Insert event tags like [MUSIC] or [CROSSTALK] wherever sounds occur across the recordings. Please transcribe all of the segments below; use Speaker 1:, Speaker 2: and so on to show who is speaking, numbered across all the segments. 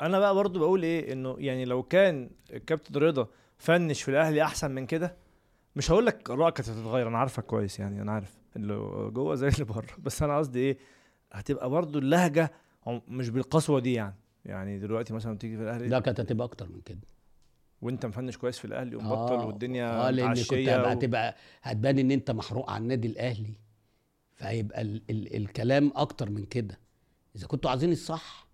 Speaker 1: انا بقى برضو بقول ايه انه يعني لو كان الكابتن رضا فنش في الاهلي احسن من كده مش هقول لك الراي كانت هتتغير انا عارفك كويس يعني انا عارف اللي جوه زي اللي بره بس انا قصدي ايه هتبقى برضو اللهجه عم- مش بالقسوه دي يعني يعني دلوقتي مثلا تيجي في الاهلي
Speaker 2: لا كانت هتبقى اكتر من كده
Speaker 1: وانت مفنش كويس في الاهلي ومبطل
Speaker 2: آه،
Speaker 1: والدنيا
Speaker 2: اه لان كنت
Speaker 1: عشية
Speaker 2: هبقى
Speaker 1: و-
Speaker 2: هتبقى هتبان ان انت محروق عن النادي الاهلي فهيبقى ال ال الكلام اكتر من كده اذا كنتوا عايزين الصح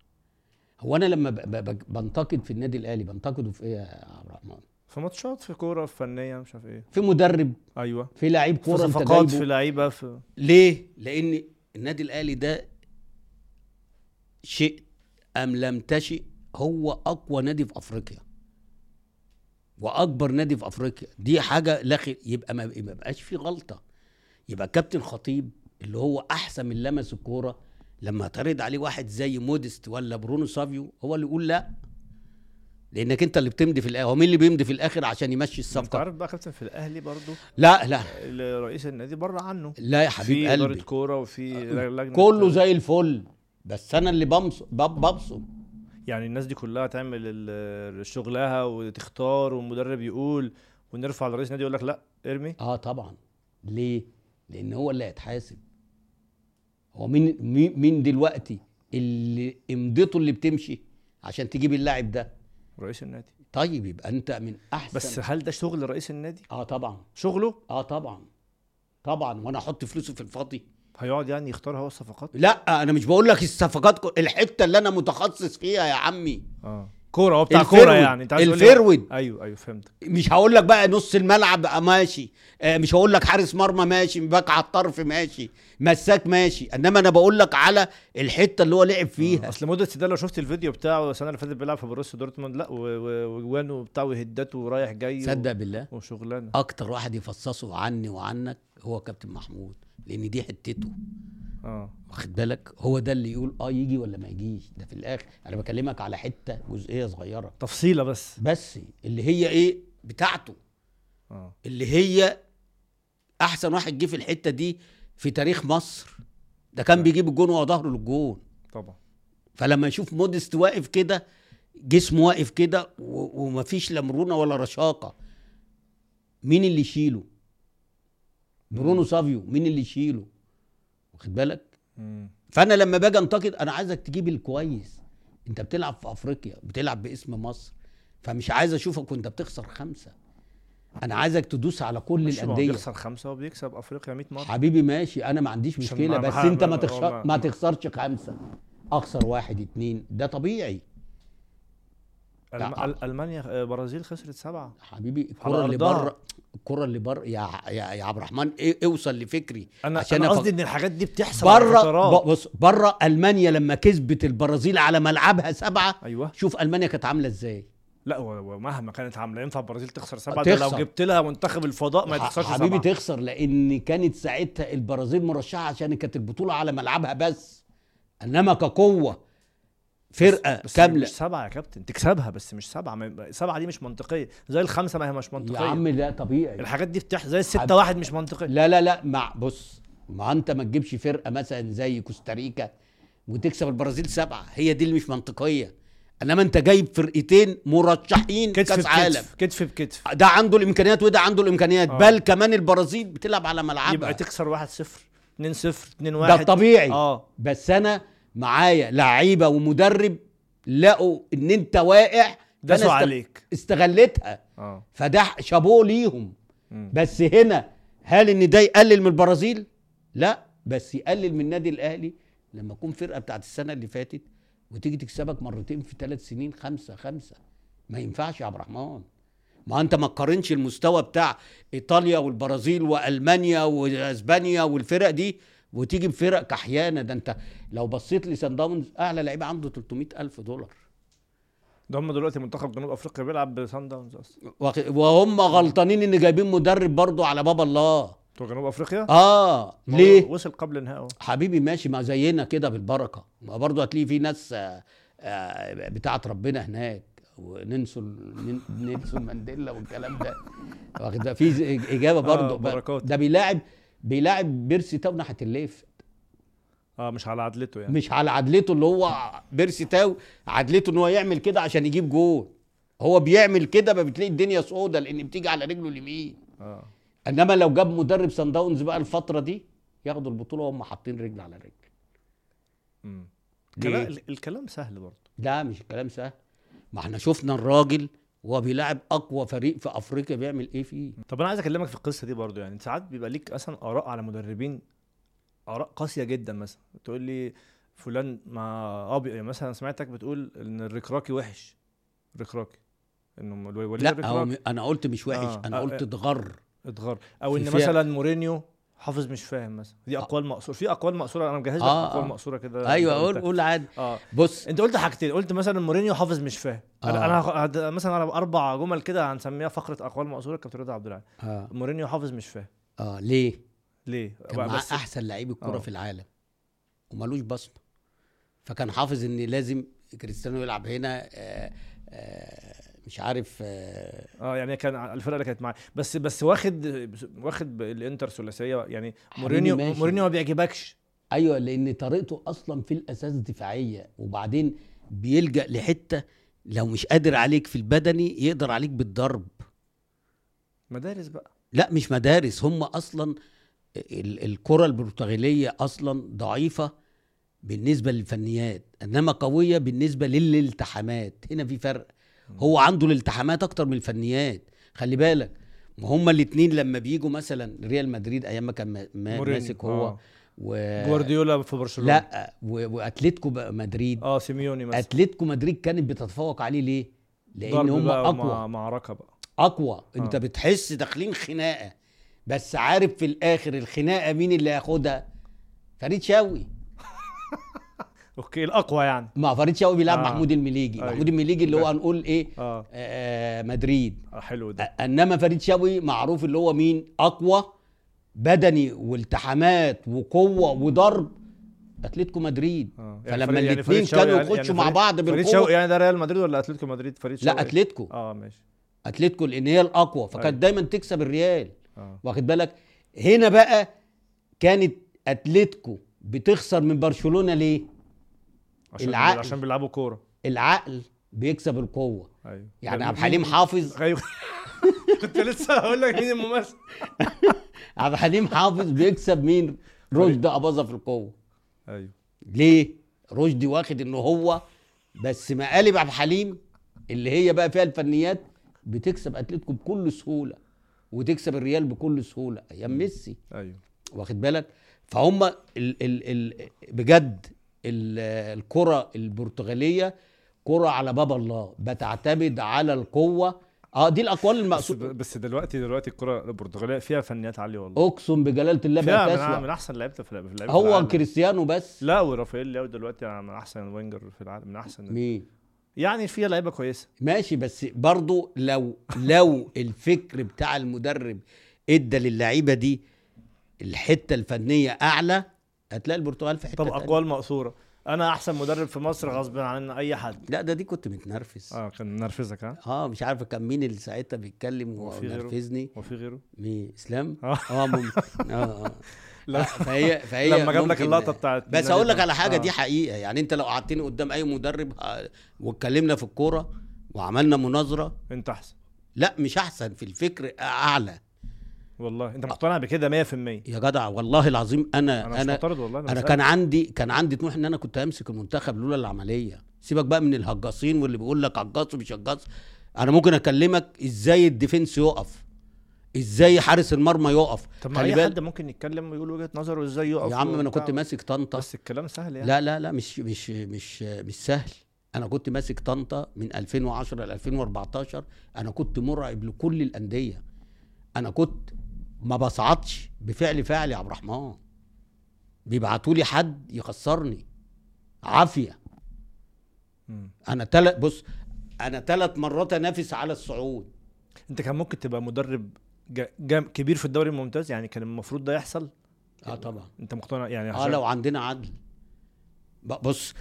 Speaker 2: هو انا لما ب ب ب بنتقد في النادي الاهلي بنتقده في ايه يا عبد الرحمن
Speaker 1: في ماتشات في كوره في فنيه مش عارف ايه
Speaker 2: في مدرب
Speaker 1: ايوه
Speaker 2: في لعيب
Speaker 1: في
Speaker 2: كوره انت
Speaker 1: صفقات
Speaker 2: جايبه
Speaker 1: في لعيبه في
Speaker 2: ليه؟ لأن النادي الأهلي ده شئت أم لم تشئ هو أقوى نادي في أفريقيا وأكبر نادي في أفريقيا دي حاجة لا خير يبقى ما ما بقاش في غلطة يبقى كابتن خطيب اللي هو أحسن من لمس الكورة لما يعترض عليه واحد زي موديست ولا برونو سافيو هو اللي يقول لا لأنك أنت اللي بتمضي في الآخر هو مين اللي بيمضي في الآخر عشان يمشي
Speaker 1: انت
Speaker 2: الصفقة؟
Speaker 1: عارف بقى كابتن في الاهلي برضو
Speaker 2: لا لا
Speaker 1: رئيس النادي بره عنه
Speaker 2: لا يا حبيب
Speaker 1: في
Speaker 2: قلبي آه،
Speaker 1: اداره كوره وفي لجنه
Speaker 2: كله زي الفل بس انا اللي بمص بب- ببصم
Speaker 1: يعني الناس دي كلها تعمل ال- شغلها وتختار والمدرب يقول ونرفع لرئيس النادي يقول لك لا ارمي
Speaker 2: اه طبعا ليه لان هو اللي هيتحاسب هو مين مين مين دلوقتي اللي امضته اللي بتمشي عشان تجيب اللاعب ده
Speaker 1: رئيس النادي
Speaker 2: طيب يبقى انت من احسن
Speaker 1: بس هل ده شغل رئيس النادي
Speaker 2: اه طبعا
Speaker 1: شغله
Speaker 2: اه طبعا طبعا وانا احط فلوسه في الفاضي
Speaker 1: هيقعد يعني يختار هو الصفقات
Speaker 2: لا انا مش بقول لك الصفقات كل- الحته اللي انا متخصص فيها يا عمي
Speaker 1: اه كوره هو بتاع
Speaker 2: الفرود.
Speaker 1: كوره يعني انت عايز تقول لي-
Speaker 2: الفرود.
Speaker 1: ايوه ايوه فهمت
Speaker 2: مش هقول لك بقى نص الملعب بقى ماشي آه، مش هقول لك حارس مرمى ماشي باك على الطرف ماشي مساك ماشي انما انا بقول لك على الحته اللي هو لعب فيها
Speaker 1: اصل مودريتش ده لو شفت الفيديو بتاعه السنه اللي فاتت بيلعب في بروسيا دورتموند لا و- و- وجوانه وبتاع وهدات ورايح جاي و-
Speaker 2: صدق بالله
Speaker 1: وشغلانه
Speaker 2: اكتر واحد يفصصه عني وعنك هو كابتن محمود لان دي حتته آه.
Speaker 1: اه
Speaker 2: واخد بالك هو ده اللي يقول اه يجي ولا ما يجيش ده في الاخر انا بكلمك على حته جزئيه صغيره
Speaker 1: تفصيله بس
Speaker 2: بس اللي هي ايه بتاعته
Speaker 1: اه
Speaker 2: اللي هي احسن واحد جه في الحته دي في تاريخ مصر ده
Speaker 1: آه.
Speaker 2: كان بيجيب الجون وهو ظهره للجون
Speaker 1: طبعا
Speaker 2: فلما يشوف موديست واقف كده جسمه واقف كده و- ومفيش لا مرونه ولا رشاقه مين اللي يشيله؟ برونو سافيو مين اللي يشيله؟ واخد بالك؟
Speaker 1: مم.
Speaker 2: فانا لما باجي انتقد انا عايزك تجيب الكويس انت بتلعب في افريقيا بتلعب باسم مصر فمش عايز اشوفك وانت بتخسر خمسه انا عايزك تدوس على كل
Speaker 1: ماشي، ما هو
Speaker 2: الانديه
Speaker 1: بيخسر خمسه وبيكسب افريقيا 100 مره
Speaker 2: حبيبي ماشي انا ما عنديش
Speaker 1: مش-
Speaker 2: مشكله
Speaker 1: ما- ما-
Speaker 2: بس انت
Speaker 1: ما-
Speaker 2: ما
Speaker 1: ما-
Speaker 2: تخسر ما تخسرش خمسه اخسر واحد اتنين ده طبيعي
Speaker 1: ألم...
Speaker 2: لا.
Speaker 1: أل- المانيا آه، برازيل خسرت سبعه
Speaker 2: حبيبي
Speaker 1: على
Speaker 2: الكره اللي
Speaker 1: أرضها.
Speaker 2: بره الكره اللي بره يا يا, يا عبد الرحمن إيه اوصل لفكري
Speaker 1: انا
Speaker 2: عشان
Speaker 1: انا
Speaker 2: أفك-
Speaker 1: قصدي ان الحاجات دي بتحصل
Speaker 2: بره
Speaker 1: فترات.
Speaker 2: ب- بص بره المانيا لما كسبت البرازيل على ملعبها سبعه
Speaker 1: ايوه
Speaker 2: شوف المانيا كانت عامله ازاي
Speaker 1: لا و- ومهما كانت عامله ينفع البرازيل تخسر سبعه ده
Speaker 2: تخسر.
Speaker 1: لو جبت لها منتخب الفضاء ما
Speaker 2: ح-
Speaker 1: تخسرش
Speaker 2: حبيبي
Speaker 1: سبعه
Speaker 2: تخسر لان كانت ساعتها البرازيل مرشحه عشان كانت البطوله على ملعبها بس انما كقوه فرقه
Speaker 1: بس
Speaker 2: كامله
Speaker 1: مش سبعه يا كابتن تكسبها بس مش سبعه ما- سبعه دي مش منطقيه زي الخمسه ما هي مش
Speaker 2: يا
Speaker 1: منطقيه
Speaker 2: عم ده طبيعي
Speaker 1: الحاجات دي بتحصل زي
Speaker 2: حبيبي.
Speaker 1: الستة واحد مش منطقيه
Speaker 2: لا لا لا مع بص ما انت ما تجيبش فرقه مثلا زي كوستاريكا وتكسب البرازيل سبعه هي دي اللي مش منطقيه انما انت جايب فرقتين مرشحين
Speaker 1: كتف
Speaker 2: كاس عالم
Speaker 1: بكتف كتف بكتف
Speaker 2: ده عنده الامكانيات وده عنده الامكانيات
Speaker 1: آه.
Speaker 2: بل كمان البرازيل بتلعب على
Speaker 1: يبقى
Speaker 2: ملعبها
Speaker 1: تكسر 1 0 2 0 2
Speaker 2: ده
Speaker 1: 1
Speaker 2: الطبيعي
Speaker 1: اه
Speaker 2: بس انا معايا لعيبه ومدرب لقوا ان انت واقع فأنا
Speaker 1: داسوا
Speaker 2: است-
Speaker 1: عليك
Speaker 2: استغلتها
Speaker 1: اه
Speaker 2: فده شابوه ليهم
Speaker 1: مم.
Speaker 2: بس هنا هل ان ده يقلل من البرازيل؟ لا بس يقلل من النادي الاهلي لما تكون فرقه بتاعت السنه اللي فاتت وتيجي تكسبك مرتين في ثلاث سنين خمسه خمسه ما ينفعش يا عبد الرحمن ما انت ما تقارنش المستوى بتاع ايطاليا والبرازيل والمانيا واسبانيا والفرق دي وتيجي بفرق كحيانه ده انت لو بصيت لسان داونز اعلى لعيب عنده 300 الف دولار
Speaker 1: ده هم دلوقتي منتخب جنوب افريقيا بيلعب بسان داونز اصلا
Speaker 2: واخ- وهم غلطانين ان جايبين مدرب برضه على باب الله
Speaker 1: بتوع جنوب افريقيا
Speaker 2: اه
Speaker 1: هو
Speaker 2: ليه
Speaker 1: وصل قبل نهائه
Speaker 2: حبيبي ماشي ما زينا كده بالبركه ما برضه هتلاقي في ناس آه، آه، بتاعه ربنا هناك وننسون نن- ننسون مانديلا والكلام ده واخد بالك؟ في زي- اجابه
Speaker 1: آه،
Speaker 2: برضه
Speaker 1: بركات.
Speaker 2: ده بيلاعب بيلاعب بيرسي تاو ناحيه الليف
Speaker 1: اه مش على عدلته يعني
Speaker 2: مش على عدلته اللي هو بيرسي تاو عدلته ان هو يعمل كده عشان يجيب جول هو بيعمل كده ما بتلاقي الدنيا سودة لان بتيجي على رجله اليمين
Speaker 1: اه
Speaker 2: انما لو جاب مدرب سان داونز بقى الفتره دي ياخدوا البطوله وهم حاطين رجل على رجل
Speaker 1: امم
Speaker 2: ليه؟
Speaker 1: الكلام الكلام سهل برضه
Speaker 2: لا مش الكلام سهل ما احنا شفنا الراجل وهو بيلاعب اقوى فريق في افريقيا بيعمل ايه فيه
Speaker 1: طب انا عايز اكلمك في القصه دي برضه يعني ساعات بيبقى ليك اصلا اراء على مدربين اراء قاسيه جدا مثلا تقول لي فلان مع ابي يعني مثلا سمعتك بتقول ان الركراكي وحش ركراكي انه الو- وليد
Speaker 2: لا هو
Speaker 1: الركراكي
Speaker 2: م- انا قلت مش وحش
Speaker 1: آه،
Speaker 2: آه. انا
Speaker 1: آه،
Speaker 2: قلت
Speaker 1: آه.
Speaker 2: اتغر
Speaker 1: اتغر او
Speaker 2: في
Speaker 1: ان
Speaker 2: فيها-
Speaker 1: مثلا مورينيو حافظ مش فاهم مثلا دي اقوال مقصوره في اقوال مقصوره انا مجهز لك
Speaker 2: آه،
Speaker 1: اقوال
Speaker 2: آه.
Speaker 1: مقصوره كده
Speaker 2: ايوه
Speaker 1: أنت
Speaker 2: قول
Speaker 1: قلتها.
Speaker 2: قول عادي
Speaker 1: اه
Speaker 2: بص
Speaker 1: انت قلت حاجتين قلت مثلا مورينيو حافظ مش فاهم انا
Speaker 2: آه.
Speaker 1: انا هخ- هد- مثلا اربع جمل كده هنسميها فقره اقوال مقصوره كابتن رضا عبد العال
Speaker 2: اه,
Speaker 1: مورينيو حافظ مش فاهم
Speaker 2: آه. ليه
Speaker 1: ليه
Speaker 2: كان معاه
Speaker 1: بس
Speaker 2: احسن لعيب الكره
Speaker 1: آه.
Speaker 2: في العالم ومالوش بصمه فكان حافظ ان لازم كريستيانو يلعب هنا آه آه مش عارف آه
Speaker 1: اه يعني كان ع- الفرقه اللي كانت معاه بس بس واخد واخد الانتر ثلاثيه يعني مورينيو
Speaker 2: ماشي.
Speaker 1: مورينيو ما بيعجبكش
Speaker 2: ايوه لان طريقته اصلا في الاساس دفاعيه وبعدين بيلجا لحته لو مش قادر عليك في البدني يقدر عليك بالضرب
Speaker 1: مدارس بقى
Speaker 2: لا مش مدارس هم اصلا ال- الكره البرتغاليه اصلا ضعيفه بالنسبه للفنيات انما قويه بالنسبه للالتحامات هنا في فرق هو عنده الالتحامات اكتر من الفنيات خلي بالك ما هما الاثنين لما بيجوا مثلا ريال مدريد ايام ما كان ما- ما-
Speaker 1: مورينيو،
Speaker 2: ماسك هو
Speaker 1: آه.
Speaker 2: و...
Speaker 1: جوارديولا في برشلونه
Speaker 2: لا و- واتلتيكو بقى مدريد
Speaker 1: اه سيميوني مثلا
Speaker 2: اتلتيكو مدريد كانت بتتفوق عليه ليه؟ لان
Speaker 1: ضرب
Speaker 2: هم
Speaker 1: بقى
Speaker 2: اقوى
Speaker 1: ومع- معركه بقى
Speaker 2: اقوى انت
Speaker 1: آه.
Speaker 2: بتحس داخلين خناقه بس عارف في الاخر الخناقه مين اللي هياخدها فريد شوقي
Speaker 1: اوكي الاقوى يعني
Speaker 2: ما فريد شوقي بيلعب
Speaker 1: آه.
Speaker 2: آه. محمود المليجي
Speaker 1: أيوة.
Speaker 2: أيوة. محمود المليجي اللي هو
Speaker 1: لا.
Speaker 2: هنقول ايه
Speaker 1: اه
Speaker 2: آه مدريد
Speaker 1: آه، حلو ده
Speaker 2: آه انما فريد شوقي معروف اللي هو مين اقوى بدني والتحامات وقوه وضرب اتلتيكو مدريد
Speaker 1: اه يعني
Speaker 2: فلما
Speaker 1: فريد- يعني
Speaker 2: الاثنين
Speaker 1: فريد شوقي
Speaker 2: كانوا
Speaker 1: يعني-
Speaker 2: يخشوا
Speaker 1: يعني
Speaker 2: مع
Speaker 1: فريد-
Speaker 2: بعض
Speaker 1: فريد
Speaker 2: بالقوه
Speaker 1: شوقي يعني ده ريال مدريد ولا اتلتيكو مدريد فريد شوقي
Speaker 2: لا اتلتيكو
Speaker 1: اه ماشي
Speaker 2: اتلتيكو لان هي الاقوى
Speaker 1: أيوة.
Speaker 2: فكانت دايما تكسب الريال
Speaker 1: اه
Speaker 2: واخد بالك هنا بقى كانت اتلتيكو بتخسر من برشلونه ليه
Speaker 1: عشان
Speaker 2: العقل.
Speaker 1: عشان بيلعبوا كوره
Speaker 2: العقل بيكسب القوه
Speaker 1: ايوه
Speaker 2: يعني
Speaker 1: مين- [LAUGHS]
Speaker 2: عبد الحليم حافظ
Speaker 1: ايوه كنت لسه هقول لك مين الممثل
Speaker 2: عبد الحليم حافظ بيكسب مين رشدي اباظه في القوه
Speaker 1: ايوه
Speaker 2: ليه رشدي واخد ان هو بس مقالب عبد الحليم اللي هي بقى فيها الفنيات بتكسب اتلتيكو بكل سهوله وتكسب الريال بكل سهوله ايام ميسي
Speaker 1: ايوه
Speaker 2: واخد بالك فهم ال ال ال بجد ال الكره البرتغاليه كره على باب الله بتعتمد على القوه اه دي الاقوال
Speaker 1: بس,
Speaker 2: المقصوده
Speaker 1: بس دلوقتي دلوقتي الكره البرتغاليه فيها فنيات عاليه والله
Speaker 2: اقسم بجلاله الله ما
Speaker 1: فيها من,
Speaker 2: تسوى
Speaker 1: من احسن لعيبه في اللعبه
Speaker 2: هو كريستيانو بس
Speaker 1: لا ورافائيل لياو دلوقتي يعني من احسن وينجر في العالم من احسن
Speaker 2: مين
Speaker 1: يعني فيها لعيبه كويسه
Speaker 2: ماشي بس برضو لو لو الفكر بتاع المدرب ادى للعيبه دي الحته الفنيه اعلى هتلاقي البرتغال في حته
Speaker 1: طب
Speaker 2: تانية.
Speaker 1: اقوال مقصوره انا احسن مدرب في مصر غصب عن اي حد
Speaker 2: لا ده دي كنت متنرفز
Speaker 1: اه كان منرفزك ها
Speaker 2: اه مش عارف كان مين اللي ساعتها بيتكلم
Speaker 1: هو في غيره؟
Speaker 2: ونرفزني
Speaker 1: وفي غيره
Speaker 2: مين اسلام
Speaker 1: آه.
Speaker 2: اه ممكن اه اه
Speaker 1: [LAUGHS] لا.
Speaker 2: آه، فهي فهي
Speaker 1: لما جاب لك
Speaker 2: ممكن-
Speaker 1: اللقطه بتاعت
Speaker 2: بس اقول لك على حاجه
Speaker 1: آه.
Speaker 2: دي حقيقه يعني انت لو قعدتني قدام اي مدرب آه، واتكلمنا في الكوره وعملنا مناظره
Speaker 1: انت احسن
Speaker 2: لا مش احسن في الفكر اعلى
Speaker 1: والله انت مقتنع بكده 100%
Speaker 2: يا جدع والله العظيم انا
Speaker 1: انا مش
Speaker 2: انا
Speaker 1: معترض والله
Speaker 2: انا
Speaker 1: بسألك.
Speaker 2: كان عندي كان عندي طموح ان انا كنت همسك المنتخب لولا العمليه سيبك بقى من الهجاصين واللي بيقول لك هجاص ومش هجاص انا ممكن اكلمك ازاي الديفنس يقف ازاي حارس المرمى يقف
Speaker 1: طب ما
Speaker 2: خلي
Speaker 1: اي
Speaker 2: بالك-
Speaker 1: حد ممكن يتكلم ويقول وجهه نظره ازاي يقف
Speaker 2: يا عم ما انا
Speaker 1: وبتاع.
Speaker 2: كنت ماسك طنطا
Speaker 1: بس الكلام سهل يعني
Speaker 2: لا لا لا مش مش مش مش سهل انا كنت ماسك طنطا من 2010 ل 2014 انا كنت مرعب لكل الانديه انا كنت ما بصعدش بفعل فاعل يا عبد الرحمن بيبعتوا لي حد يخسرني عافيه
Speaker 1: مم.
Speaker 2: انا تل... بص انا ثلاث مرات انافس على الصعود
Speaker 1: انت كان ممكن تبقى مدرب جا- جام كبير في الدوري الممتاز يعني كان المفروض ده يحصل آه،
Speaker 2: اه طبعا
Speaker 1: انت مقتنع يعني
Speaker 2: اه لو عندنا عدل ب- بص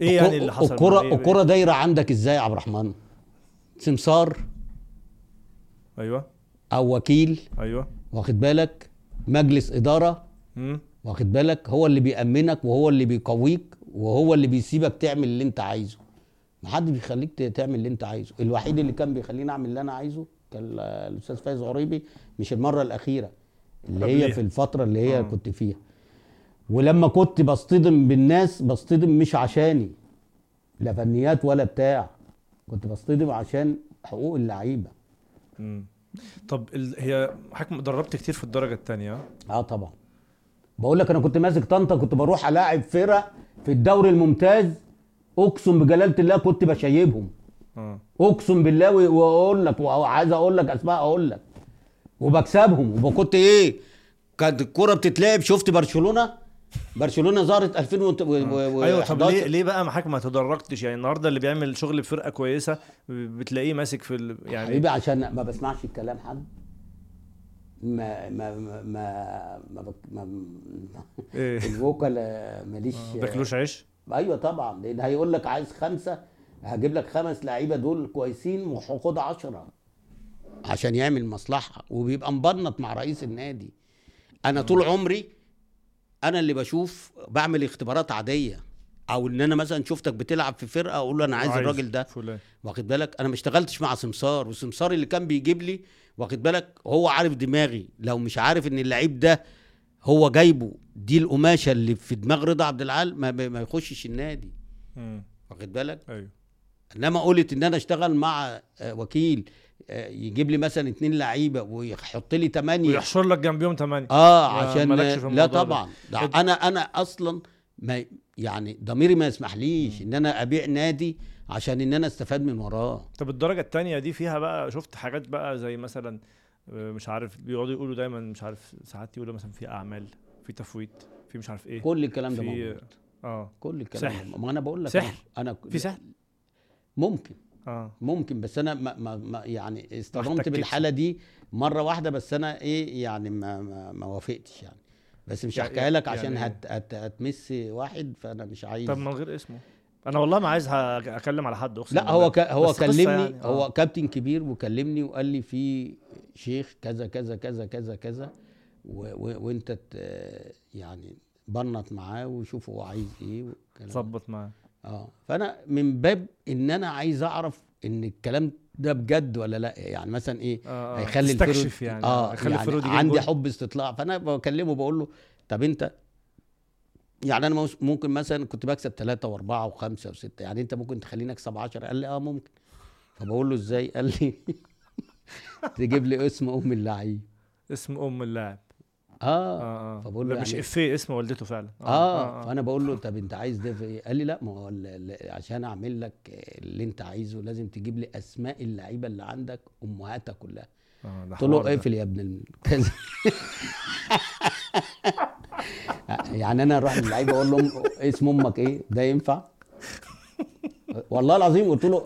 Speaker 1: ايه يعني اللي حصل مع-
Speaker 2: الكره
Speaker 1: إيه-
Speaker 2: الكره دايره عندك ازاي يا عبد الرحمن سمسار
Speaker 1: ايوه
Speaker 2: او وكيل
Speaker 1: ايوه
Speaker 2: واخد بالك مجلس اداره
Speaker 1: امم
Speaker 2: واخد بالك هو اللي بيأمنك وهو اللي بيقويك وهو اللي بيسيبك تعمل اللي انت عايزه محد بيخليك ت- تعمل اللي انت عايزه الوحيد اللي كان بيخليني اعمل اللي انا عايزه كان ال- الاستاذ فايز غريبي مش المره الاخيره اللي هي
Speaker 1: قبليها.
Speaker 2: في الفتره اللي هي
Speaker 1: آه.
Speaker 2: كنت فيها ولما كنت بصطدم بالناس بصطدم مش عشاني لا فنيات ولا بتاع كنت بصطدم عشان حقوق اللعيبه
Speaker 1: مم. طب ال... هي حكم دربت كتير في الدرجه الثانيه
Speaker 2: اه طبعا بقول لك انا كنت ماسك طنطا كنت بروح الاعب فرق في الدوري الممتاز اقسم بجلاله الله كنت بشيبهم
Speaker 1: اه
Speaker 2: اقسم بالله و- واقول لك وعايز اقول لك اسماء اقول لك وبكسبهم وكنت ايه كانت الكوره بتتلعب شفت برشلونه برشلونه ظهرت 2000 و... و... و...
Speaker 1: ايوه طب
Speaker 2: 11.
Speaker 1: ليه ليه بقى محاكم ما تدرجتش يعني النهارده اللي بيعمل شغل بفرقه كويسه ب- بتلاقيه ماسك في ال... يعني
Speaker 2: حبيبي عشان ما بسمعش الكلام حد ما ما ما ما, ما, بك- ما, ما
Speaker 1: إيه؟
Speaker 2: [LAUGHS] الوكلاء ماليش
Speaker 1: ما بياكلوش عيش
Speaker 2: ايوه طبعا لان هيقول لك عايز خمسه هجيب لك خمس لعيبه دول كويسين وخد عشرة عشان يعمل مصلحه وبيبقى مبنط مع رئيس النادي انا طول عمري انا اللي بشوف بعمل اختبارات عاديه او ان انا مثلا شفتك بتلعب في فرقه اقول له انا عايز الراجل ده
Speaker 1: فلان
Speaker 2: واخد بالك انا ما اشتغلتش مع سمسار وسمسار اللي كان بيجيب لي واخد بالك هو عارف دماغي لو مش عارف ان اللعيب ده هو جايبه دي القماشه اللي في دماغ رضا عبد العال ما, ما ما يخشش النادي
Speaker 1: مم.
Speaker 2: واخد بالك
Speaker 1: ايوه
Speaker 2: انما قلت ان انا اشتغل مع آه، وكيل آه، يجيب لي مثلا اتنين لعيبه ويحط لي تمانية
Speaker 1: ويحشر لك جنبيهم ثمانيه
Speaker 2: اه
Speaker 1: ما-
Speaker 2: عشان
Speaker 1: مالكش في
Speaker 2: لا
Speaker 1: الموضوع ده.
Speaker 2: طبعا ده انا انا اصلا ما يعني ضميري ما يسمحليش ان انا ابيع نادي عشان ان انا استفاد من وراه
Speaker 1: طب الدرجه الثانيه دي فيها بقى شفت حاجات بقى زي مثلا آه، مش عارف بيقعدوا يقولوا دايما مش عارف ساعات يقولوا مثلا في اعمال في تفويت في مش عارف ايه
Speaker 2: كل الكلام ده
Speaker 1: في-
Speaker 2: موجود
Speaker 1: اه
Speaker 2: كل الكلام
Speaker 1: سحر.
Speaker 2: ده. ما انا بقول لك
Speaker 1: سحر.
Speaker 2: انا
Speaker 1: في سهل
Speaker 2: ممكن
Speaker 1: اه
Speaker 2: ممكن بس انا ما ما ما يعني
Speaker 1: محتاج
Speaker 2: اصطدمت
Speaker 1: تكسب.
Speaker 2: بالحاله دي مره واحده بس انا ايه يعني ما ما, ما وافقتش يعني بس مش
Speaker 1: يعني-
Speaker 2: هحكيها لك عشان
Speaker 1: يعني-
Speaker 2: هت هت هتمس واحد فانا مش عايز
Speaker 1: طب من غير اسمه انا والله ما عايز ه- اكلم على حد اقسم
Speaker 2: لا هو ك...
Speaker 1: بالله.
Speaker 2: هو
Speaker 1: بس قصة
Speaker 2: كلمني
Speaker 1: يعني،
Speaker 2: يعني.
Speaker 1: آه.
Speaker 2: هو كابتن كبير وكلمني وقال لي في شيخ كذا كذا كذا كذا كذا و... و... وانت ت... يعني بنط معاه وشوف هو عايز ايه والكلام ده.
Speaker 1: ظبط معاه
Speaker 2: اه فانا من باب ان انا عايز اعرف ان الكلام ده بجد ولا لا يعني مثلا ايه
Speaker 1: آه، آه،
Speaker 2: هيخلي
Speaker 1: تستكشف يعني،
Speaker 2: اه
Speaker 1: هيخلي
Speaker 2: يعني
Speaker 1: الفرود يجيب
Speaker 2: عندي
Speaker 1: جول.
Speaker 2: حب استطلاع فانا بكلمه بقول له طب انت يعني انا موس- ممكن مثلا كنت بكسب ثلاثة واربعة وخمسة وستة يعني انت ممكن تخليني اكسب 10 قال لي اه ممكن فبقول له ازاي قال لي [LAUGHS] تجيب لي اسم ام اللعيب
Speaker 1: اسم ام اللاعب
Speaker 2: اه,
Speaker 1: اه اه
Speaker 2: فبقول
Speaker 1: لا
Speaker 2: له
Speaker 1: مش
Speaker 2: يعني-
Speaker 1: افيه اسم والدته آه، فعلا
Speaker 2: اه فانا بقول له طب انت عايز ده في ايه؟ قال لي لا ما هو ال- ال- عشان اعمل لك اللي انت عايزه لازم تجيب لي اسماء اللعيبه اللي عندك امهاتها كلها
Speaker 1: آه، ده
Speaker 2: قلت له إيه
Speaker 1: حوار ده.
Speaker 2: اقفل يا ابن ال- كذا [LAUGHS] يعني انا اروح للعيبه اقول لهم اسم امك ايه ده ينفع والله العظيم قلت له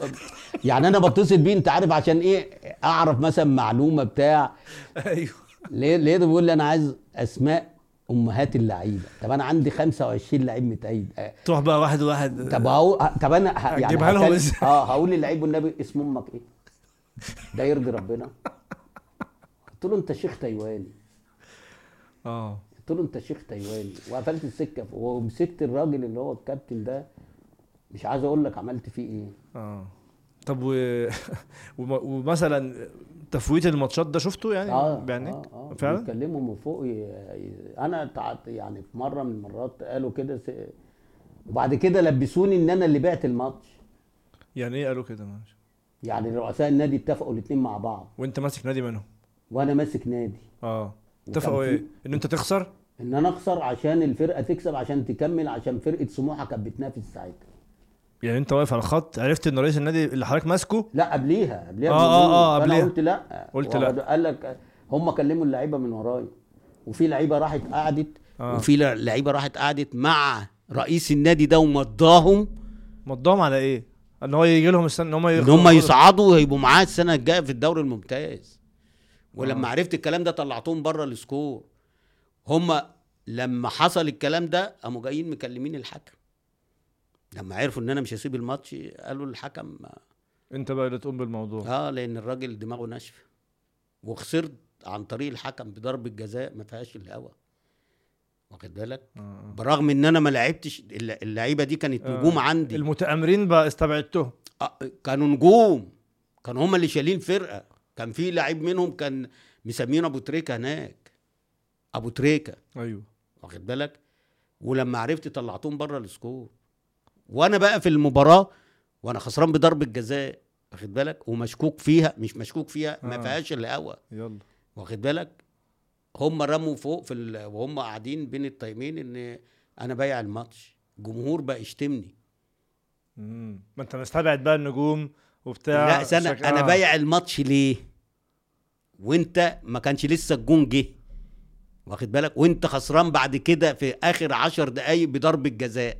Speaker 2: يعني انا بتصل بيه انت عارف عشان ايه اعرف مثلا معلومه بتاع
Speaker 1: [LAUGHS] ايوه
Speaker 2: ليه ليه ده بيقول لي انا عايز اسماء امهات اللعيبه طب انا عندي 25 لعيب متأيد آه،
Speaker 1: تروح بقى واحد واحد
Speaker 2: طب هو طب انا ه... يعني
Speaker 1: هتجيبها لهم
Speaker 2: هتكلم-
Speaker 1: إزاي؟
Speaker 2: اه هقول للعيب والنبي اسم امك ايه ده يرضي ربنا قلت له انت شيخ تايواني
Speaker 1: اه
Speaker 2: قلت له انت شيخ تايواني وقفلت السكه ومسكت الراجل اللي هو الكابتن ده مش عايز اقول لك عملت فيه ايه
Speaker 1: اه طب و... [LAUGHS] وم- ومثلا تفويت الماتشات ده شفته يعني
Speaker 2: آه،
Speaker 1: بعينيك فعلا
Speaker 2: بيتكلموا من فوق ي... ي- انا تعبت يعني في مره من المرات قالوا كده س... وبعد كده لبسوني ان انا اللي بعت الماتش
Speaker 1: يعني ايه قالوا كده ماشي
Speaker 2: يعني رؤساء النادي اتفقوا الاثنين مع بعض
Speaker 1: وانت ماسك نادي منهم
Speaker 2: وانا ماسك نادي
Speaker 1: اه
Speaker 2: وكان
Speaker 1: اتفقوا
Speaker 2: في-
Speaker 1: ايه ان انت تخسر
Speaker 2: ان انا اخسر عشان الفرقه تكسب عشان تكمل عشان فرقه سموحه كانت بتنافس ساعتها
Speaker 1: يعني انت واقف على الخط عرفت ان رئيس النادي اللي حضرتك ماسكه
Speaker 2: لا قبليها قبليها
Speaker 1: آه،
Speaker 2: بيومين.
Speaker 1: آه، آه،
Speaker 2: فأنا
Speaker 1: قبليها.
Speaker 2: قلت لا
Speaker 1: قلت لا.
Speaker 2: وقعدوا- قال لك هم كلموا اللعيبه من ورايا وفي لعيبه راحت قعدت
Speaker 1: آه.
Speaker 2: وفي لع- لعيبه راحت قعدت مع رئيس النادي ده ومضاهم
Speaker 1: مضاهم على ايه؟ ان هو يجي لهم السنه ان هم
Speaker 2: ان هم يصعدوا ويبقوا معاه السنه الجايه في الدوري الممتاز ولما
Speaker 1: آه.
Speaker 2: عرفت الكلام ده طلعتهم بره السكور هم لما حصل الكلام ده قاموا جايين مكلمين الحكم لما عرفوا ان انا مش هسيب الماتش قالوا للحكم
Speaker 1: انت بقى اللي تقوم بالموضوع
Speaker 2: اه لان الراجل دماغه ناشفه وخسرت عن طريق الحكم بضرب الجزاء ما فيهاش الهوا واخد بالك
Speaker 1: آه.
Speaker 2: برغم ان انا ما لعبتش الل- اللعيبه دي كانت
Speaker 1: آه.
Speaker 2: نجوم عندي
Speaker 1: المتآمرين بقى استبعدتهم
Speaker 2: آه، كانوا نجوم كانوا هم اللي شايلين فرقه كان في لعيب منهم كان مسمينه ابو تريكه هناك ابو تريكه
Speaker 1: ايوه
Speaker 2: واخد بالك ولما عرفت طلعتهم بره السكور وانا بقى في المباراه وانا خسران بضربه جزاء واخد بالك ومشكوك فيها مش مشكوك فيها ما
Speaker 1: آه.
Speaker 2: فيهاش الهوا
Speaker 1: يلا
Speaker 2: واخد بالك هم رموا فوق في ال... وهم قاعدين بين التايمين ان انا بايع الماتش الجمهور بقى يشتمني
Speaker 1: مم. ما انت مستبعد بقى النجوم وبتاع
Speaker 2: لا سنة
Speaker 1: شك-
Speaker 2: انا
Speaker 1: آه.
Speaker 2: بايع الماتش ليه وانت ما كانش لسه الجون جه واخد بالك وانت خسران بعد كده في اخر عشر دقايق بضربة جزاء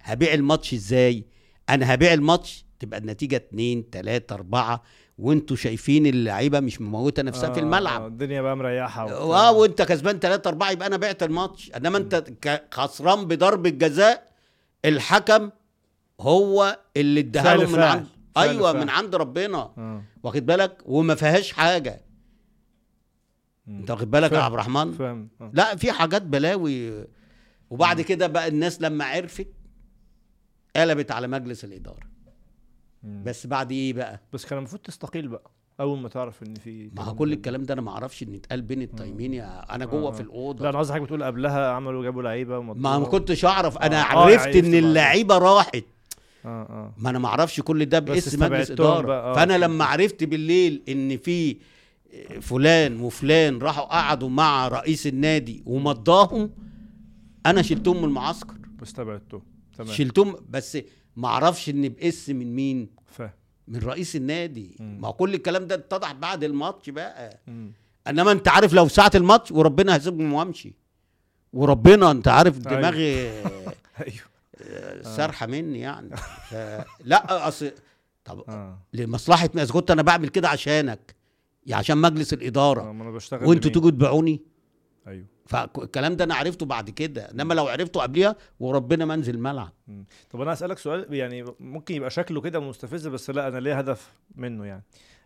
Speaker 2: هبيع الماتش ازاي انا هبيع الماتش تبقى النتيجة اتنين تلاتة اربعة وانتوا شايفين اللعيبة مش مموتة نفسها
Speaker 1: آه،
Speaker 2: في الملعب
Speaker 1: آه، الدنيا بقى مريحه وبتاع.
Speaker 2: اه وانت كسبان 3 4 يبقى انا بعت الماتش انما انت ك- خسران بضربه جزاء الحكم هو اللي اداها
Speaker 1: فعل
Speaker 2: له من
Speaker 1: فاعل.
Speaker 2: عند
Speaker 1: فعل
Speaker 2: ايوه
Speaker 1: فاعل.
Speaker 2: من عند ربنا
Speaker 1: آه.
Speaker 2: واخد بالك وما فيهاش حاجه
Speaker 1: مم.
Speaker 2: انت واخد بالك يا
Speaker 1: فاهم.
Speaker 2: عبد الرحمن
Speaker 1: فاهم آه.
Speaker 2: لا في حاجات بلاوي وبعد كده بقى الناس لما عرفت قلبت على مجلس الاداره
Speaker 1: مم.
Speaker 2: بس بعد ايه بقى
Speaker 1: بس كان المفروض تستقيل بقى اول ما تعرف ان في
Speaker 2: ما هو كل الكلام ده انا ما اعرفش ان اتقال بين التيمين يا- انا جوه
Speaker 1: آه.
Speaker 2: في الاوضه
Speaker 1: لا انا قصدي حاجه بتقول قبلها عملوا جابوا لعيبه
Speaker 2: ما ما
Speaker 1: ومضوها.
Speaker 2: كنتش اعرف انا
Speaker 1: آه، آه،
Speaker 2: عرفت
Speaker 1: عرفت
Speaker 2: ان
Speaker 1: بعد كده.
Speaker 2: اللعيبه راحت
Speaker 1: اه اه
Speaker 2: ما انا ما اعرفش كل ده باسم مجلس
Speaker 1: استبعدتهم
Speaker 2: اداره
Speaker 1: بقى، آه.
Speaker 2: فانا لما عرفت بالليل ان في فلان وفلان راحوا قعدوا مع رئيس النادي ومضاهم انا شلتهم من المعسكر
Speaker 1: استبعدته تمام
Speaker 2: شلتهم بس ما اعرفش ان باسم من مين
Speaker 1: فاهم
Speaker 2: من رئيس النادي
Speaker 1: مم.
Speaker 2: ما هو كل الكلام ده اتضح بعد الماتش بقى
Speaker 1: مم.
Speaker 2: انما انت عارف لو ساعه الماتش وربنا هسيبهم وامشي وربنا انت عارف
Speaker 1: أيوة. [LAUGHS]
Speaker 2: دماغي
Speaker 1: ايوه
Speaker 2: سارحه مني يعني ف... لا اصل طب
Speaker 1: اه
Speaker 2: لمصلحه ما إذا كنت انا بعمل كده عشانك يا عشان مجلس
Speaker 1: آه،
Speaker 2: الاداره
Speaker 1: ما انا بشتغل
Speaker 2: وانتوا
Speaker 1: لمين؟
Speaker 2: تيجوا تبيعوني
Speaker 1: ايوه
Speaker 2: فالكلام ده انا عرفته بعد كده انما لو عرفته قبليها وربنا ما انزل ملعب
Speaker 1: مم. طب انا اسالك سؤال يعني ممكن يبقى شكله كده مستفز بس لا انا ليه هدف منه يعني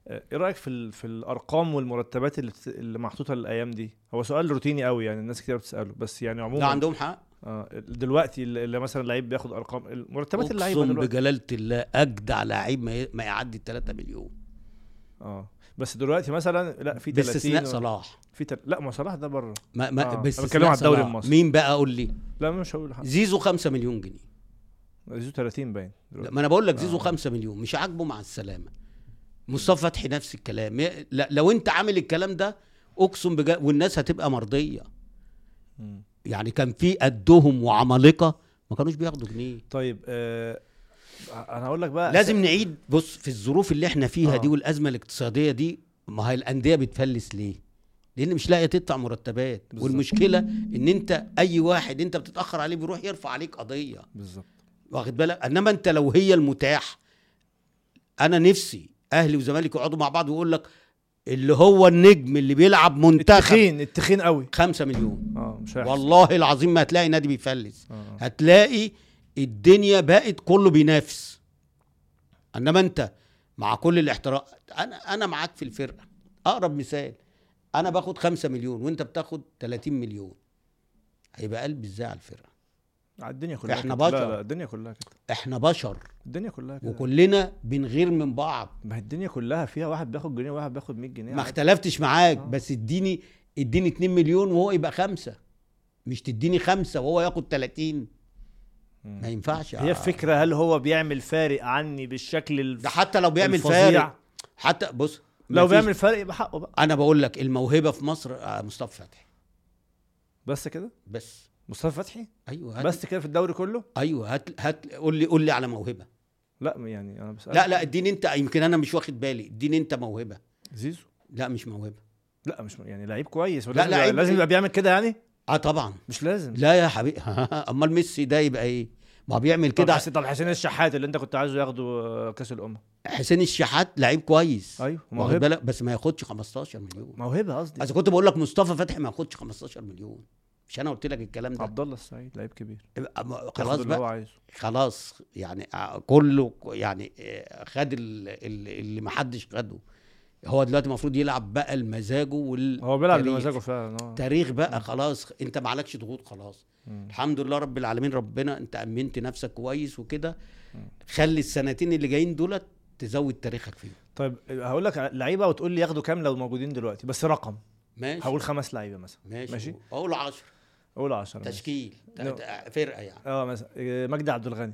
Speaker 1: آه، ايه رايك في ال- في الارقام والمرتبات اللي, بت- اللي محطوطه الايام دي هو سؤال روتيني قوي يعني الناس كتير بتساله بس يعني
Speaker 2: ده
Speaker 1: عموما
Speaker 2: عندهم حق
Speaker 1: آه دلوقتي اللي اللي مثلا لعيب بياخد ارقام مرتبات اللعيبه
Speaker 2: اقسم
Speaker 1: دلوقتي
Speaker 2: بجلاله الله اجدع لعيب ما ي- ما يعدي 3 مليون
Speaker 1: اه بس دلوقتي مثلا لا في 30
Speaker 2: باستثناء
Speaker 1: و-
Speaker 2: صلاح
Speaker 1: في تل... لا ما صلاح ده بره
Speaker 2: ما ما
Speaker 1: آه، أنا
Speaker 2: باستثناء
Speaker 1: بتكلم على الدوري
Speaker 2: صلاح.
Speaker 1: المصري. آه.
Speaker 2: مين بقى قول لي
Speaker 1: لا مش هقول حاجه
Speaker 2: زيزو 5 مليون جنيه
Speaker 1: زيزو 30 باين
Speaker 2: لا،
Speaker 1: دلوقتي.
Speaker 2: ما انا بقول لك زيزو
Speaker 1: آه.
Speaker 2: 5 مليون مش عاجبه مع السلامه مصطفى فتحي نفس الكلام ي- لا لو انت عامل الكلام ده اقسم بجد والناس هتبقى مرضيه
Speaker 1: مم.
Speaker 2: يعني كان في قدهم وعمالقه ما كانوش بياخدوا جنيه
Speaker 1: طيب آه انا هقول لك بقى
Speaker 2: لازم نعيد بص في الظروف اللي احنا فيها
Speaker 1: أه، آه.
Speaker 2: دي والازمه الاقتصاديه دي ما هي الانديه بتفلس ليه لان مش لاقيه تدفع مرتبات
Speaker 1: بالظبط.
Speaker 2: والمشكله ان انت اي واحد انت بتتاخر عليه بيروح يرفع عليك قضيه
Speaker 1: بالظبط
Speaker 2: واخد بالك انما انت لو هي المتاح انا نفسي اهلي وزمالك يقعدوا مع بعض ويقول لك اللي هو النجم اللي بيلعب منتخب
Speaker 1: التخين التخين قوي
Speaker 2: 5 مليون
Speaker 1: اه مش هيحصل
Speaker 2: والله العظيم ما هتلاقي نادي بيفلس
Speaker 1: آه.
Speaker 2: هتلاقي الدنيا بقت كله بينافس انما انت مع كل الاحتراق انا انا معاك في الفرقه اقرب مثال انا باخد 5 مليون وانت بتاخد 30 مليون هيبقى قلب ازاي على الفرقه
Speaker 1: على الدنيا كلها
Speaker 2: إحنا
Speaker 1: كده.
Speaker 2: بشر.
Speaker 1: لا لا الدنيا كلها كده
Speaker 2: احنا بشر
Speaker 1: الدنيا كلها كده
Speaker 2: وكلنا بنغير من بعض
Speaker 1: ما هي الدنيا كلها فيها واحد بياخد جنيه وواحد بياخد 100 جنيه
Speaker 2: ما
Speaker 1: عادي.
Speaker 2: اختلفتش معاك
Speaker 1: يعني آه.
Speaker 2: بس اديني اديني 2 مليون وهو يبقى خمسة مش تديني خمسة وهو ياخد 30
Speaker 1: مم.
Speaker 2: ما ينفعش
Speaker 1: هي
Speaker 2: آه.
Speaker 1: الفكره هل هو بيعمل فارق عني بالشكل الف...
Speaker 2: ده حتى لو بيعمل
Speaker 1: الفظيع؟
Speaker 2: فارق حتى بص
Speaker 1: لو
Speaker 2: مفيش-
Speaker 1: بيعمل فارق يبقى حقه بقى
Speaker 2: انا بقول لك الموهبة في مصر آه، مصطفى فتحي
Speaker 1: بس كده
Speaker 2: بس
Speaker 1: مصطفى فتحي
Speaker 2: ايوه هات بس
Speaker 1: بس كده في الدوري كله
Speaker 2: ايوه هات هات قول لي قول لي على موهبة
Speaker 1: لا يعني انا بسأل
Speaker 2: لا لا اديني انت يمكن انا مش واخد بالي اديني انت موهبة
Speaker 1: زيزو
Speaker 2: لا مش موهبة
Speaker 1: لا مش يعني لعيب كويس لا
Speaker 2: لا،
Speaker 1: لازم
Speaker 2: لعيب-
Speaker 1: يبقى لازم يبقى بيعمل كده يعني
Speaker 2: اه طبعا
Speaker 1: مش لازم
Speaker 2: لا يا حبيبي [LAUGHS] امال ميسي ده يبقى ايه ما هو بيعمل
Speaker 1: كده
Speaker 2: كده
Speaker 1: طب, حس- طب حسين الشحات اللي انت كنت عايزه ياخده آه، كاس الامم
Speaker 2: حسين الشحات لعيب كويس
Speaker 1: ايوه
Speaker 2: واخد
Speaker 1: موهبه
Speaker 2: بالك بس ما ياخدش 15 مليون
Speaker 1: موهبه قصدي
Speaker 2: اذا كنت بقول لك مصطفى فتحي ما ياخدش 15 مليون مش انا قلت لك الكلام ده
Speaker 1: عبد الله السعيد لعيب كبير
Speaker 2: يبقى ما-
Speaker 1: ياخد
Speaker 2: خلاص
Speaker 1: اللي هو
Speaker 2: بقى
Speaker 1: عايزه
Speaker 2: خلاص يعني آه، كله ك- يعني آه، خد ال- ال- اللي ما حدش خده هو دلوقتي المفروض يلعب بقى المزاجه وال
Speaker 1: هو بيلعب
Speaker 2: تاريخ.
Speaker 1: بمزاجه فعلا آه.
Speaker 2: تاريخ بقى خلاص انت ما عليكش ضغوط خلاص
Speaker 1: مم.
Speaker 2: الحمد لله رب العالمين ربنا انت امنت نفسك كويس وكده
Speaker 1: آه.
Speaker 2: خلي السنتين اللي جايين دولت تزود تاريخك فيهم
Speaker 1: طيب هقول لك على- لعيبه وتقول لي ياخدوا كام لو موجودين دلوقتي بس رقم
Speaker 2: ماشي
Speaker 1: هقول خمس لعيبه مثلا
Speaker 2: ماشي,
Speaker 1: ماشي.
Speaker 2: ماشي. اقول 10
Speaker 1: قول 10
Speaker 2: تشكيل ت-
Speaker 1: نو.
Speaker 2: ت- فرقه يعني
Speaker 1: اه مثلا إيه، مجدي عبد الغني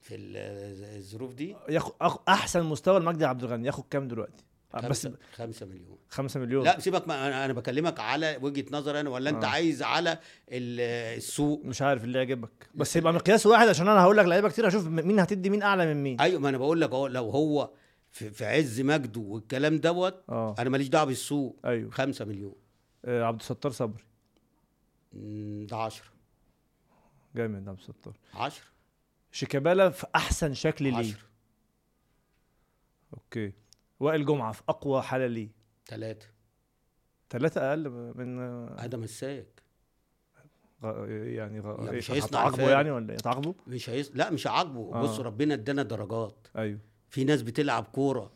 Speaker 2: في ال- الظروف دي
Speaker 1: ياخد أخ- احسن مستوى لمجدي عبد الغني ياخد كام دلوقتي آه، بس
Speaker 2: خمسة خمسة مليون
Speaker 1: 5 مليون
Speaker 2: لا سيبك ما انا أنا بكلمك على وجهه نظر انا ولا انت
Speaker 1: آه.
Speaker 2: عايز على ال- السوق
Speaker 1: مش عارف اللي يعجبك بس يبقى مقياس واحد عشان انا هقول لك لعيبه كتير هشوف م- مين هتدي مين اعلى من مين
Speaker 2: ايوه ما انا بقول لك اهو لو هو في, في عز مجده والكلام دوت
Speaker 1: اه
Speaker 2: انا ماليش دعوه بالسوق
Speaker 1: ايوه
Speaker 2: خمسة مليون
Speaker 1: آه، عبد الستار صبري
Speaker 2: مم، ده 10
Speaker 1: جامد عبد الستار
Speaker 2: 10
Speaker 1: شيكابالا في احسن شكل ليه
Speaker 2: 10
Speaker 1: اوكي وائل جمعه في اقوى حاله ليه
Speaker 2: ثلاثة
Speaker 1: ثلاثة أقل من آه،
Speaker 2: هذا مساك
Speaker 1: غ- يعني غ...
Speaker 2: لا،
Speaker 1: إيه،
Speaker 2: مش هيصنع
Speaker 1: هتعاقبه
Speaker 2: الفارق.
Speaker 1: يعني ولا إيه؟ هتعاقبه؟
Speaker 2: مش هيص... لا مش عاجبه
Speaker 1: آه.
Speaker 2: آه. بص ربنا ادانا درجات
Speaker 1: أيوه
Speaker 2: في ناس بتلعب كوره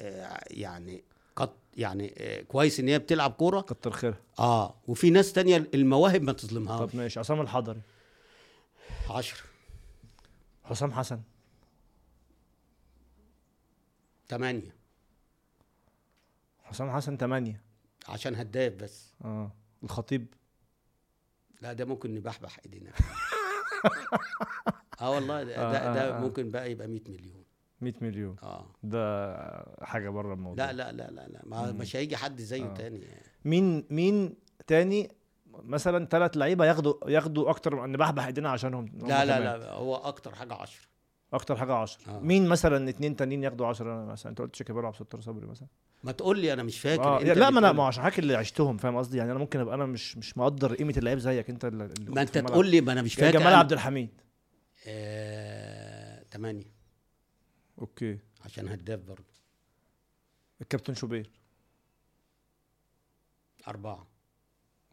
Speaker 2: آه يعني قط يعني آه كويس ان هي بتلعب كوره
Speaker 1: كتر خيرها
Speaker 2: اه وفي ناس تانية المواهب ما تظلمهاش
Speaker 1: طب ماشي عصام الحضري
Speaker 2: 10
Speaker 1: حسام حسن
Speaker 2: 8
Speaker 1: حسام حسن 8
Speaker 2: عشان هداف بس
Speaker 1: اه الخطيب
Speaker 2: لا ده ممكن
Speaker 1: [LAUGHS]
Speaker 2: نبحبح ايدينا اه والله ده,
Speaker 1: آه،
Speaker 2: ده,
Speaker 1: آه،
Speaker 2: ده
Speaker 1: آه.
Speaker 2: ممكن بقى يبقى 100 مليون
Speaker 1: 100 مليون
Speaker 2: اه
Speaker 1: ده حاجة بره الموضوع
Speaker 2: لا لا لا لا لا ما
Speaker 1: مم.
Speaker 2: مش هيجي حد زيه
Speaker 1: آه.
Speaker 2: تاني يعني.
Speaker 1: مين مين تاني مثلا ثلاث لعيبة ياخدوا ياخدوا أكتر من بحبح إيدينا عشانهم هم
Speaker 2: لا لا
Speaker 1: كمان.
Speaker 2: لا هو اكتر حاجه 10
Speaker 1: أكتر حاجة 10
Speaker 2: آه.
Speaker 1: مين مثلا اتنين تانيين ياخدوا 10 أنا مثلا أنت قلت شيكابالا وعبد الستار صبري مثلا
Speaker 2: ما تقول لي انا مش فاكر
Speaker 1: آه.
Speaker 2: أنت
Speaker 1: لا ما انا
Speaker 2: بتقول-
Speaker 1: ما هو عشان حاجة اللي عشتهم فاهم قصدي يعني انا ممكن ابقى انا مش مش مقدر قيمه اللعيب زيك انت اللي اللي كنت
Speaker 2: ما انت
Speaker 1: في الملعب.
Speaker 2: تقول لي ما انا مش فاكر
Speaker 1: جمال
Speaker 2: أنا-
Speaker 1: عبد الحميد
Speaker 2: آه، تمانية
Speaker 1: اوكي
Speaker 2: عشان هداف برضه
Speaker 1: الكابتن شوبير
Speaker 2: أربعة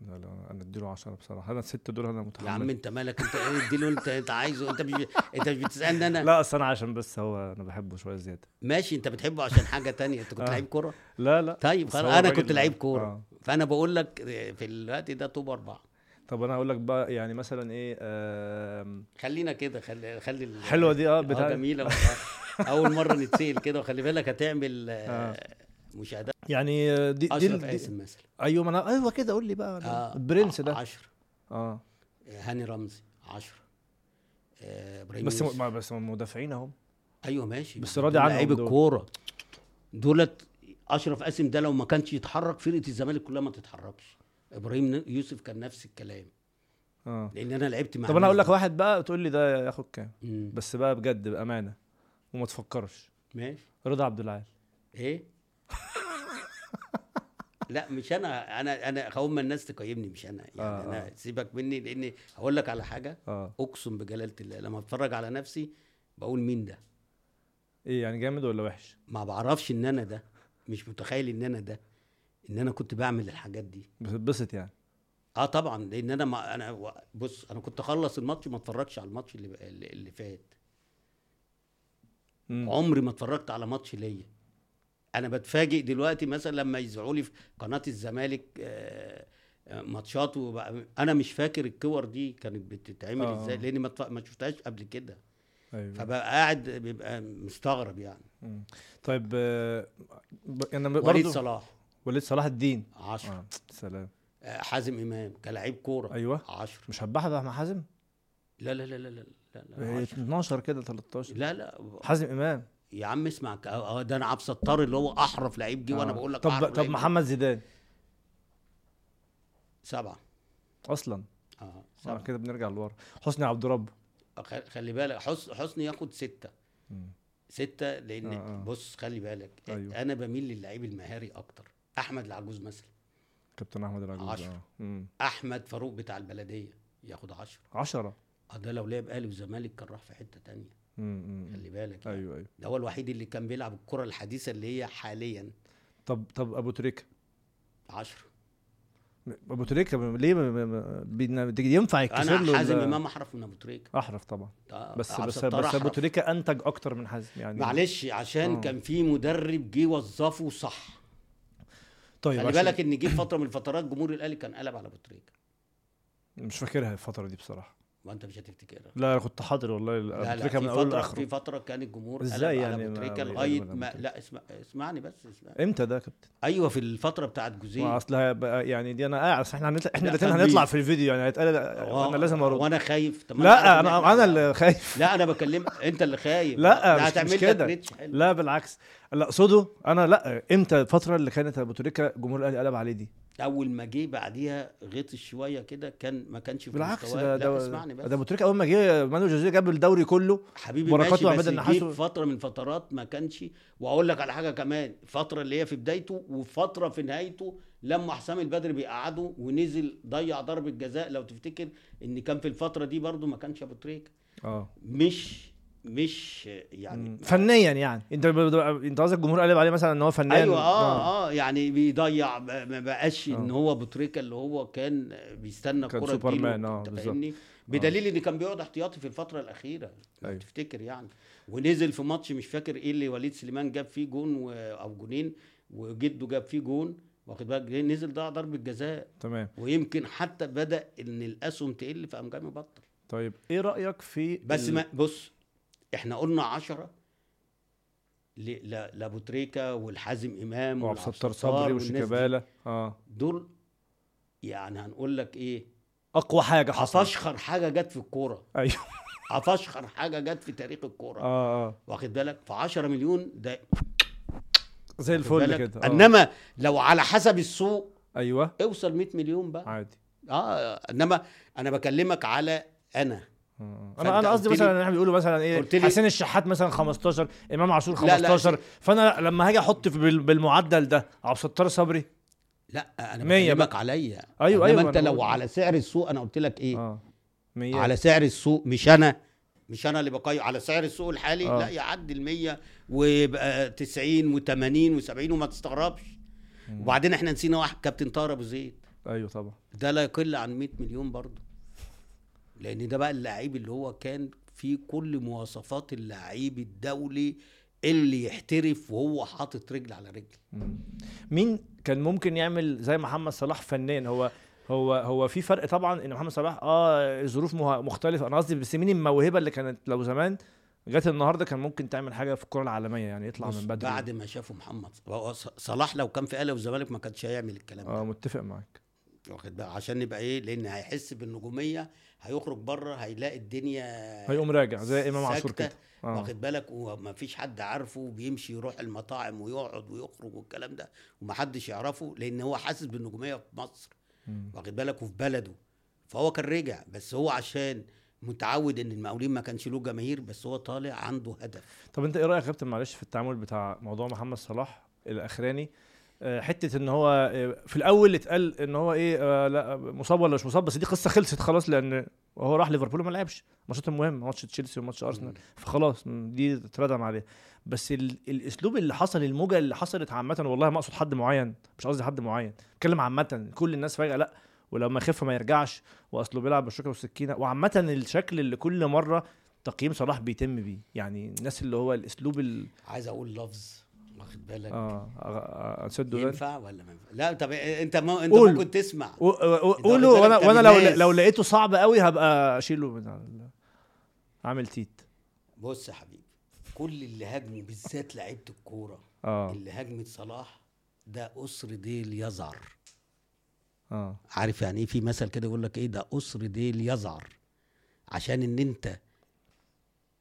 Speaker 1: لا لا انا اديله 10 بصراحه انا الست دول انا
Speaker 2: يا عم
Speaker 1: متحمل
Speaker 2: أنت مالك أنت إيه اديله أنت أنت عايزه أنت مش أنت مش بتسألني أنا
Speaker 1: لا اصل انا عشان بس هو انا بحبه شويه زياده
Speaker 2: ماشي أنت بتحبه عشان حاجة تانية أنت كنت
Speaker 1: آه.
Speaker 2: لعيب كورة
Speaker 1: لا لا
Speaker 2: طيب
Speaker 1: بس
Speaker 2: خلاص
Speaker 1: هو
Speaker 2: أنا
Speaker 1: الراجل
Speaker 2: كنت لعيب
Speaker 1: آه.
Speaker 2: كورة فأنا بقول لك آه، في الوقت ده طوب أربعة
Speaker 1: طب انا هقول لك بقى يعني مثلا ايه آم،
Speaker 2: خلينا كده خلي خلي ال-
Speaker 1: حلوه دي اه
Speaker 2: آه،
Speaker 1: بتاع
Speaker 2: جميلة والله أول مرة نتسأل كده وخلي بالك هتعمل آه، مشاهدات
Speaker 1: يعني آه، دي دي,
Speaker 2: أشرف
Speaker 1: دي
Speaker 2: قاسم مثلا
Speaker 1: ايوه ما انا ايوه كده قول لي بقى أنا
Speaker 2: آه،
Speaker 1: البرنس ده
Speaker 2: 10
Speaker 1: اه
Speaker 2: هاني رمزي 10 آه، إبراهيم
Speaker 1: بس
Speaker 2: يوسف.
Speaker 1: م- ما- بس مدافعين اهم
Speaker 2: ايوه ماشي
Speaker 1: بس
Speaker 2: دول
Speaker 1: راضي عنهم
Speaker 2: لعيب
Speaker 1: دول.
Speaker 2: الكوره دولت اشرف قاسم ده لو ما كانش يتحرك فرقه الزمالك كلها ما تتحركش ابراهيم ن- يوسف كان نفس الكلام
Speaker 1: اه
Speaker 2: لان انا لعبت مع
Speaker 1: طب انا اقول
Speaker 2: مين؟
Speaker 1: لك واحد بقى تقول لي ده ياخد كام
Speaker 2: مم.
Speaker 1: بس بقى بجد بامانه وما تفكرش
Speaker 2: ماشي
Speaker 1: رضا عبد العال
Speaker 2: ايه لا مش انا انا انا هم الناس تقيمني مش انا يعني
Speaker 1: آه،
Speaker 2: آه انا سيبك مني لان هقول لك على حاجه
Speaker 1: اه
Speaker 2: اقسم بجلاله الله لما اتفرج على نفسي بقول مين ده
Speaker 1: ايه يعني جامد ولا وحش
Speaker 2: ما بعرفش ان انا ده مش متخيل ان انا ده ان انا كنت بعمل الحاجات دي
Speaker 1: بتتبسط يعني
Speaker 2: اه طبعا لان انا ما انا و- بص انا كنت اخلص الماتش ما اتفرجش على الماتش اللي اللي اللي فات
Speaker 1: مم.
Speaker 2: عمري ما اتفرجت على ماتش ليا انا بتفاجئ دلوقتي مثلا لما يذيعوا لي في قناه الزمالك آه، آه، ماتشات وبقى- انا مش فاكر الكور دي كانت بتتعمل
Speaker 1: آه.
Speaker 2: ازاي لاني ما اتف- ما شفتهاش قبل كده
Speaker 1: ايوه
Speaker 2: فبقى قاعد بيبقى مستغرب يعني
Speaker 1: مم. طيب آه، ب- انا ب-
Speaker 2: وليد
Speaker 1: برضه
Speaker 2: صلاح
Speaker 1: وليد صلاح الدين
Speaker 2: 10
Speaker 1: آه. سلام
Speaker 2: حازم امام كلاعب كوره
Speaker 1: ايوه
Speaker 2: 10
Speaker 1: مش هتبحث مع حازم
Speaker 2: لا لا لا لا لا لا لا
Speaker 1: إيه،
Speaker 2: 10.
Speaker 1: 12 كده 13
Speaker 2: لا لا
Speaker 1: حازم امام
Speaker 2: يا عم اسمع ك- اه ده انا عبد ستار اللي هو احرف لعيب جه وانا
Speaker 1: آه.
Speaker 2: بقول لك
Speaker 1: طب
Speaker 2: أحرف
Speaker 1: طب
Speaker 2: لعيب جه.
Speaker 1: محمد زيدان
Speaker 2: سبعه
Speaker 1: اصلا
Speaker 2: اه
Speaker 1: آه
Speaker 2: سبعه
Speaker 1: كده بنرجع لورا حسني عبد رب
Speaker 2: خ- خلي بالك حس حسني ياخد سته
Speaker 1: مم.
Speaker 2: سته لان
Speaker 1: آه، آه.
Speaker 2: بص خلي بالك
Speaker 1: أيوه.
Speaker 2: انا بميل للعيب المهاري اكتر احمد العجوز مثلا
Speaker 1: كابتن احمد العجوز
Speaker 2: عشرة.
Speaker 1: اه مم.
Speaker 2: احمد فاروق بتاع البلديه ياخد 10
Speaker 1: 10
Speaker 2: اه ده لو لعب اهلي وزمالك كان راح في حته تانية
Speaker 1: مم، مم.
Speaker 2: خلي بالك يعني.
Speaker 1: ايوه ايوه
Speaker 2: ده هو الوحيد اللي كان بيلعب الكره الحديثه اللي هي حاليا
Speaker 1: طب طب ابو تريكه
Speaker 2: 10
Speaker 1: ابو تريكه ليه ما- ما- ما- بينا- ينفع يتكسر له
Speaker 2: انا حازم
Speaker 1: ال-
Speaker 2: امام احرف من ابو تريكه
Speaker 1: احرف طبعا
Speaker 2: آه،
Speaker 1: بس
Speaker 2: على
Speaker 1: بس
Speaker 2: ستار
Speaker 1: بس ابو
Speaker 2: أحرف.
Speaker 1: تريكه انتج اكتر من حازم يعني
Speaker 2: معلش عشان
Speaker 1: آه.
Speaker 2: كان في مدرب جه وظفه صح
Speaker 1: طيب
Speaker 2: خلي
Speaker 1: عشان-
Speaker 2: بالك ان جه فتره من الفترات جمهور الاهلي كان قلب على ابو تريكه
Speaker 1: مش فاكرها الفتره دي بصراحه
Speaker 2: وانت مش هتفتكرها
Speaker 1: لا انا كنت حاضر والله
Speaker 2: لا
Speaker 1: ابو
Speaker 2: لا
Speaker 1: تريكه
Speaker 2: في
Speaker 1: من اوله
Speaker 2: فتره في
Speaker 1: لاخره
Speaker 2: فتره كان الجمهور قلب
Speaker 1: إزاي
Speaker 2: على
Speaker 1: يعني
Speaker 2: ابو
Speaker 1: ما-
Speaker 2: تريكه
Speaker 1: ما
Speaker 2: لغايه
Speaker 1: يقلبوا على
Speaker 2: ما
Speaker 1: أبو
Speaker 2: لا اسمع اسمعني بس اسمع
Speaker 1: امتى ده يا كابتن؟
Speaker 2: ايوه في الفتره بتاعت
Speaker 1: ما
Speaker 2: جوزيه
Speaker 1: اصل هيبقى يعني دي انا قاعد أصل احنا هنطلع احنا
Speaker 2: لا،
Speaker 1: الاثنين
Speaker 2: تنبيه.
Speaker 1: هنطلع في الفيديو يعني هيتقال
Speaker 2: آه،
Speaker 1: انا لازم ارد
Speaker 2: وانا خايف طب ما
Speaker 1: لا
Speaker 2: عارف إن
Speaker 1: انا
Speaker 2: إحنا-
Speaker 1: انا اللي خايف
Speaker 2: لا انا بكلمك انت اللي خايف
Speaker 1: لا،
Speaker 2: ده
Speaker 1: مش- مش
Speaker 2: هتعمل لك
Speaker 1: كده.
Speaker 2: ريتش حلو
Speaker 1: لا بالعكس لا اقصده انا لا امتى الفتره اللي كانت ابو تريكه جمهور الاهلي قلب عليه دي
Speaker 2: اول ما جه بعديها غطس شويه كده كان ما كانش في
Speaker 1: بالعكس
Speaker 2: مستواه.
Speaker 1: ده
Speaker 2: لا
Speaker 1: ده
Speaker 2: اسمعني بس
Speaker 1: ده ابو تريكه اول ما جه مانو جوزيه جاب الدوري كله
Speaker 2: حبيبي
Speaker 1: بركات
Speaker 2: ماشي
Speaker 1: وعماد
Speaker 2: بس جه
Speaker 1: النحاس و-
Speaker 2: في فتره من فترات ما كانش واقول لك على حاجه كمان فتره اللي هي في بدايته وفتره في نهايته لما حسام البدري بيقعده ونزل ضيع ضربه جزاء لو تفتكر ان كان في الفتره دي برضو ما كانش ابو تريكه
Speaker 1: اه
Speaker 2: مش مش يعني
Speaker 1: فنيا يعني انت انت قصدك الجمهور قلب عليه مثلا ان هو آه. فنيا
Speaker 2: ايوه اه اه يعني بيضيع ما ما بقاش ان
Speaker 1: آه.
Speaker 2: هو ابو تريكه اللي هو كان بيستنى
Speaker 1: كان
Speaker 2: الكره
Speaker 1: سوبرمان،
Speaker 2: تجيله،
Speaker 1: آه،
Speaker 2: أنت
Speaker 1: بالظبط.
Speaker 2: فاهمني بدليل ان كان بيقعد احتياطي في الفتره الاخيره لو
Speaker 1: أيوة.
Speaker 2: تفتكر يعني ونزل في ماتش مش فاكر ايه اللي وليد سليمان جاب فيه جون و... او جونين وجده جاب فيه جون واخد بالك ليه؟ نزل ضاع ضربه جزاء
Speaker 1: تمام
Speaker 2: ويمكن حتى بدا ان الاسهم تقل فقام جاي مبطل
Speaker 1: طيب ايه رايك في
Speaker 2: بس
Speaker 1: ال-
Speaker 2: ما بص احنا قلنا عشرة ل- ل- لابو تريكة والحازم امام
Speaker 1: وعبد الستار
Speaker 2: والعبد
Speaker 1: صبري
Speaker 2: والناس دي.
Speaker 1: وشيكابالا اه
Speaker 2: دول يعني هنقول لك ايه
Speaker 1: اقوى حاجه حصلت
Speaker 2: افشخر حاجه جت في الكوره
Speaker 1: ايوه
Speaker 2: افشخر حاجه جت في تاريخ الكوره
Speaker 1: اه اه
Speaker 2: واخد بالك ف 10 مليون ده
Speaker 1: زي الفل كده
Speaker 2: بالك
Speaker 1: آه.
Speaker 2: انما لو على حسب السوق
Speaker 1: ايوه
Speaker 2: اوصل 100 مليون بقى
Speaker 1: عادي
Speaker 2: اه انما انا بكلمك على انا
Speaker 1: آه.
Speaker 2: فأنت
Speaker 1: انا انا قصدي
Speaker 2: قلت لي-
Speaker 1: مثلا إن احنا بيقولوا مثلا ايه
Speaker 2: قلت لي-
Speaker 1: حسين الشحات مثلا 15 امام عاشور
Speaker 2: لا، لا،
Speaker 1: 15 فانا لما هاجي احط في بال- بالمعدل ده عبد الستار صبري
Speaker 2: لا انا
Speaker 1: مية
Speaker 2: بكلمك عليا
Speaker 1: أيوة،
Speaker 2: انما
Speaker 1: أيوة،
Speaker 2: انت
Speaker 1: أنا
Speaker 2: لو
Speaker 1: بقول-
Speaker 2: على سعر السوق انا قلت لك ايه
Speaker 1: اه 100
Speaker 2: على سعر السوق مش انا مش انا اللي بقيم على سعر السوق الحالي
Speaker 1: آه.
Speaker 2: لا يعدي ال 100 ويبقى 90 و80 و70 وما تستغربش
Speaker 1: مم.
Speaker 2: وبعدين احنا نسينا واحد كابتن طاهر ابو زيد
Speaker 1: ايوه طبعا
Speaker 2: ده لا يقل عن 100 مليون برضه لان ده بقى اللعيب اللي هو كان في كل مواصفات اللعيب الدولي اللي يحترف وهو حاطط رجل على رجل
Speaker 1: مم. مين كان ممكن يعمل زي محمد صلاح فنيا هو هو هو في فرق طبعا ان محمد صلاح اه الظروف مه- مختلفه انا قصدي بس مين الموهبه اللي كانت لو زمان جت النهارده كان ممكن تعمل حاجه في الكره العالميه يعني يطلع
Speaker 2: بص،
Speaker 1: من بدري
Speaker 2: بعد ما شافوا محمد ص- هو ص- صلاح لو كان في اهلي والزمالك ما كانش هيعمل الكلام ده
Speaker 1: اه متفق معاك
Speaker 2: واخد بقى عشان نبقى ايه لان هيحس بالنجوميه هيخرج بره هيلاقي الدنيا
Speaker 1: هيقوم راجع يعني زي امام عاشور
Speaker 2: آه، ساكتة،
Speaker 1: كده اه
Speaker 2: واخد بالك ومفيش حد عارفه وبيمشي يروح المطاعم ويقعد ويخرج والكلام ده ومحدش يعرفه لان هو حاسس بالنجوميه في مصر
Speaker 1: مم.
Speaker 2: واخد بالك وفي بلده فهو كان رجع بس هو عشان متعود ان المقاولين ما كانش له جماهير بس هو طالع عنده هدف
Speaker 1: طب انت ايه رايك يا كابتن معلش في التعامل بتاع موضوع محمد صلاح الاخراني آه، حته ان هو آه، في الاول اتقال ان هو ايه آه، لا مصاب ولا مش مصاب بس دي قصه خلصت خلاص لان هو راح ليفربول وما لعبش الماتشات المهم ماتش تشيلسي وماتش ارسنال فخلاص م، دي اتردم عليه بس ال الاسلوب اللي حصل الموجه اللي حصلت عامه والله ما اقصد حد معين مش قصدي حد معين بتكلم عامه كل الناس فجاه لا ولما يخف ما يرجعش واصله بيلعب بالشوكه والسكينه وعامه الشكل اللي كل مره تقييم صلاح بيتم بيه يعني الناس اللي هو الاسلوب ال
Speaker 2: عايز اقول لفظ واخد بالك
Speaker 1: اه آه، آه، سدوا ده
Speaker 2: ينفع ولا ما ينفع لا طب انت ما انت
Speaker 1: قول.
Speaker 2: ممكن تسمع
Speaker 1: و- و-
Speaker 2: أنت
Speaker 1: قولوا
Speaker 2: واخد
Speaker 1: وانا
Speaker 2: بالك؟ طب
Speaker 1: وانا لو
Speaker 2: الناس.
Speaker 1: لو لقيته صعب قوي هبقى اشيله من على ال- عامل تيت
Speaker 2: بص يا حبيبي كل اللي هاجموا بالذات لعيبه الكوره
Speaker 1: اه
Speaker 2: اللي هاجمت صلاح ده قصر ديل يزعر
Speaker 1: اه
Speaker 2: عارف يعني ايه في مثل كده يقول لك ايه ده قصر ديل يزعر عشان ان انت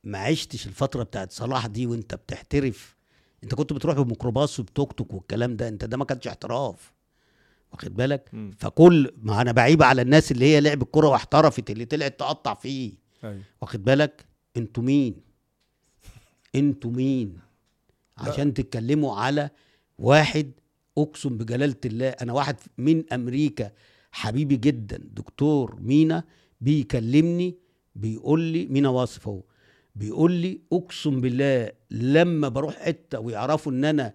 Speaker 2: ما عشتش الفتره بتاعت صلاح دي وانت بتحترف انت كنت بتروح بميكروباص وبتوك توك والكلام ده انت ده ما كانش احتراف واخد بالك
Speaker 1: مم.
Speaker 2: فكل ما انا بعيب على الناس اللي هي لعبت كوره واحترفت اللي طلعت تقطع فيه
Speaker 1: ايوه
Speaker 2: واخد بالك انتوا مين انتوا مين عشان تتكلموا على واحد اقسم بجلاله الله انا واحد من امريكا حبيبي جدا دكتور مينا بيكلمني بيقول لي مينا واصف اهو بيقول لي اقسم بالله لما بروح حته ويعرفوا ان انا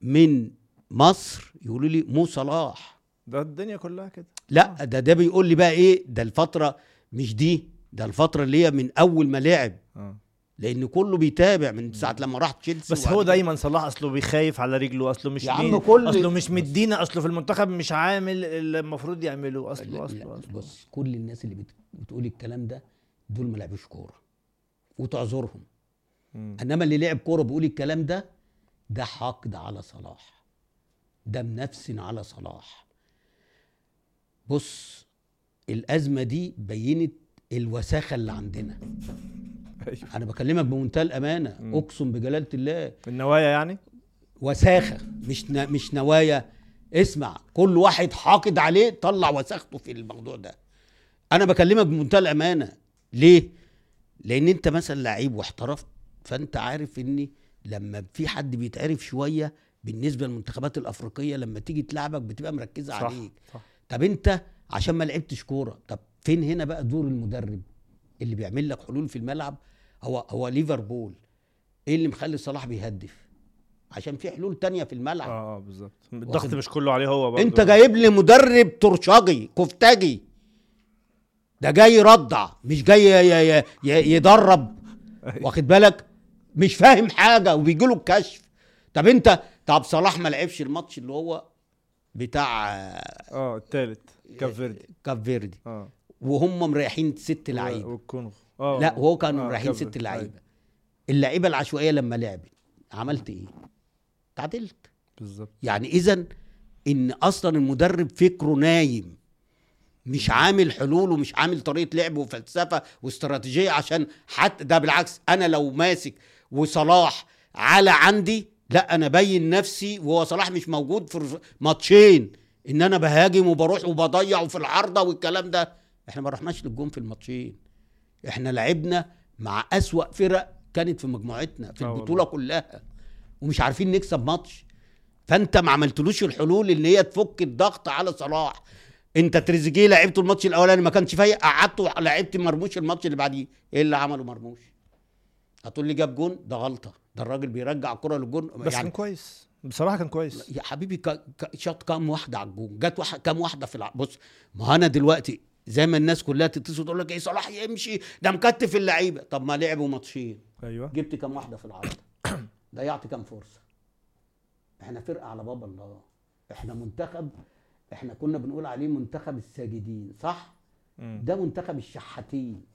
Speaker 2: من مصر يقولوا لي مو صلاح
Speaker 1: ده الدنيا كلها كده آه.
Speaker 2: لا ده ده بيقول لي بقى ايه ده الفتره مش دي ده الفتره اللي هي من اول ما لعب
Speaker 1: اه
Speaker 2: لان كله بيتابع من ساعه لما راح تشيلسي
Speaker 1: بس هو
Speaker 2: وبعد
Speaker 1: دايما صلاح اصله بيخايف على رجله اصله مش
Speaker 2: يا عم
Speaker 1: مين،
Speaker 2: كل-
Speaker 1: اصله مش مدينا اصله في المنتخب مش عامل اللي المفروض يعمله اصله
Speaker 2: لا، لا،
Speaker 1: اصله اصله
Speaker 2: بص كل الناس اللي بت- بتقول الكلام ده دول ما لعبوش كوره وتعذرهم
Speaker 1: مم.
Speaker 2: انما اللي لعب كوره بيقول الكلام ده ده حقد على صلاح ده منفس على صلاح بص الازمه دي بينت الوساخه اللي عندنا
Speaker 1: أيوة.
Speaker 2: انا بكلمك بمنتهى الامانه
Speaker 1: مم.
Speaker 2: اقسم بجلاله الله
Speaker 1: النوايا يعني
Speaker 2: وساخه مش ن... مش نوايا اسمع كل واحد حاقد عليه طلع وساخته في الموضوع ده انا بكلمك بمنتهى الامانه ليه لان انت مثلا لعيب واحترفت فانت عارف ان لما في حد بيتعرف شويه بالنسبه للمنتخبات الافريقيه لما تيجي تلعبك بتبقى مركزه
Speaker 1: صح،
Speaker 2: عليك
Speaker 1: صح.
Speaker 2: طب انت عشان ما لعبتش كوره طب فين هنا بقى دور المدرب اللي بيعمل لك حلول في الملعب هو هو ليفربول ايه اللي مخلي صلاح بيهدف عشان في حلول تانية في الملعب
Speaker 1: اه اه بالظبط الضغط
Speaker 2: واخد-
Speaker 1: مش كله عليه هو برضه
Speaker 2: انت جايب لي مدرب ترشجي كفتجي ده جاي يرضع مش جاي ي- ي- ي- يدرب
Speaker 1: [LAUGHS] أيوة.
Speaker 2: واخد بالك مش فاهم حاجه وبيجي له الكشف طب انت طب صلاح ما لعبش الماتش اللي هو بتاع آه،
Speaker 1: اه التالت كاب فيردي
Speaker 2: كاب فيردي
Speaker 1: اه
Speaker 2: وهم مريحين ست لعيبه
Speaker 1: والكونغو اه
Speaker 2: لا وهو كانوا
Speaker 1: آه،
Speaker 2: مريحين
Speaker 1: كاب
Speaker 2: ست
Speaker 1: فيردي.
Speaker 2: لعيبه
Speaker 1: أيوة،
Speaker 2: اللعيبه العشوائيه لما لعبت عملت ايه؟ تعادلت
Speaker 1: بالظبط
Speaker 2: يعني اذا ان اصلا المدرب فكره نايم مش عامل حلول ومش عامل طريقه لعب وفلسفه واستراتيجيه عشان حتى ده بالعكس انا لو ماسك وصلاح على عندي لا انا بين نفسي وهو صلاح مش موجود في ماتشين ان انا بهاجم وبروح وبضيع وفي العارضه والكلام ده احنا ما رحناش للجون في الماتشين احنا لعبنا مع اسوأ فرق كانت في مجموعتنا في
Speaker 1: آه والله.
Speaker 2: البطوله كلها ومش عارفين نكسب ماتش فانت ما عملتلوش الحلول اللي هي تفك الضغط على صلاح انت تريزيجيه لعبته الماتش الاولاني ما كانش فايق قعدته لعبت مرموش الماتش اللي بعديه ايه اللي عمله مرموش هتقول لي جاب جون ده غلطه ده الراجل بيرجع كرة للجون يعني
Speaker 1: بس كان كويس بصراحه كان كويس
Speaker 2: يا حبيبي ك... ك... شاط كام واحده على الجون جت واحد... كام واحده في الع... بص ما انا دلوقتي زي ما الناس كلها تتصل تقول لك ايه صلاح يمشي ده مكتف اللعيبه طب ما لعبوا ماتشين
Speaker 1: ايوه
Speaker 2: جبت كام واحده
Speaker 1: [COUGHS]
Speaker 2: في العرض ضيعت كام فرصه احنا فرقه على باب الله احنا منتخب احنا كنا بنقول عليه منتخب الساجدين صح
Speaker 1: مم.
Speaker 2: ده منتخب الشحاتين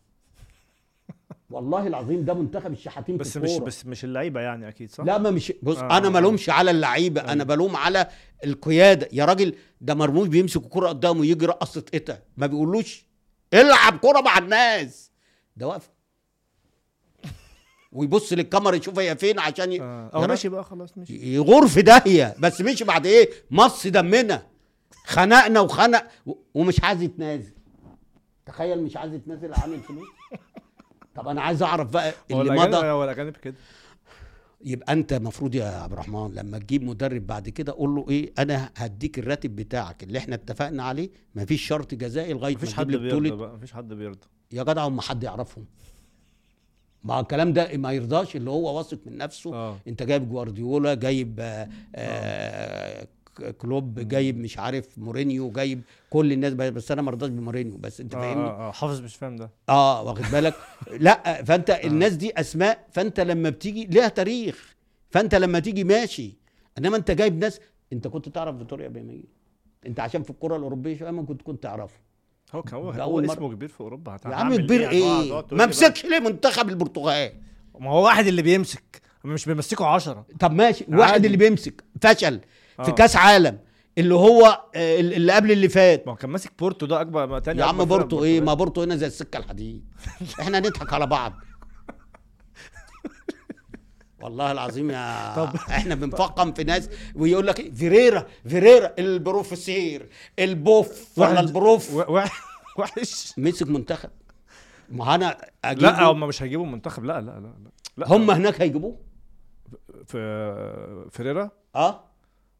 Speaker 2: والله العظيم ده منتخب الشحاتين في
Speaker 1: بس مش
Speaker 2: الكورة.
Speaker 1: بس مش اللعيبه يعني اكيد صح
Speaker 2: لا ما مش بص
Speaker 1: آه.
Speaker 2: آه. انا ما لومش على اللعيبه
Speaker 1: أيوة.
Speaker 2: انا بلوم على القياده يا راجل ده مرموش بيمسك الكره قدامه يجي رقص تتقطع ما بيقولوش العب كره مع الناس
Speaker 1: [LAUGHS]
Speaker 2: ده واقف ويبص للكاميرا يشوف هي فين عشان ي...
Speaker 1: آه.
Speaker 2: يا
Speaker 1: او
Speaker 2: را-
Speaker 1: ماشي بقى خلاص ماشي
Speaker 2: يغور في داهيه بس مش بعد ايه مص دمنا خنقنا وخنق و... ومش عايز يتنازل تخيل مش عايز يتنازل عن الفلوس طب انا عايز اعرف بقى
Speaker 1: هو
Speaker 2: اللي
Speaker 1: الاجانب
Speaker 2: مضى
Speaker 1: هو الاجانب كده
Speaker 2: يبقى انت المفروض يا عبد الرحمن لما تجيب مدرب بعد كده قول له ايه انا هديك الراتب بتاعك اللي احنا اتفقنا عليه مفيش شرط جزائي لغايه إيه، ما
Speaker 1: مفيش
Speaker 2: تجيب
Speaker 1: حد
Speaker 2: لي
Speaker 1: بيرضى
Speaker 2: بطوله
Speaker 1: بقى مفيش حد بيرضى
Speaker 2: يا جدع هم حد يعرفهم ما الكلام ده ما يرضاش اللي هو واثق من نفسه
Speaker 1: اه
Speaker 2: انت جايب جوارديولا جايب آه آه ك- كلوب جايب مش عارف مورينيو جايب كل الناس بس انا ما رضاش بمورينيو بس انت
Speaker 1: آه،
Speaker 2: فاهمني
Speaker 1: آه، آه، حافظ مش فاهم ده
Speaker 2: اه واخد بالك لا فانت
Speaker 1: آه.
Speaker 2: الناس دي اسماء فانت لما بتيجي ليها تاريخ فانت لما تيجي ماشي انما انت جايب ناس انت كنت تعرف فيتوريا بيمية انت عشان في الكره الاوروبيه شويه ما كنت كنت تعرفه
Speaker 1: هو كان هو,
Speaker 2: ده
Speaker 1: هو
Speaker 2: أول مرة.
Speaker 1: اسمه كبير في اوروبا هت-
Speaker 2: يا عم
Speaker 1: هعمل
Speaker 2: كبير
Speaker 1: إيه؟ هتقعد-
Speaker 2: ايه
Speaker 1: هتقعد تقول
Speaker 2: ما
Speaker 1: لي بقى-
Speaker 2: مسكش ليه منتخب البرتغال
Speaker 1: ما هو واحد اللي بيمسك مش بيمسكوا عشرة
Speaker 2: طب ماشي واحد
Speaker 1: عادي.
Speaker 2: اللي بيمسك فشل
Speaker 1: آه.
Speaker 2: في كاس عالم اللي هو آه، اللي قبل اللي فات
Speaker 1: ما هو كان ماسك بورتو ده اكبر ما تاني
Speaker 2: يا
Speaker 1: أكبر
Speaker 2: عم
Speaker 1: فرقة
Speaker 2: بورتو ايه
Speaker 1: برتغال.
Speaker 2: ما بورتو هنا زي السكه الحديد احنا نضحك على بعض والله العظيم يا
Speaker 1: طب-
Speaker 2: احنا بنفقم في ناس ويقول لك إيه؟ فيريرا فيريرا البروفيسير البوف ولا
Speaker 1: واحد-
Speaker 2: البروف
Speaker 1: و- [LAUGHS] واحد- وحش
Speaker 2: مسك منتخب ما انا أجيبه.
Speaker 1: لا هم مش هيجيبوا منتخب لا لا لا لا, لا.
Speaker 2: هم هناك هيجيبوه
Speaker 1: في فيريرا
Speaker 2: اه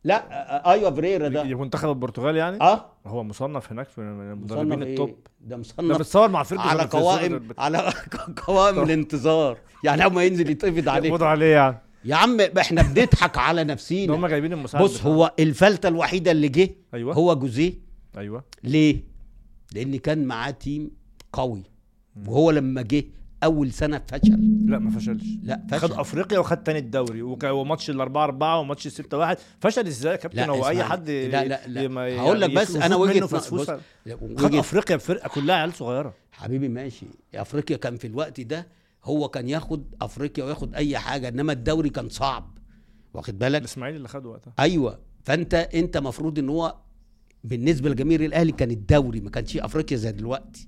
Speaker 2: لا آه، ايوه فيريرا ده
Speaker 1: منتخب البرتغال يعني
Speaker 2: اه
Speaker 1: هو مصنف هناك في
Speaker 2: مصنف
Speaker 1: المدربين
Speaker 2: ايه
Speaker 1: التوب
Speaker 2: ده
Speaker 1: ده
Speaker 2: مصنف
Speaker 1: بتصور مع فيرجسون
Speaker 2: على
Speaker 1: في الصورة
Speaker 2: قوائم
Speaker 1: بت-
Speaker 2: على [LAUGHS] قوائم الانتظار يعني اما
Speaker 1: [LAUGHS]
Speaker 2: ينزل يتقبض عليه
Speaker 1: يقبضوا عليه يعني
Speaker 2: يا عم احنا بنضحك على
Speaker 1: ده
Speaker 2: نفسينا
Speaker 1: هم جايبين المساعد
Speaker 2: بص
Speaker 1: بتاعه.
Speaker 2: هو الفلته الوحيده اللي جه
Speaker 1: ايوه
Speaker 2: هو جوزيه
Speaker 1: ايوه
Speaker 2: ليه؟ لان كان معاه تيم قوي وهو لما جه اول سنه فشل
Speaker 1: لا ما فشلش
Speaker 2: لا
Speaker 1: خد
Speaker 2: فشل
Speaker 1: افريقيا وخد تاني الدوري وك- وماتش ال 4 4 وماتش ال 6 1 فشل ازاي يا كابتن هو اي
Speaker 2: اسمعني.
Speaker 1: حد
Speaker 2: لا لا لا
Speaker 1: يما-
Speaker 2: هقول لك بس
Speaker 1: يفوز
Speaker 2: انا
Speaker 1: منه
Speaker 2: وجهه
Speaker 1: في
Speaker 2: نظري
Speaker 1: فوز-
Speaker 2: بص،
Speaker 1: خد
Speaker 2: وجهه
Speaker 1: افريقيا بفرقه كلها عيال صغيره
Speaker 2: حبيبي ماشي افريقيا كان في الوقت ده هو كان ياخد افريقيا وياخد اي حاجه انما الدوري كان صعب واخد بالك
Speaker 1: الاسماعيلي اللي خده وقتها
Speaker 2: ايوه فانت انت مفروض ان هو بالنسبه لجماهير الاهلي كان الدوري ما كانش افريقيا زي دلوقتي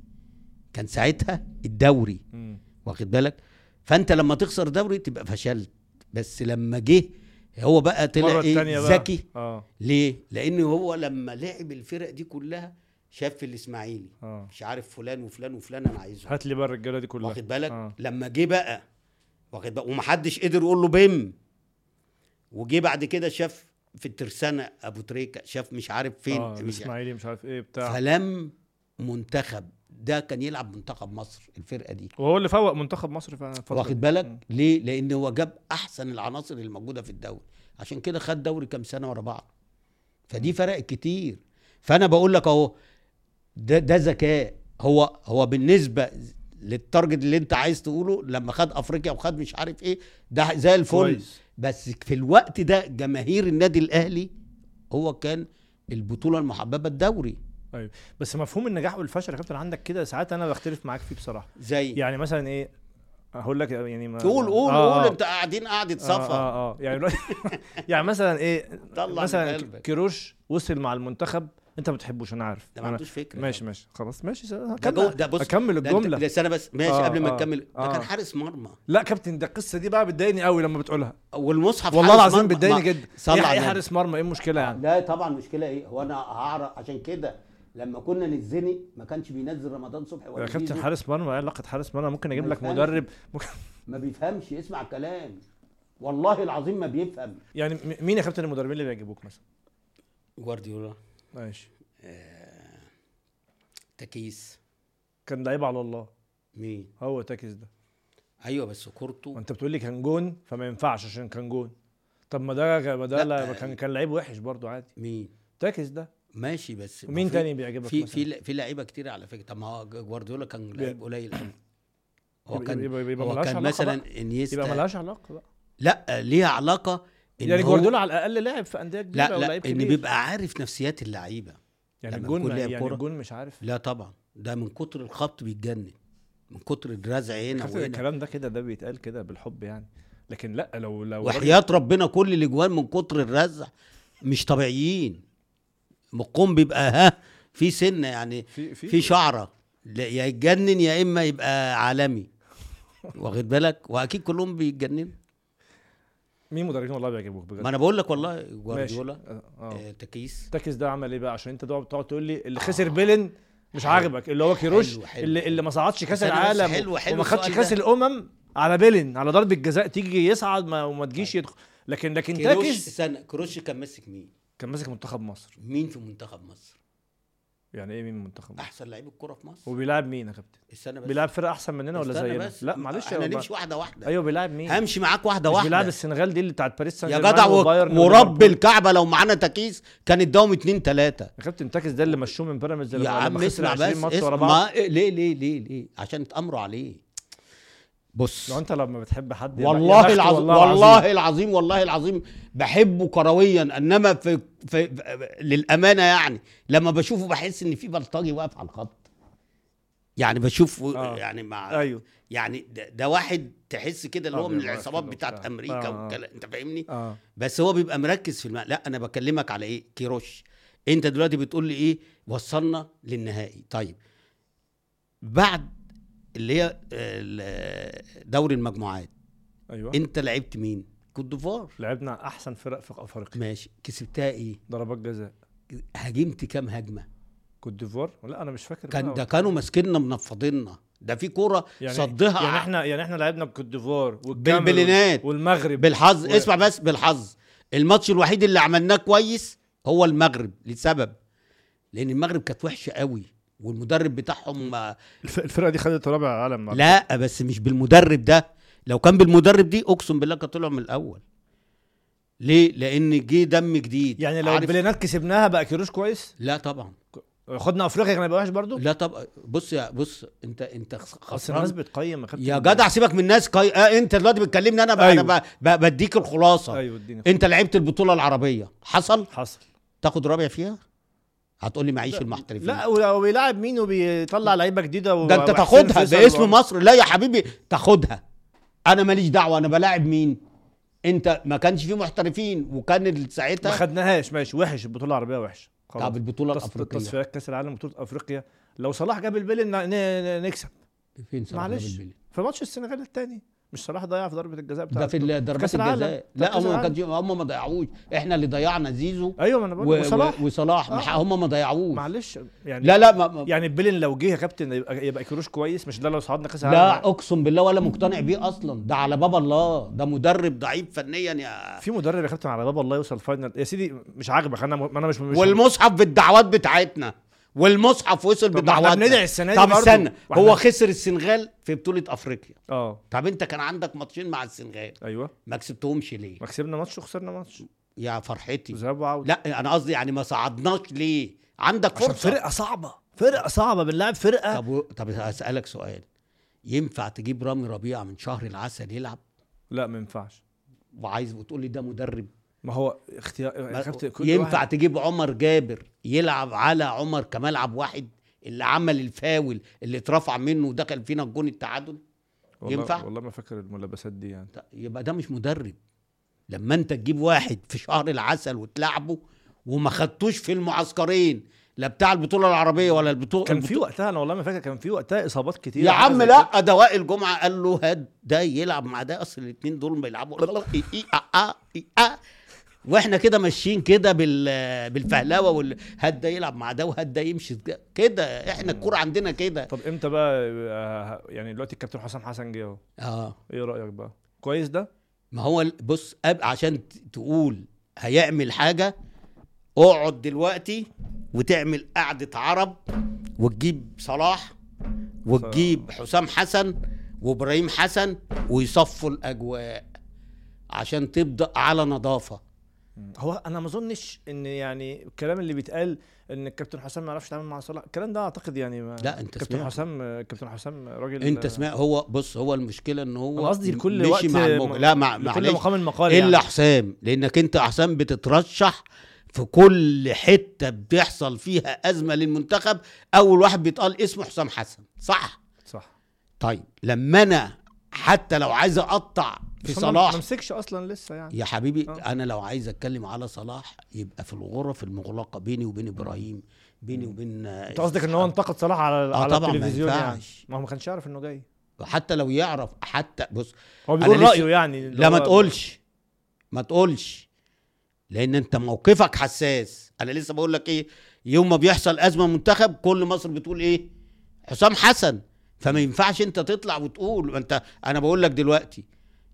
Speaker 2: كان ساعتها الدوري
Speaker 1: مم.
Speaker 2: واخد بالك فانت لما تخسر دوري تبقى فشلت بس لما جه هو بقى طلع
Speaker 1: المره
Speaker 2: ايه
Speaker 1: الثانيه بقى
Speaker 2: ذكي
Speaker 1: اه
Speaker 2: ليه لان هو لما لعب الفرق دي كلها شاف في الاسماعيلي
Speaker 1: اه
Speaker 2: مش عارف فلان وفلان وفلان انا عايزه
Speaker 1: هات لي بقى الرجاله دي كلها
Speaker 2: واخد بالك
Speaker 1: آه.
Speaker 2: آه. لما جه بقى واخد بالك ومحدش قدر يقول له بم وجه بعد كده شاف في الترسانه ابو تريكه شاف مش عارف فين
Speaker 1: آه.
Speaker 2: مش عارف.
Speaker 1: الاسماعيلي مش عارف ايه بتاع
Speaker 2: فلم منتخب ده كان يلعب منتخب مصر الفرقه دي
Speaker 1: وهو اللي فوق منتخب مصر فعلا الفترة دي.
Speaker 2: واخد
Speaker 1: مم.
Speaker 2: بالك ليه لان هو جاب احسن العناصر اللي موجوده في الدوري عشان كده خد دوري كام سنه ورا بعض فدي فرقت كتير فانا بقول لك اهو ده ده ذكاء هو هو بالنسبه للتارجت اللي انت عايز تقوله لما خد افريقيا وخد مش عارف ايه ده زي الفل
Speaker 1: كويس
Speaker 2: بس في الوقت ده جماهير النادي الاهلي هو كان البطوله المحببه الدوري
Speaker 1: ايوه بس مفهوم النجاح والفشل يا كابتن عندك كده ساعات انا بختلف معاك فيه بصراحه
Speaker 2: زي
Speaker 1: يعني مثلا ايه هقول لك يعني ما
Speaker 2: إيه؟ قول قول
Speaker 1: آه،
Speaker 2: قول
Speaker 1: آه.
Speaker 2: انت قاعدين قاعده
Speaker 1: اه
Speaker 2: صفا
Speaker 1: اه, آه. يعني الواحد- [LAUGHS] يعني مثلا ايه
Speaker 2: طلع
Speaker 1: مثلا
Speaker 2: من قلبك.
Speaker 1: كيروش وصل مع المنتخب انت ما بتحبوش انا عارف
Speaker 2: ده ما
Speaker 1: أنا-
Speaker 2: عندوش فكره
Speaker 1: ماشي ماشي خلاص ماشي س-
Speaker 2: ده
Speaker 1: هكمل
Speaker 2: جوه ده بص
Speaker 1: هكمل
Speaker 2: ده انت-
Speaker 1: الجمله
Speaker 2: ده انا بس ماشي
Speaker 1: آه،
Speaker 2: آه قبل ما
Speaker 1: آه،
Speaker 2: تكمل آه
Speaker 1: آه.
Speaker 2: ده كان حارس مرمى
Speaker 1: لا كابتن ده القصه دي بقى بتضايقني قوي لما بتقولها
Speaker 2: والمصحف
Speaker 1: والله
Speaker 2: حارس
Speaker 1: العظيم
Speaker 2: مرمى.
Speaker 1: بتضايقني
Speaker 2: ما-
Speaker 1: جدا
Speaker 2: صلى
Speaker 1: يعني
Speaker 2: على
Speaker 1: ايه
Speaker 2: النبي.
Speaker 1: حارس مرمى ايه المشكله يعني
Speaker 2: لا طبعا مشكله ايه هو انا هعرف عشان كده لما كنا نتزنق ما كانش بينزل رمضان صبحي ولا
Speaker 1: يا كابتن
Speaker 2: زيزو.
Speaker 1: حارس مرمى ايه علاقه حارس مرمى ممكن اجيب
Speaker 2: ما
Speaker 1: لك
Speaker 2: يفهمش.
Speaker 1: مدرب ممكن
Speaker 2: ما بيفهمش اسمع الكلام والله العظيم ما بيفهم
Speaker 1: يعني م- مين يا كابتن المدربين اللي بيعجبوك مثلا
Speaker 2: جوارديولا آه،
Speaker 1: ماشي
Speaker 2: تكيس
Speaker 1: كان لعيب على الله
Speaker 2: مين
Speaker 1: هو تاكس ده
Speaker 2: ايوه بس كورته
Speaker 1: انت بتقول لي كان جون فما ينفعش عشان كان جون طب ما ده ما ده
Speaker 2: لا،
Speaker 1: لا
Speaker 2: آه.
Speaker 1: كان كان لعيب وحش برضو عادي
Speaker 2: مين
Speaker 1: تاكس ده
Speaker 2: ماشي بس
Speaker 1: ومين
Speaker 2: ما في-
Speaker 1: تاني بيعجبك
Speaker 2: في
Speaker 1: مثلا؟
Speaker 2: في في لعيبه كتير على فكره طب ما هو جوارديولا كان لعيب قليل قوي هو
Speaker 1: يبقى-
Speaker 2: كان
Speaker 1: يبقى- يبقى
Speaker 2: هو
Speaker 1: ملهاش
Speaker 2: كان
Speaker 1: علاقة
Speaker 2: مثلا
Speaker 1: يبقى
Speaker 2: انيستا
Speaker 1: ملهاش علاقه بقى
Speaker 2: لا ليها علاقه إن
Speaker 1: يعني
Speaker 2: هو-
Speaker 1: جوارديولا على الاقل لاعب في انديه كبيره
Speaker 2: لا
Speaker 1: ولاعب
Speaker 2: لا ان
Speaker 1: كبير.
Speaker 2: بيبقى عارف نفسيات اللعيبه
Speaker 1: يعني
Speaker 2: لما
Speaker 1: الجون
Speaker 2: بيكون لاعب
Speaker 1: يعني
Speaker 2: كورة.
Speaker 1: الجون مش عارف
Speaker 2: لا طبعا ده من كتر الخبط بيتجنن من كتر الرزع هنا
Speaker 1: كابتن
Speaker 2: وهنا
Speaker 1: الكلام ده كده ده بيتقال كده بالحب يعني لكن لا لو لو
Speaker 2: وحياه ربنا كل الاجوان من كتر الرزع مش طبيعيين مقوم بيبقى ها في سنه يعني
Speaker 1: في في,
Speaker 2: في شعره لا، يا يتجنن يا اما يبقى عالمي واخد بالك واكيد كلهم بيتجننوا
Speaker 1: مين مدربين والله بيعجبوك بجد
Speaker 2: ما انا بقول لك والله
Speaker 1: ماشي.
Speaker 2: جوارديولا
Speaker 1: آه، آه.
Speaker 2: آه، تكيس
Speaker 1: تاكس ده عمل ايه بقى عشان انت تقعد تقعد تقول لي اللي خسر بيلن مش عاجبك اللي هو كيروش
Speaker 2: حلو، حلو.
Speaker 1: اللي اللي ما صعدش كاس
Speaker 2: بس أنا بس
Speaker 1: العالم
Speaker 2: حلو- حلو
Speaker 1: وما خدش
Speaker 2: السؤال
Speaker 1: كاس
Speaker 2: ده.
Speaker 1: الامم على بيلن على ضربه جزاء تيجي يصعد ما وما تجيش
Speaker 2: طيب.
Speaker 1: يدخل لكن لكن
Speaker 2: كروش
Speaker 1: تاكس
Speaker 2: استنى كروش كان ماسك مين؟
Speaker 1: كان ماسك منتخب مصر
Speaker 2: مين في منتخب مصر؟
Speaker 1: يعني ايه مين منتخب مصر
Speaker 2: احسن لعيب الكوره في مصر
Speaker 1: وبيلعب مين يا كابتن
Speaker 2: استنى بس
Speaker 1: بيلعب فرقه احسن مننا ولا
Speaker 2: استنى
Speaker 1: زينا
Speaker 2: بس
Speaker 1: لا معلش يا
Speaker 2: احنا
Speaker 1: والله.
Speaker 2: نمشي واحده واحده
Speaker 1: ايوه بيلعب مين
Speaker 2: همشي معاك واحده
Speaker 1: مش
Speaker 2: واحده
Speaker 1: بيلعب السنغال دي اللي بتاعت باريس سان
Speaker 2: يا
Speaker 1: جيرمان
Speaker 2: جدع و-
Speaker 1: وبايرن
Speaker 2: ورب
Speaker 1: وليفربول.
Speaker 2: الكعبه لو معانا تكيس كان اداهم اتنين تلاته
Speaker 1: يا كابتن تاكس ده اللي مشوه من بيراميدز
Speaker 2: يا
Speaker 1: لما- لما
Speaker 2: عم
Speaker 1: خسر
Speaker 2: اسمع
Speaker 1: 20
Speaker 2: بس
Speaker 1: ماتش
Speaker 2: اسمع
Speaker 1: ورا بعض
Speaker 2: ما- ليه ليه ليه ليه عشان اتامروا عليه بص
Speaker 1: لو انت لما بتحب حد يا بخت
Speaker 2: والله العظيم والله العظيم والله العظيم بحبه كرويا انما في, في, في للامانه يعني لما بشوفه بحس ان في بلطجي واقف على الخط يعني بشوف
Speaker 1: آه.
Speaker 2: يعني مع
Speaker 1: ايوه
Speaker 2: يعني ده, ده واحد تحس كده اللي
Speaker 1: آه،
Speaker 2: هو من
Speaker 1: بيبقى
Speaker 2: العصابات
Speaker 1: كده
Speaker 2: بتاعت
Speaker 1: وبتاع.
Speaker 2: امريكا
Speaker 1: آه، آه.
Speaker 2: والكلام انت فاهمني
Speaker 1: اه
Speaker 2: بس هو بيبقى مركز في الماء لا انا بكلمك على ايه كيروش انت دلوقتي بتقول لي ايه وصلنا للنهائي طيب بعد اللي هي ال- دوري المجموعات
Speaker 1: ايوه
Speaker 2: انت لعبت مين كوت ديفوار
Speaker 1: لعبنا احسن فرق في افريقيا
Speaker 2: ماشي كسبتها ايه
Speaker 1: ضربات جزاء
Speaker 2: هاجمت كام هجمه
Speaker 1: كوت ديفوار لا انا مش فاكر
Speaker 2: كان
Speaker 1: بقى.
Speaker 2: ده كانوا ماسكيننا منفضيننا ده في كوره يعني صدها
Speaker 1: يعني احنا يعني احنا لعبنا بكوت ديفوار والكاميرون
Speaker 2: بالبلينات.
Speaker 1: والمغرب
Speaker 2: بالحظ
Speaker 1: و-
Speaker 2: و... اسمع بس بالحظ الماتش الوحيد اللي عملناه كويس هو المغرب لسبب لان المغرب كانت وحشه قوي والمدرب بتاعهم آه،
Speaker 1: الف- الفرقه دي خدت رابع عالم مع-
Speaker 2: لا بس مش بالمدرب ده لو كان بالمدرب دي اقسم بالله كانت طلعوا من الاول ليه لان جه دم جديد
Speaker 1: يعني لو
Speaker 2: عارف-
Speaker 1: يعني البلينات كسبناها بقى كيروش كويس
Speaker 2: لا طبعا
Speaker 1: خدنا افريقيا كان هيبقى وحش برضه
Speaker 2: لا طب بص يا بص انت انت
Speaker 1: اصل الناس
Speaker 2: خسران
Speaker 1: بتقيم خدت
Speaker 2: يا جدع سيبك من الناس كي... آه انت دلوقتي بتكلمني انا ب...
Speaker 1: أيوة.
Speaker 2: انا ب... ب... بديك الخلاصه أيوة.
Speaker 1: ايوه اديني
Speaker 2: انت لعبت البطوله العربيه حصل
Speaker 1: حصل
Speaker 2: تاخد رابع فيها هتقول لي معيش المحترفين
Speaker 1: لا ولو بيلاعب مين وبيطلع لعيبه جديده و...
Speaker 2: ده انت
Speaker 1: وحسين
Speaker 2: تاخدها
Speaker 1: فيصل
Speaker 2: ده اسم
Speaker 1: و-
Speaker 2: مصر لا يا حبيبي تاخدها انا ماليش دعوه انا بلاعب مين انت ما كانش فيه محترفين وكان ال-
Speaker 1: ما
Speaker 2: ساعتها
Speaker 1: خدناهاش ماشي وحش البطوله العربيه وحش خلاص.
Speaker 2: طب البطوله
Speaker 1: تص-
Speaker 2: الافريقيه
Speaker 1: تصفيات كاس العالم بطوله افريقيا لو صلاح جاب البيل ن- ن- نكسب
Speaker 2: فين صلاح جاب
Speaker 1: معلش
Speaker 2: البلد؟
Speaker 1: في ماتش السنغال الثاني مش صلاح ضيع في ضربه الجزاء بتاعته
Speaker 2: ده في ال- ضربات
Speaker 1: كأس العالم.
Speaker 2: الجزاء
Speaker 1: ده
Speaker 2: لا
Speaker 1: كأس
Speaker 2: هم ما
Speaker 1: العالم.
Speaker 2: كانش هم ما ضيعوش احنا اللي ضيعنا زيزو
Speaker 1: ايوه ما انا بقول
Speaker 2: و-
Speaker 1: لك. وصلاح
Speaker 2: و- وصلاح
Speaker 1: آه.
Speaker 2: آه. هم ما ضيعوش
Speaker 1: معلش يعني
Speaker 2: لا لا ما ما
Speaker 1: يعني البيلين لو جه يا كابتن يبقى يبقى كروش كويس مش ده لو صعدنا كاس
Speaker 2: لا
Speaker 1: العالم
Speaker 2: اقسم بالله ولا مقتنع بيه اصلا ده على باب الله ده مدرب ضعيف فنيا يا
Speaker 1: في مدرب يا كابتن على باب الله يوصل فاينل يا سيدي مش عاجبك انا م- انا مش مش
Speaker 2: والمصحف بالدعوات بتاعتنا والمصحف وصل
Speaker 1: طب ما احنا
Speaker 2: بدعواتنا
Speaker 1: بندعي السنه دي
Speaker 2: طب
Speaker 1: برضه.
Speaker 2: استنى
Speaker 1: وإحنا-
Speaker 2: هو خسر السنغال في بطوله افريقيا
Speaker 1: اه
Speaker 2: طب انت كان عندك ماتشين مع السنغال
Speaker 1: ايوه
Speaker 2: ما كسبتهمش ليه
Speaker 1: ما كسبنا ماتش وخسرنا ماتش
Speaker 2: يا فرحتي
Speaker 1: ذهاب وعوده
Speaker 2: لا انا قصدي يعني ما صعدناش ليه عندك
Speaker 1: عشان
Speaker 2: فرصه
Speaker 1: فرقه صعبه فرقه صعبه بنلعب فرقه
Speaker 2: طب و- طب هسالك سؤال ينفع تجيب رامي ربيعه من شهر العسل يلعب
Speaker 1: لا ما ينفعش
Speaker 2: وعايز وتقول لي ده مدرب
Speaker 1: ما هو اختيار يا كابتن كل
Speaker 2: ينفع
Speaker 1: واحد-
Speaker 2: تجيب عمر جابر يلعب على عمر كملعب واحد اللي عمل الفاول اللي اترفع منه ودخل فينا الجون التعادل
Speaker 1: والله
Speaker 2: ينفع؟
Speaker 1: والله ما فاكر الملابسات دي يعني
Speaker 2: ط- يبقى ده مش مدرب لما انت تجيب واحد في شهر العسل وتلعبه وما خدتوش في المعسكرين لا بتاع البطوله العربيه ولا البطوله
Speaker 1: كان في وقتها انا والله ما فاكر كان في وقتها اصابات كتير
Speaker 2: يا
Speaker 1: حاجة
Speaker 2: عم
Speaker 1: زي
Speaker 2: لا ده وائل جمعه قال له هات ده يلعب مع ده اصل الاثنين دول ما يلعبوا إي إي آ آ إي آ. واحنا كده ماشيين كده بال بالفهلوه وال هات ده يلعب مع ده وهات ده يمشي ده. كده احنا الكوره عندنا كده
Speaker 1: طب امتى بقى آه، يعني دلوقتي الكابتن حسام حسن جه اهو
Speaker 2: اه
Speaker 1: ايه رايك بقى كويس ده
Speaker 2: ما هو ال- بص أب عشان ت- تقول هيعمل حاجه اقعد دلوقتي وتعمل قعده عرب وتجيب صلاح وتجيب حسام حسن وابراهيم حسن ويصفوا الاجواء عشان تبدا على نظافه
Speaker 1: هو انا ما اظنش ان يعني الكلام اللي بيتقال ان الكابتن حسام ما يعرفش يتعامل مع صلاح الكلام ده اعتقد يعني ما
Speaker 2: لا، أنت
Speaker 1: كابتن
Speaker 2: سمعت.
Speaker 1: حسام كابتن حسام راجل
Speaker 2: انت سمع هو بص هو المشكله ان هو
Speaker 1: أنا قصدي لكل
Speaker 2: مشي
Speaker 1: وقت
Speaker 2: مع الموجة. لا مع
Speaker 1: لكل
Speaker 2: معلش
Speaker 1: مقام مقال
Speaker 2: الا
Speaker 1: يعني.
Speaker 2: حسام لانك انت يا حسام بتترشح في كل حته بيحصل فيها ازمه للمنتخب اول واحد بيتقال اسمه حسام حسن صح
Speaker 1: صح
Speaker 2: طيب لما انا حتى لو عايز اقطع في
Speaker 1: بس هم
Speaker 2: صلاح
Speaker 1: ما مسكش اصلا لسه يعني
Speaker 2: يا حبيبي
Speaker 1: آه.
Speaker 2: انا لو عايز اتكلم على صلاح يبقى في الغرف المغلقه بيني وبين ابراهيم بيني وبين
Speaker 1: انت قصدك ان هو انتقد صلاح على
Speaker 2: آه
Speaker 1: على
Speaker 2: طبعاً ما
Speaker 1: التلفزيون يعني
Speaker 2: ينفعش.
Speaker 1: ما هو ما كانش يعرف انه جاي
Speaker 2: حتى لو يعرف حتى بص
Speaker 1: هو
Speaker 2: أنا
Speaker 1: بيقول
Speaker 2: لسه-
Speaker 1: رايه يعني اللي
Speaker 2: لا ما
Speaker 1: هو-
Speaker 2: تقولش ما تقولش لان انت موقفك حساس انا لسه بقول لك ايه يوم ما بيحصل ازمه منتخب كل مصر بتقول ايه حسام حسن فما ينفعش انت تطلع وتقول انت انا بقول لك دلوقتي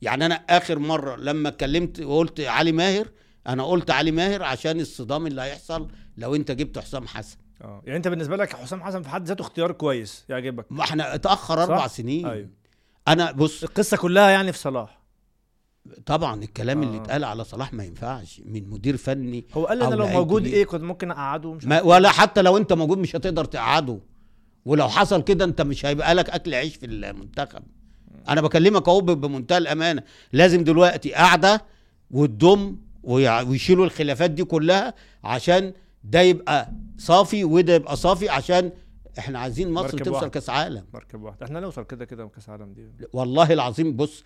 Speaker 2: يعني انا اخر مره لما اتكلمت وقلت علي ماهر انا قلت علي ماهر عشان الصدام اللي هيحصل لو انت جبت حسام حسن
Speaker 1: اه يعني انت بالنسبه لك حسام حسن في حد ذاته اختيار كويس يعجبك
Speaker 2: ما احنا اتاخر اربع
Speaker 1: صح؟
Speaker 2: سنين
Speaker 1: أيوة.
Speaker 2: انا بص
Speaker 1: القصه كلها يعني في صلاح
Speaker 2: طبعا الكلام اللي
Speaker 1: آه.
Speaker 2: اتقال على صلاح ما ينفعش من مدير فني
Speaker 1: هو قال لي
Speaker 2: أو
Speaker 1: انا لو
Speaker 2: لعيب
Speaker 1: موجود
Speaker 2: كبير.
Speaker 1: ايه كنت ممكن اقعده مش
Speaker 2: ما ولا حتى لو انت موجود مش هتقدر تقعده ولو حصل كده انت مش هيبقى لك اكل عيش في المنتخب انا بكلمك اهو ب- بمنتهى الامانه لازم دلوقتي قاعده والدم ويع- ويشيلوا الخلافات دي كلها عشان ده يبقى صافي وده يبقى صافي عشان احنا عايزين مصر
Speaker 1: مركب
Speaker 2: توصل
Speaker 1: واحد.
Speaker 2: كاس عالم
Speaker 1: مركب واحد احنا نوصل كده كده كاس العالم دي
Speaker 2: والله العظيم بص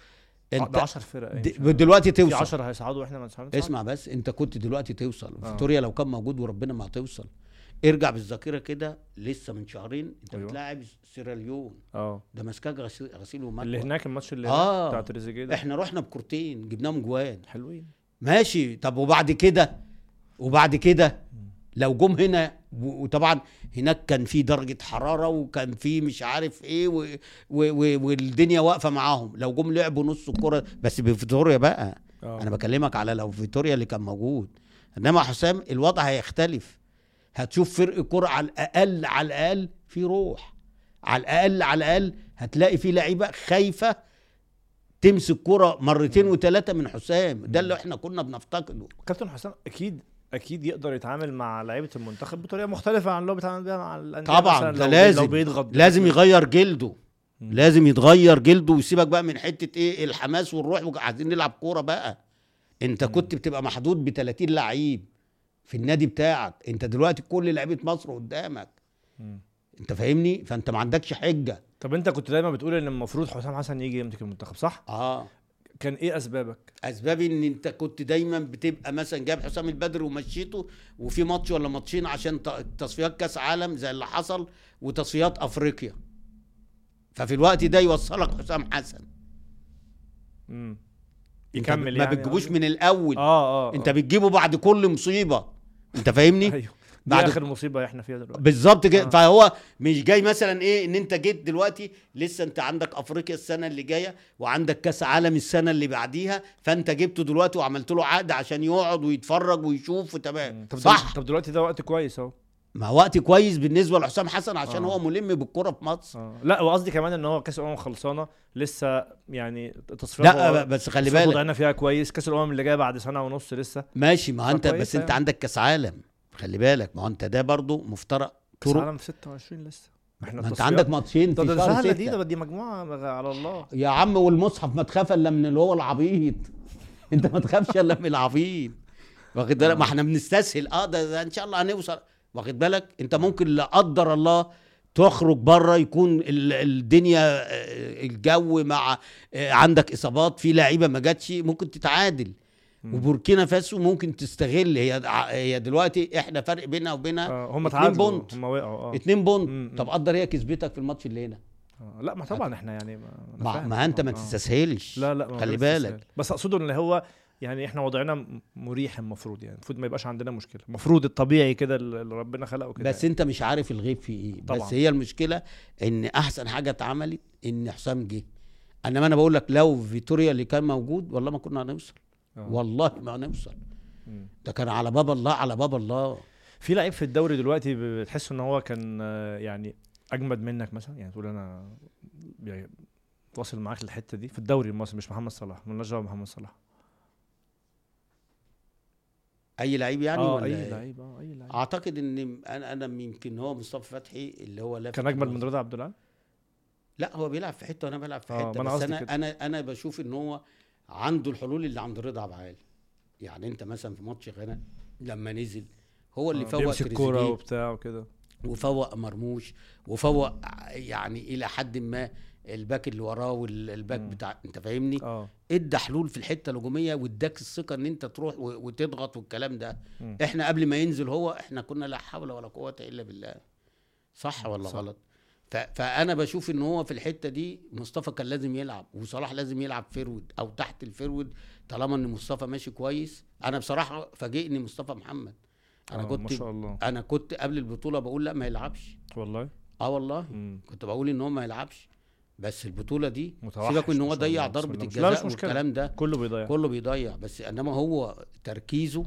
Speaker 1: انت
Speaker 2: انت
Speaker 1: 10 فرق يعني
Speaker 2: د- دلوقتي
Speaker 1: في
Speaker 2: توصل
Speaker 1: 10 هيصعدوا واحنا ما نصعدش
Speaker 2: اسمع بس انت كنت دلوقتي توصل
Speaker 1: آه.
Speaker 2: فيتوريا لو كان موجود وربنا ما هتوصل ارجع بالذاكره كده لسه من شهرين انت
Speaker 1: أيوة.
Speaker 2: أيوة. بتلاعب سيراليون
Speaker 1: اه
Speaker 2: ده ماسكاك غسي- غسيل ومكوى
Speaker 1: اللي هناك الماتش اللي
Speaker 2: آه.
Speaker 1: هناك بتاع تريزيجيه ده
Speaker 2: احنا رحنا بكورتين جبناهم جوان
Speaker 1: حلوين
Speaker 2: ماشي طب وبعد كده وبعد كده لو جم هنا و- وطبعا هناك كان في درجه حراره وكان في مش عارف ايه و و و والدنيا واقفه معاهم لو جم لعبوا نص الكره بس بفيتوريا بقى
Speaker 1: اه
Speaker 2: انا بكلمك على لو فيتوريا اللي كان موجود انما حسام الوضع هيختلف هتشوف فرق كرة على الاقل على الاقل في روح على الاقل على الاقل هتلاقي في لعيبه خايفه تمسك كرة مرتين وثلاثه من حسام ده اللي احنا كنا بنفتقده
Speaker 1: كابتن حسام اكيد اكيد يقدر يتعامل مع لعيبه المنتخب بطريقه مختلفه عن اللي هو بيتعامل بيها مع الانديه
Speaker 2: طبعا
Speaker 1: مثلاً
Speaker 2: ده
Speaker 1: لو-
Speaker 2: لازم
Speaker 1: لو بيضغط
Speaker 2: لازم يغير جلده
Speaker 1: مم.
Speaker 2: لازم يتغير جلده ويسيبك بقى من حته ايه الحماس والروح وك- عايزين نلعب كوره بقى انت كنت بتبقى محدود ب 30 لعيب في النادي بتاعك انت دلوقتي كل لعيبه مصر قدامك
Speaker 1: مم.
Speaker 2: انت فاهمني فانت ما عندكش حجه
Speaker 1: طب انت كنت دايما بتقول ان المفروض حسام حسن يجي يمسك المنتخب صح؟
Speaker 2: اه
Speaker 1: كان ايه اسبابك؟
Speaker 2: اسباب ان انت كنت دايما بتبقى مثلا جايب حسام البدر ومشيته وفي ماتش ولا ماتشين عشان ت- تصفيات كاس عالم زي اللي حصل وتصفيات افريقيا ففي الوقت ده يوصلك حسام حسن
Speaker 1: مم.
Speaker 2: انت
Speaker 1: يكمل
Speaker 2: ما
Speaker 1: يعني
Speaker 2: بتجيبوش
Speaker 1: قصدي؟
Speaker 2: من الاول
Speaker 1: اه اه
Speaker 2: انت بتجيبه بعد كل مصيبه انت فاهمني
Speaker 1: ايوه دي
Speaker 2: بعد-
Speaker 1: اخر مصيبه احنا فيها دلوقتي
Speaker 2: بالظبط كده
Speaker 1: آه.
Speaker 2: فهو مش جاي مثلا ايه ان انت جيت دلوقتي لسه انت عندك افريقيا السنه اللي جايه وعندك كاس عالم السنه اللي بعديها فانت جبته دلوقتي وعملت له عقد عشان يقعد ويتفرج ويشوف
Speaker 1: مم.
Speaker 2: تمام
Speaker 1: طب
Speaker 2: صح
Speaker 1: دل- طب دلوقتي ده وقت كويس اهو
Speaker 2: ما وقت كويس بالنسبه لحسام حسن عشان
Speaker 1: آه.
Speaker 2: هو ملم بالكره في مصر
Speaker 1: اه لا وقصدي كمان ان هو كاس الامم خلصانه لسه يعني تصفيات
Speaker 2: لا بس خلي بالك
Speaker 1: وضعنا فيها كويس كاس الامم اللي جايه بعد سنه ونص لسه
Speaker 2: ماشي ما هو انت
Speaker 1: كويس
Speaker 2: بس انت
Speaker 1: يعني.
Speaker 2: عندك كاس عالم خلي بالك ما هو انت ده برضو مفترق
Speaker 1: كاس
Speaker 2: طرق
Speaker 1: العالم في 26 لسه
Speaker 2: ما انت عندك ماتشين في
Speaker 1: ده ده
Speaker 2: شهر
Speaker 1: سهله
Speaker 2: ستة.
Speaker 1: دي ده دي مجموعه بقى على الله
Speaker 2: يا عم والمصحف ما تخاف الا من اللي هو العبيط [LAUGHS] انت ما تخافش الا من العبيط واخد بالك ما احنا بنستسهل اه ده, ده ان شاء الله هنوصل واخد بالك انت ممكن لا قدر الله تخرج بره يكون ال- الدنيا آه، الجو مع آه، عندك اصابات في لعيبه ما جاتش ممكن تتعادل
Speaker 1: مم.
Speaker 2: وبوركينا فاسو ممكن تستغل هي هي دلوقتي احنا فرق بينها وبينها
Speaker 1: آه هم
Speaker 2: اتنين
Speaker 1: تعادلوا
Speaker 2: بونت.
Speaker 1: هم وقعوا اه
Speaker 2: اتنين
Speaker 1: مم،
Speaker 2: بونت
Speaker 1: مم.
Speaker 2: طب قدر هي كسبتك في الماتش اللي هنا
Speaker 1: آه، لا ما طبعا احنا يعني ما, أنا
Speaker 2: ما,
Speaker 1: فاهم.
Speaker 2: ما انت ما
Speaker 1: آه.
Speaker 2: تستسهلش
Speaker 1: لا لا ما
Speaker 2: آه، خلي
Speaker 1: بنفس السؤال.
Speaker 2: بالك
Speaker 1: بس اقصده ان هو يعني احنا وضعنا م- مريح المفروض يعني المفروض ما يبقاش عندنا مشكله المفروض الطبيعي كده اللي اللي ربنا خلقه كده يعني.
Speaker 2: بس انت مش عارف الغيب فيه ايه طبعا.
Speaker 1: طبعاً.
Speaker 2: بس هي المشكله ان احسن حاجه اتعملت ان حسام جه انما انا بقول لك لو فيتوريا اللي كان موجود والله ما كنا هنوصل
Speaker 1: يعني. آه.
Speaker 2: والله ما هنوصل
Speaker 1: مم.
Speaker 2: ده كان على باب الله على باب الله
Speaker 1: في لعيب في الدوري دلوقتي ب- بتحس ان هو كان آه، يعني اجمد منك مثلا يعني تقول انا يعني واصل معاك الحته دي في الدوري المصري مش محمد صلاح مالناش دعوه بمحمد صلاح
Speaker 2: اي لعيب يعني
Speaker 1: اه
Speaker 2: ولا
Speaker 1: اي
Speaker 2: ايه؟
Speaker 1: لعيب اه اي لعيب
Speaker 2: اعتقد ان انا انا يمكن هو مصطفى فتحي اللي هو لافت
Speaker 1: كان اجمد
Speaker 2: نظري.
Speaker 1: من رضا عبد العال
Speaker 2: لا هو بيلعب في حته وانا بلعب في
Speaker 1: آه، ما
Speaker 2: حته
Speaker 1: أنا
Speaker 2: بس
Speaker 1: قصدي
Speaker 2: انا
Speaker 1: كده.
Speaker 2: انا انا بشوف ان هو عنده الحلول اللي عند رضا عبد العال يعني انت مثلا في ماتش غانا لما نزل هو اللي
Speaker 1: آه،
Speaker 2: فوق
Speaker 1: بيمسك كوره
Speaker 2: تريزيجيه
Speaker 1: وبتاع وكده
Speaker 2: وفوق مرموش وفوق يعني الى حد ما الباك اللي وراه والباك
Speaker 1: مم.
Speaker 2: بتاع انت فاهمني
Speaker 1: اه
Speaker 2: ادى حلول في الحته الهجوميه واداك الثقه ان انت تروح و- وتضغط والكلام ده
Speaker 1: مم.
Speaker 2: احنا قبل ما ينزل هو احنا كنا لا حول ولا قوه الا بالله صح ولا
Speaker 1: صح.
Speaker 2: غلط ف- فانا بشوف ان هو في الحته دي مصطفى كان لازم يلعب وصلاح لازم يلعب فيرود او تحت الفيرود طالما ان مصطفى ماشي كويس انا بصراحه فاجئني مصطفى محمد انا
Speaker 1: آه، ما
Speaker 2: كنت
Speaker 1: شاء الله
Speaker 2: انا كنت قبل البطوله بقول لا ما يلعبش
Speaker 1: والله
Speaker 2: اه والله
Speaker 1: مم.
Speaker 2: كنت بقول ان هو ما يلعبش بس البطوله دي
Speaker 1: متوحش
Speaker 2: سيبك ان
Speaker 1: ما
Speaker 2: هو
Speaker 1: شاء
Speaker 2: ضيع
Speaker 1: الله، بسم
Speaker 2: ضربه
Speaker 1: الله. مش- لا، مش
Speaker 2: الجزاء
Speaker 1: مشكلة.
Speaker 2: والكلام ده
Speaker 1: كله بيضيع
Speaker 2: كله بيضيع بس انما هو تركيزه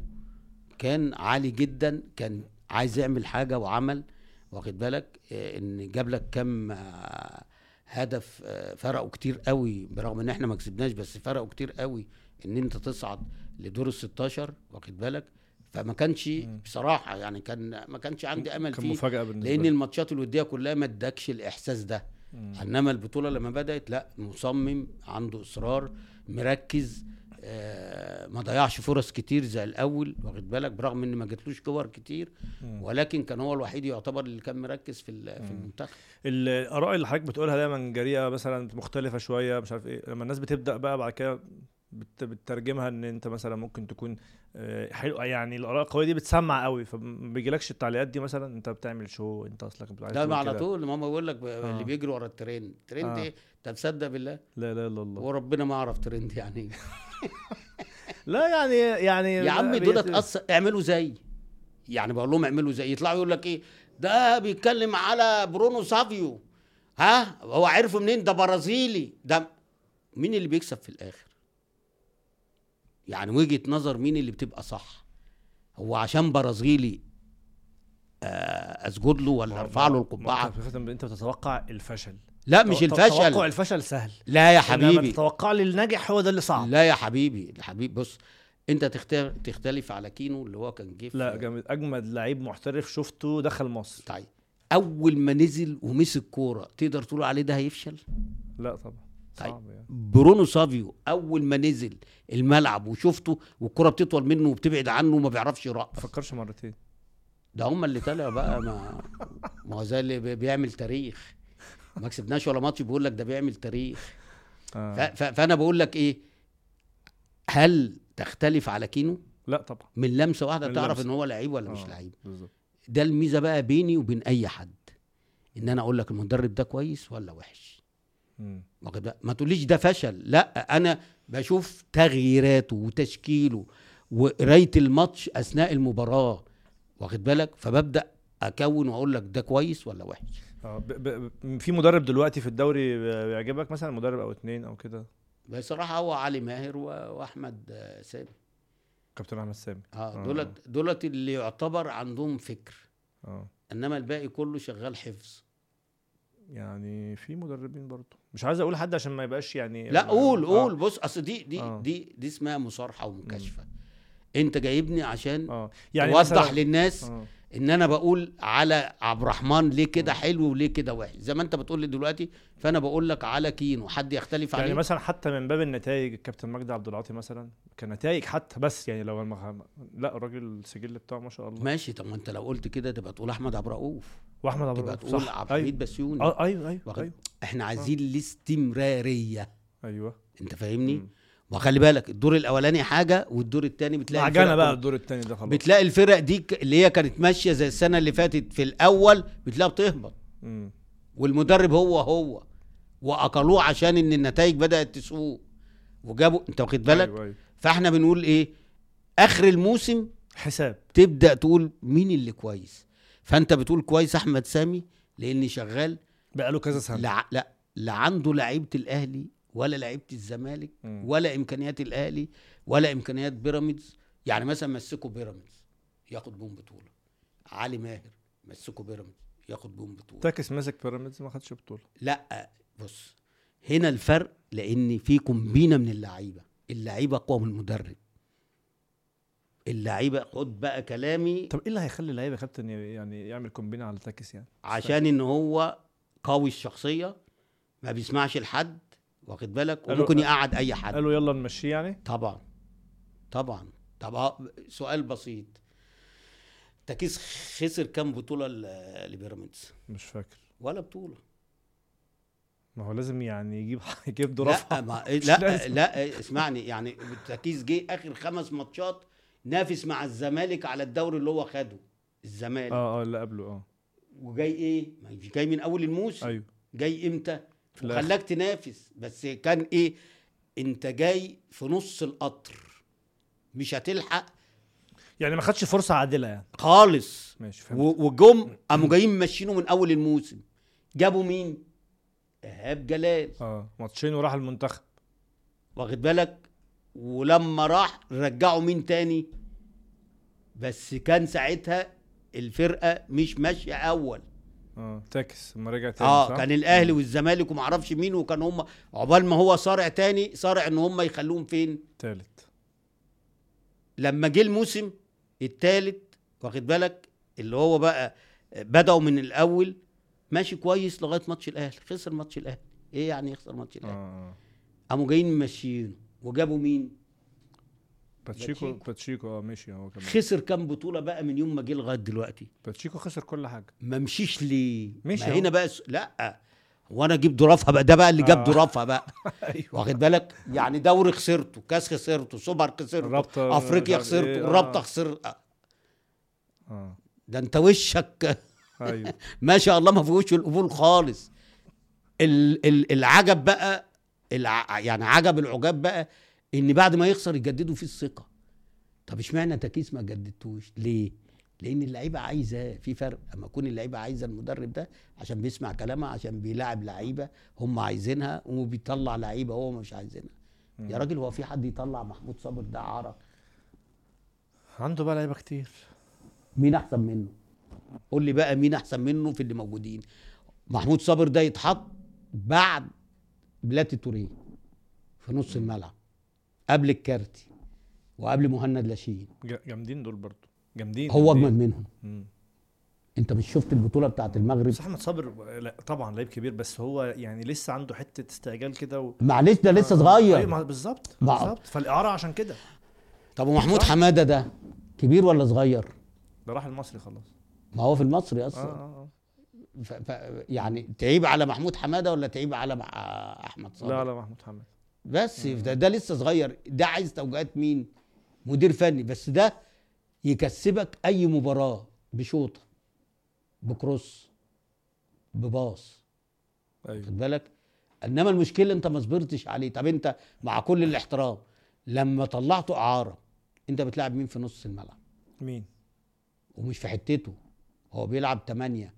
Speaker 2: كان عالي جدا كان عايز يعمل حاجه وعمل واخد بالك آه، ان جاب لك كام آه، هدف آه، فرقوا كتير قوي برغم ان احنا ما كسبناش بس فرقوا كتير قوي ان انت تصعد لدور ال 16 واخد بالك فما كانش
Speaker 1: مم.
Speaker 2: بصراحه يعني كان ما كانش عندي امل
Speaker 1: كان
Speaker 2: فيه
Speaker 1: مفاجاه بالنسبه
Speaker 2: لان
Speaker 1: لي.
Speaker 2: الماتشات الوديه كلها ما ادكش الاحساس ده
Speaker 1: مم.
Speaker 2: انما البطوله لما بدات لا مصمم عنده اصرار مركز آه ما ضيعش فرص كتير زي الاول واخد بالك برغم ان ما جاتلوش كور كتير
Speaker 1: مم.
Speaker 2: ولكن كان هو الوحيد يعتبر اللي كان مركز في ال- في
Speaker 1: مم.
Speaker 2: المنتخب
Speaker 1: الاراء اللي حضرتك بتقولها دايما جريئه مثلا مختلفه شويه مش عارف ايه لما الناس بتبدا بقى بعد كده بت- بتترجمها ان انت مثلا ممكن تكون آه، حلو يعني الاراء القويه دي بتسمع قوي فما بيجيلكش التعليقات دي مثلا انت بتعمل شو انت اصلك بتعمل
Speaker 2: ده على طول ماما بيقول لك ب- اللي
Speaker 1: آه.
Speaker 2: بيجري ورا الترند ترند
Speaker 1: آه.
Speaker 2: ايه طب تصدق بالله
Speaker 1: لا لا لا الله
Speaker 2: وربنا ما اعرف ترند يعني إيه.
Speaker 1: لا يعني يعني
Speaker 2: يا عم
Speaker 1: بي-
Speaker 2: دول اتأثر اعملوا زي يعني بقول لهم اعملوا زي يطلعوا يقول لك ايه ده بيتكلم على برونو سافيو ها هو عرفه منين ده برازيلي ده مين اللي بيكسب في الاخر يعني وجهة نظر مين اللي بتبقى صح هو عشان برازيلي آه، اسجد له ولا ارفع له
Speaker 1: ما
Speaker 2: القبعه
Speaker 1: انت في الختم انت بتتوقع الفشل
Speaker 2: لا مش
Speaker 1: تو- توقع
Speaker 2: الفشل
Speaker 1: الفشل سهل
Speaker 2: لا يا
Speaker 1: إنما
Speaker 2: حبيبي
Speaker 1: تتوقع لي الناجح هو ده اللي صعب
Speaker 2: لا يا حبيبي الحبيب بص انت تختار تختلف على كينو اللي هو كان جه في-
Speaker 1: لا جامد اجمد لعيب محترف شفته دخل مصر
Speaker 2: طيب اول ما نزل ومسك كوره تقدر تقول عليه ده هيفشل
Speaker 1: لا طبعا
Speaker 2: طيب.
Speaker 1: صعب يعني
Speaker 2: برونو سافيو اول ما نزل الملعب وشفته والكره بتطول منه وبتبعد عنه وما بيعرفش
Speaker 1: ما
Speaker 2: يرقص
Speaker 1: فكرش مرتين
Speaker 2: ده هم اللي طلع بقى ما ما هو زي اللي بي- بيعمل تاريخ ما كسبناش ولا ماتش بيقول لك ده بيعمل تاريخ ف...
Speaker 1: آه.
Speaker 2: ف... فانا بقول لك ايه هل تختلف على كينو
Speaker 1: لا طبعا
Speaker 2: من لمسه واحده
Speaker 1: من
Speaker 2: تعرف
Speaker 1: لمسة.
Speaker 2: ان هو لعيب ولا مش
Speaker 1: آه.
Speaker 2: لعيب
Speaker 1: بالظبط
Speaker 2: ده الميزه بقى بيني وبين اي حد ان انا اقول لك المدرب ده كويس ولا وحش
Speaker 1: مم.
Speaker 2: واخد بالك؟ ما تقوليش ده فشل لا انا بشوف تغييراته وتشكيله وقرايه الماتش اثناء المباراه واخد بالك فببدا اكون واقول لك ده كويس ولا وحش
Speaker 1: اه ب... ب... ب- في مدرب دلوقتي في الدوري ب- بيعجبك مثلا مدرب او اتنين او كده
Speaker 2: بصراحه هو علي ماهر و- واحمد آه، سامي
Speaker 1: كابتن احمد سامي
Speaker 2: اه
Speaker 1: آه.
Speaker 2: دولت دولت اللي يعتبر عندهم فكر
Speaker 1: اه
Speaker 2: انما الباقي كله شغال حفظ
Speaker 1: يعني في مدربين برضه مش عايز اقول حد عشان ما يبقاش يعني
Speaker 2: لا قول
Speaker 1: آه.
Speaker 2: قول بص اصل دي دي
Speaker 1: آه.
Speaker 2: دي دي اسمها مصارحه ومكاشفه انت جايبني عشان
Speaker 1: اه
Speaker 2: يعني
Speaker 1: يعني
Speaker 2: توضح
Speaker 1: مثلا-
Speaker 2: للناس
Speaker 1: آه.
Speaker 2: ان انا بقول على عبد الرحمن ليه كده حلو وليه كده وحش زي ما انت بتقول لي دلوقتي فانا بقول لك على كينو حد يختلف
Speaker 1: يعني
Speaker 2: عليه
Speaker 1: مثلا حتى من باب النتائج الكابتن مجدي عبد العاطي مثلا كنتائج حتى بس يعني لو المخ... لا الراجل السجل بتاعه ما شاء الله
Speaker 2: ماشي طب ما انت لو قلت كده تبقى تقول احمد عبد الرؤوف
Speaker 1: واحمد عبد
Speaker 2: تبقى
Speaker 1: العاطي
Speaker 2: تقول
Speaker 1: صح
Speaker 2: عبد الحميد
Speaker 1: ايوه
Speaker 2: بسيوني
Speaker 1: آه، ايوه ايوه
Speaker 2: واخد-
Speaker 1: ايوه
Speaker 2: احنا عايزين الاستمراريه
Speaker 1: ايوه
Speaker 2: انت فاهمني
Speaker 1: مم.
Speaker 2: وخلي بالك الدور الاولاني حاجه والدور الثاني بتلاقي
Speaker 1: معجنه
Speaker 2: الفرق
Speaker 1: بقى
Speaker 2: كلها-
Speaker 1: الدور الثاني ده خلاص
Speaker 2: بتلاقي الفرق دي ك- اللي هي كانت ماشيه زي السنه اللي فاتت في الاول بتلاقيها بتهبط
Speaker 1: مم.
Speaker 2: والمدرب هو هو واقلوه عشان ان النتائج بدات تسوق وجابوا انت واخد بالك
Speaker 1: أيوة أيوة.
Speaker 2: فاحنا بنقول ايه اخر الموسم
Speaker 1: حساب
Speaker 2: تبدا تقول مين اللي كويس فانت بتقول كويس احمد سامي لان شغال
Speaker 1: بقى له كذا سنه
Speaker 2: لا لا لا عنده لعيبه الاهلي ولا لعيبه الزمالك
Speaker 1: مم.
Speaker 2: ولا امكانيات الاهلي ولا امكانيات بيراميدز يعني مثلا مسكوا بيراميدز ياخد بهم بطوله علي ماهر مسكوا بيراميدز ياخد بهم بطوله
Speaker 1: تاكس مسك بيراميدز ما خدش بطوله
Speaker 2: لا بص هنا الفرق لان في كومبينه من اللعيبه اللعيبه اقوى من المدرب اللعيبه خد بقى كلامي
Speaker 1: طب ايه اللي هيخلي اللعيب يا كابتن ي- يعني يعمل كومبينه على تاكس يعني
Speaker 2: عشان ان هو قوي الشخصيه ما بيسمعش لحد واخد بالك
Speaker 1: قالوا-
Speaker 2: وممكن يقعد اي حد
Speaker 1: قالوا يلا نمشيه يعني
Speaker 2: طبعا طبعا طب آه، سؤال بسيط تكيس خسر كام بطوله ل- لبيراميدز
Speaker 1: مش فاكر
Speaker 2: ولا بطوله
Speaker 1: ما هو لازم يعني يجيب [LAUGHS] يجيب
Speaker 2: لا
Speaker 1: ظرافه [LAUGHS]
Speaker 2: ما إيه،
Speaker 1: مش
Speaker 2: لا
Speaker 1: لازم.
Speaker 2: لا اسمعني يعني التركيز جه اخر خمس ماتشات نافس مع الزمالك على الدوري اللي هو خده الزمالك آه.
Speaker 1: اه اه اللي قبله اه
Speaker 2: وجاي ايه؟ ما مش جاي من اول الموسم
Speaker 1: ايوه
Speaker 2: جاي امتى؟
Speaker 1: في الآخر.
Speaker 2: وخلاك تنافس بس كان ايه؟ انت جاي في نص القطر مش هتلحق
Speaker 1: يعني ما خدش فرصه عادله يعني
Speaker 2: خالص
Speaker 1: ماشي فهمت
Speaker 2: و- وجم قاموا جايين ماشيينه من اول الموسم جابوا مين؟ ايهاب جلال
Speaker 1: اه ماتشين وراح المنتخب
Speaker 2: واخد بالك ولما راح رجعوا مين تاني بس كان ساعتها الفرقه مش ماشيه اول
Speaker 1: اه تاكس لما رجع تاني
Speaker 2: اه
Speaker 1: صح؟
Speaker 2: كان الاهلي والزمالك ومعرفش مين وكان هم عقبال ما هو صارع تاني صارع ان هم يخلوهم فين
Speaker 1: تالت
Speaker 2: لما جه الموسم التالت واخد بالك اللي هو بقى بداوا من الاول ماشي كويس لغايه ماتش الاهلي خسر ماتش الاهلي ايه يعني يخسر ماتش
Speaker 1: اه
Speaker 2: الاهلي
Speaker 1: اه
Speaker 2: قاموا جايين ماشيينه وجابوا مين
Speaker 1: باتشيكو
Speaker 2: باتشيكو.
Speaker 1: باتشيكو اه مشي هو كمان
Speaker 2: خسر كام بطوله بقى من يوم ما جه لغايه دلوقتي
Speaker 1: باتشيكو خسر كل حاجه
Speaker 2: ما مشيش ليه
Speaker 1: مشي
Speaker 2: ما
Speaker 1: أهو.
Speaker 2: هنا بقى س... لا وانا اجيب ضرافها بقى ده بقى اللي جاب
Speaker 1: آه.
Speaker 2: ضرافها
Speaker 1: [LAUGHS]
Speaker 2: بقى
Speaker 1: ايوه
Speaker 2: واخد بالك يعني دوري خسرته كاس خسرته سوبر خسرته
Speaker 1: الرابطة
Speaker 2: افريقيا
Speaker 1: مش عارف إيه،
Speaker 2: خسرته
Speaker 1: آه.
Speaker 2: الرابطه خسر آه،
Speaker 1: [LAUGHS] اه
Speaker 2: ده انت وشك
Speaker 1: ايوه
Speaker 2: ما شاء الله ما فيهوش القبول خالص ال... ال... العجب بقى الع... يعني عجب العجاب بقى ان بعد ما يخسر يجددوا فيه الثقه طب اشمعنى تكيس ما جددتوش ليه لان اللعيبه عايزه في فرق اما اكون اللعيبه عايزه المدرب ده عشان بيسمع كلامها عشان بيلاعب لعيبه هم عايزينها وبيطلع لعيبه هو مش عايزينها يا راجل هو في حد يطلع محمود صابر ده عرق
Speaker 1: عنده بقى لعيبه كتير
Speaker 2: مين احسن منه قول لي بقى مين احسن منه في اللي موجودين محمود صابر ده يتحط بعد بلاتي توريه في نص الملعب قبل الكارتي وقبل مهند لاشين
Speaker 1: ج- جامدين دول برضه جامدين
Speaker 2: هو
Speaker 1: جامدين.
Speaker 2: اجمد منهم
Speaker 1: مم.
Speaker 2: انت مش شفت البطوله بتاعت المغرب
Speaker 1: بس احمد صابر لا طبعا لعيب كبير بس هو يعني لسه عنده حته استعجال كده و...
Speaker 2: معلش ده لسه صغير
Speaker 1: أيوة، ما- بالظبط
Speaker 2: ما-
Speaker 1: بالظبط فالاعاره عشان كده
Speaker 2: طب ومحمود
Speaker 1: صح.
Speaker 2: حماده ده كبير ولا صغير
Speaker 1: ده راح المصري خلاص
Speaker 2: ما هو في المصري
Speaker 1: آه،
Speaker 2: اصلا
Speaker 1: آه،
Speaker 2: ف... ف... يعني تعيب على محمود حماده ولا تعيب على مع احمد
Speaker 1: آه.
Speaker 2: صادق
Speaker 1: لا لا محمود حمد
Speaker 2: بس ده, ده لسه صغير ده عايز توجيهات مين مدير فني بس ده يكسبك اي مباراه بشوطه بكروس بباص
Speaker 1: ايوه
Speaker 2: خد بالك انما المشكله انت ما صبرتش عليه طب انت مع كل الاحترام لما طلعته اعاره انت بتلعب مين في نص الملعب
Speaker 1: مين
Speaker 2: ومش في حتته هو بيلعب 8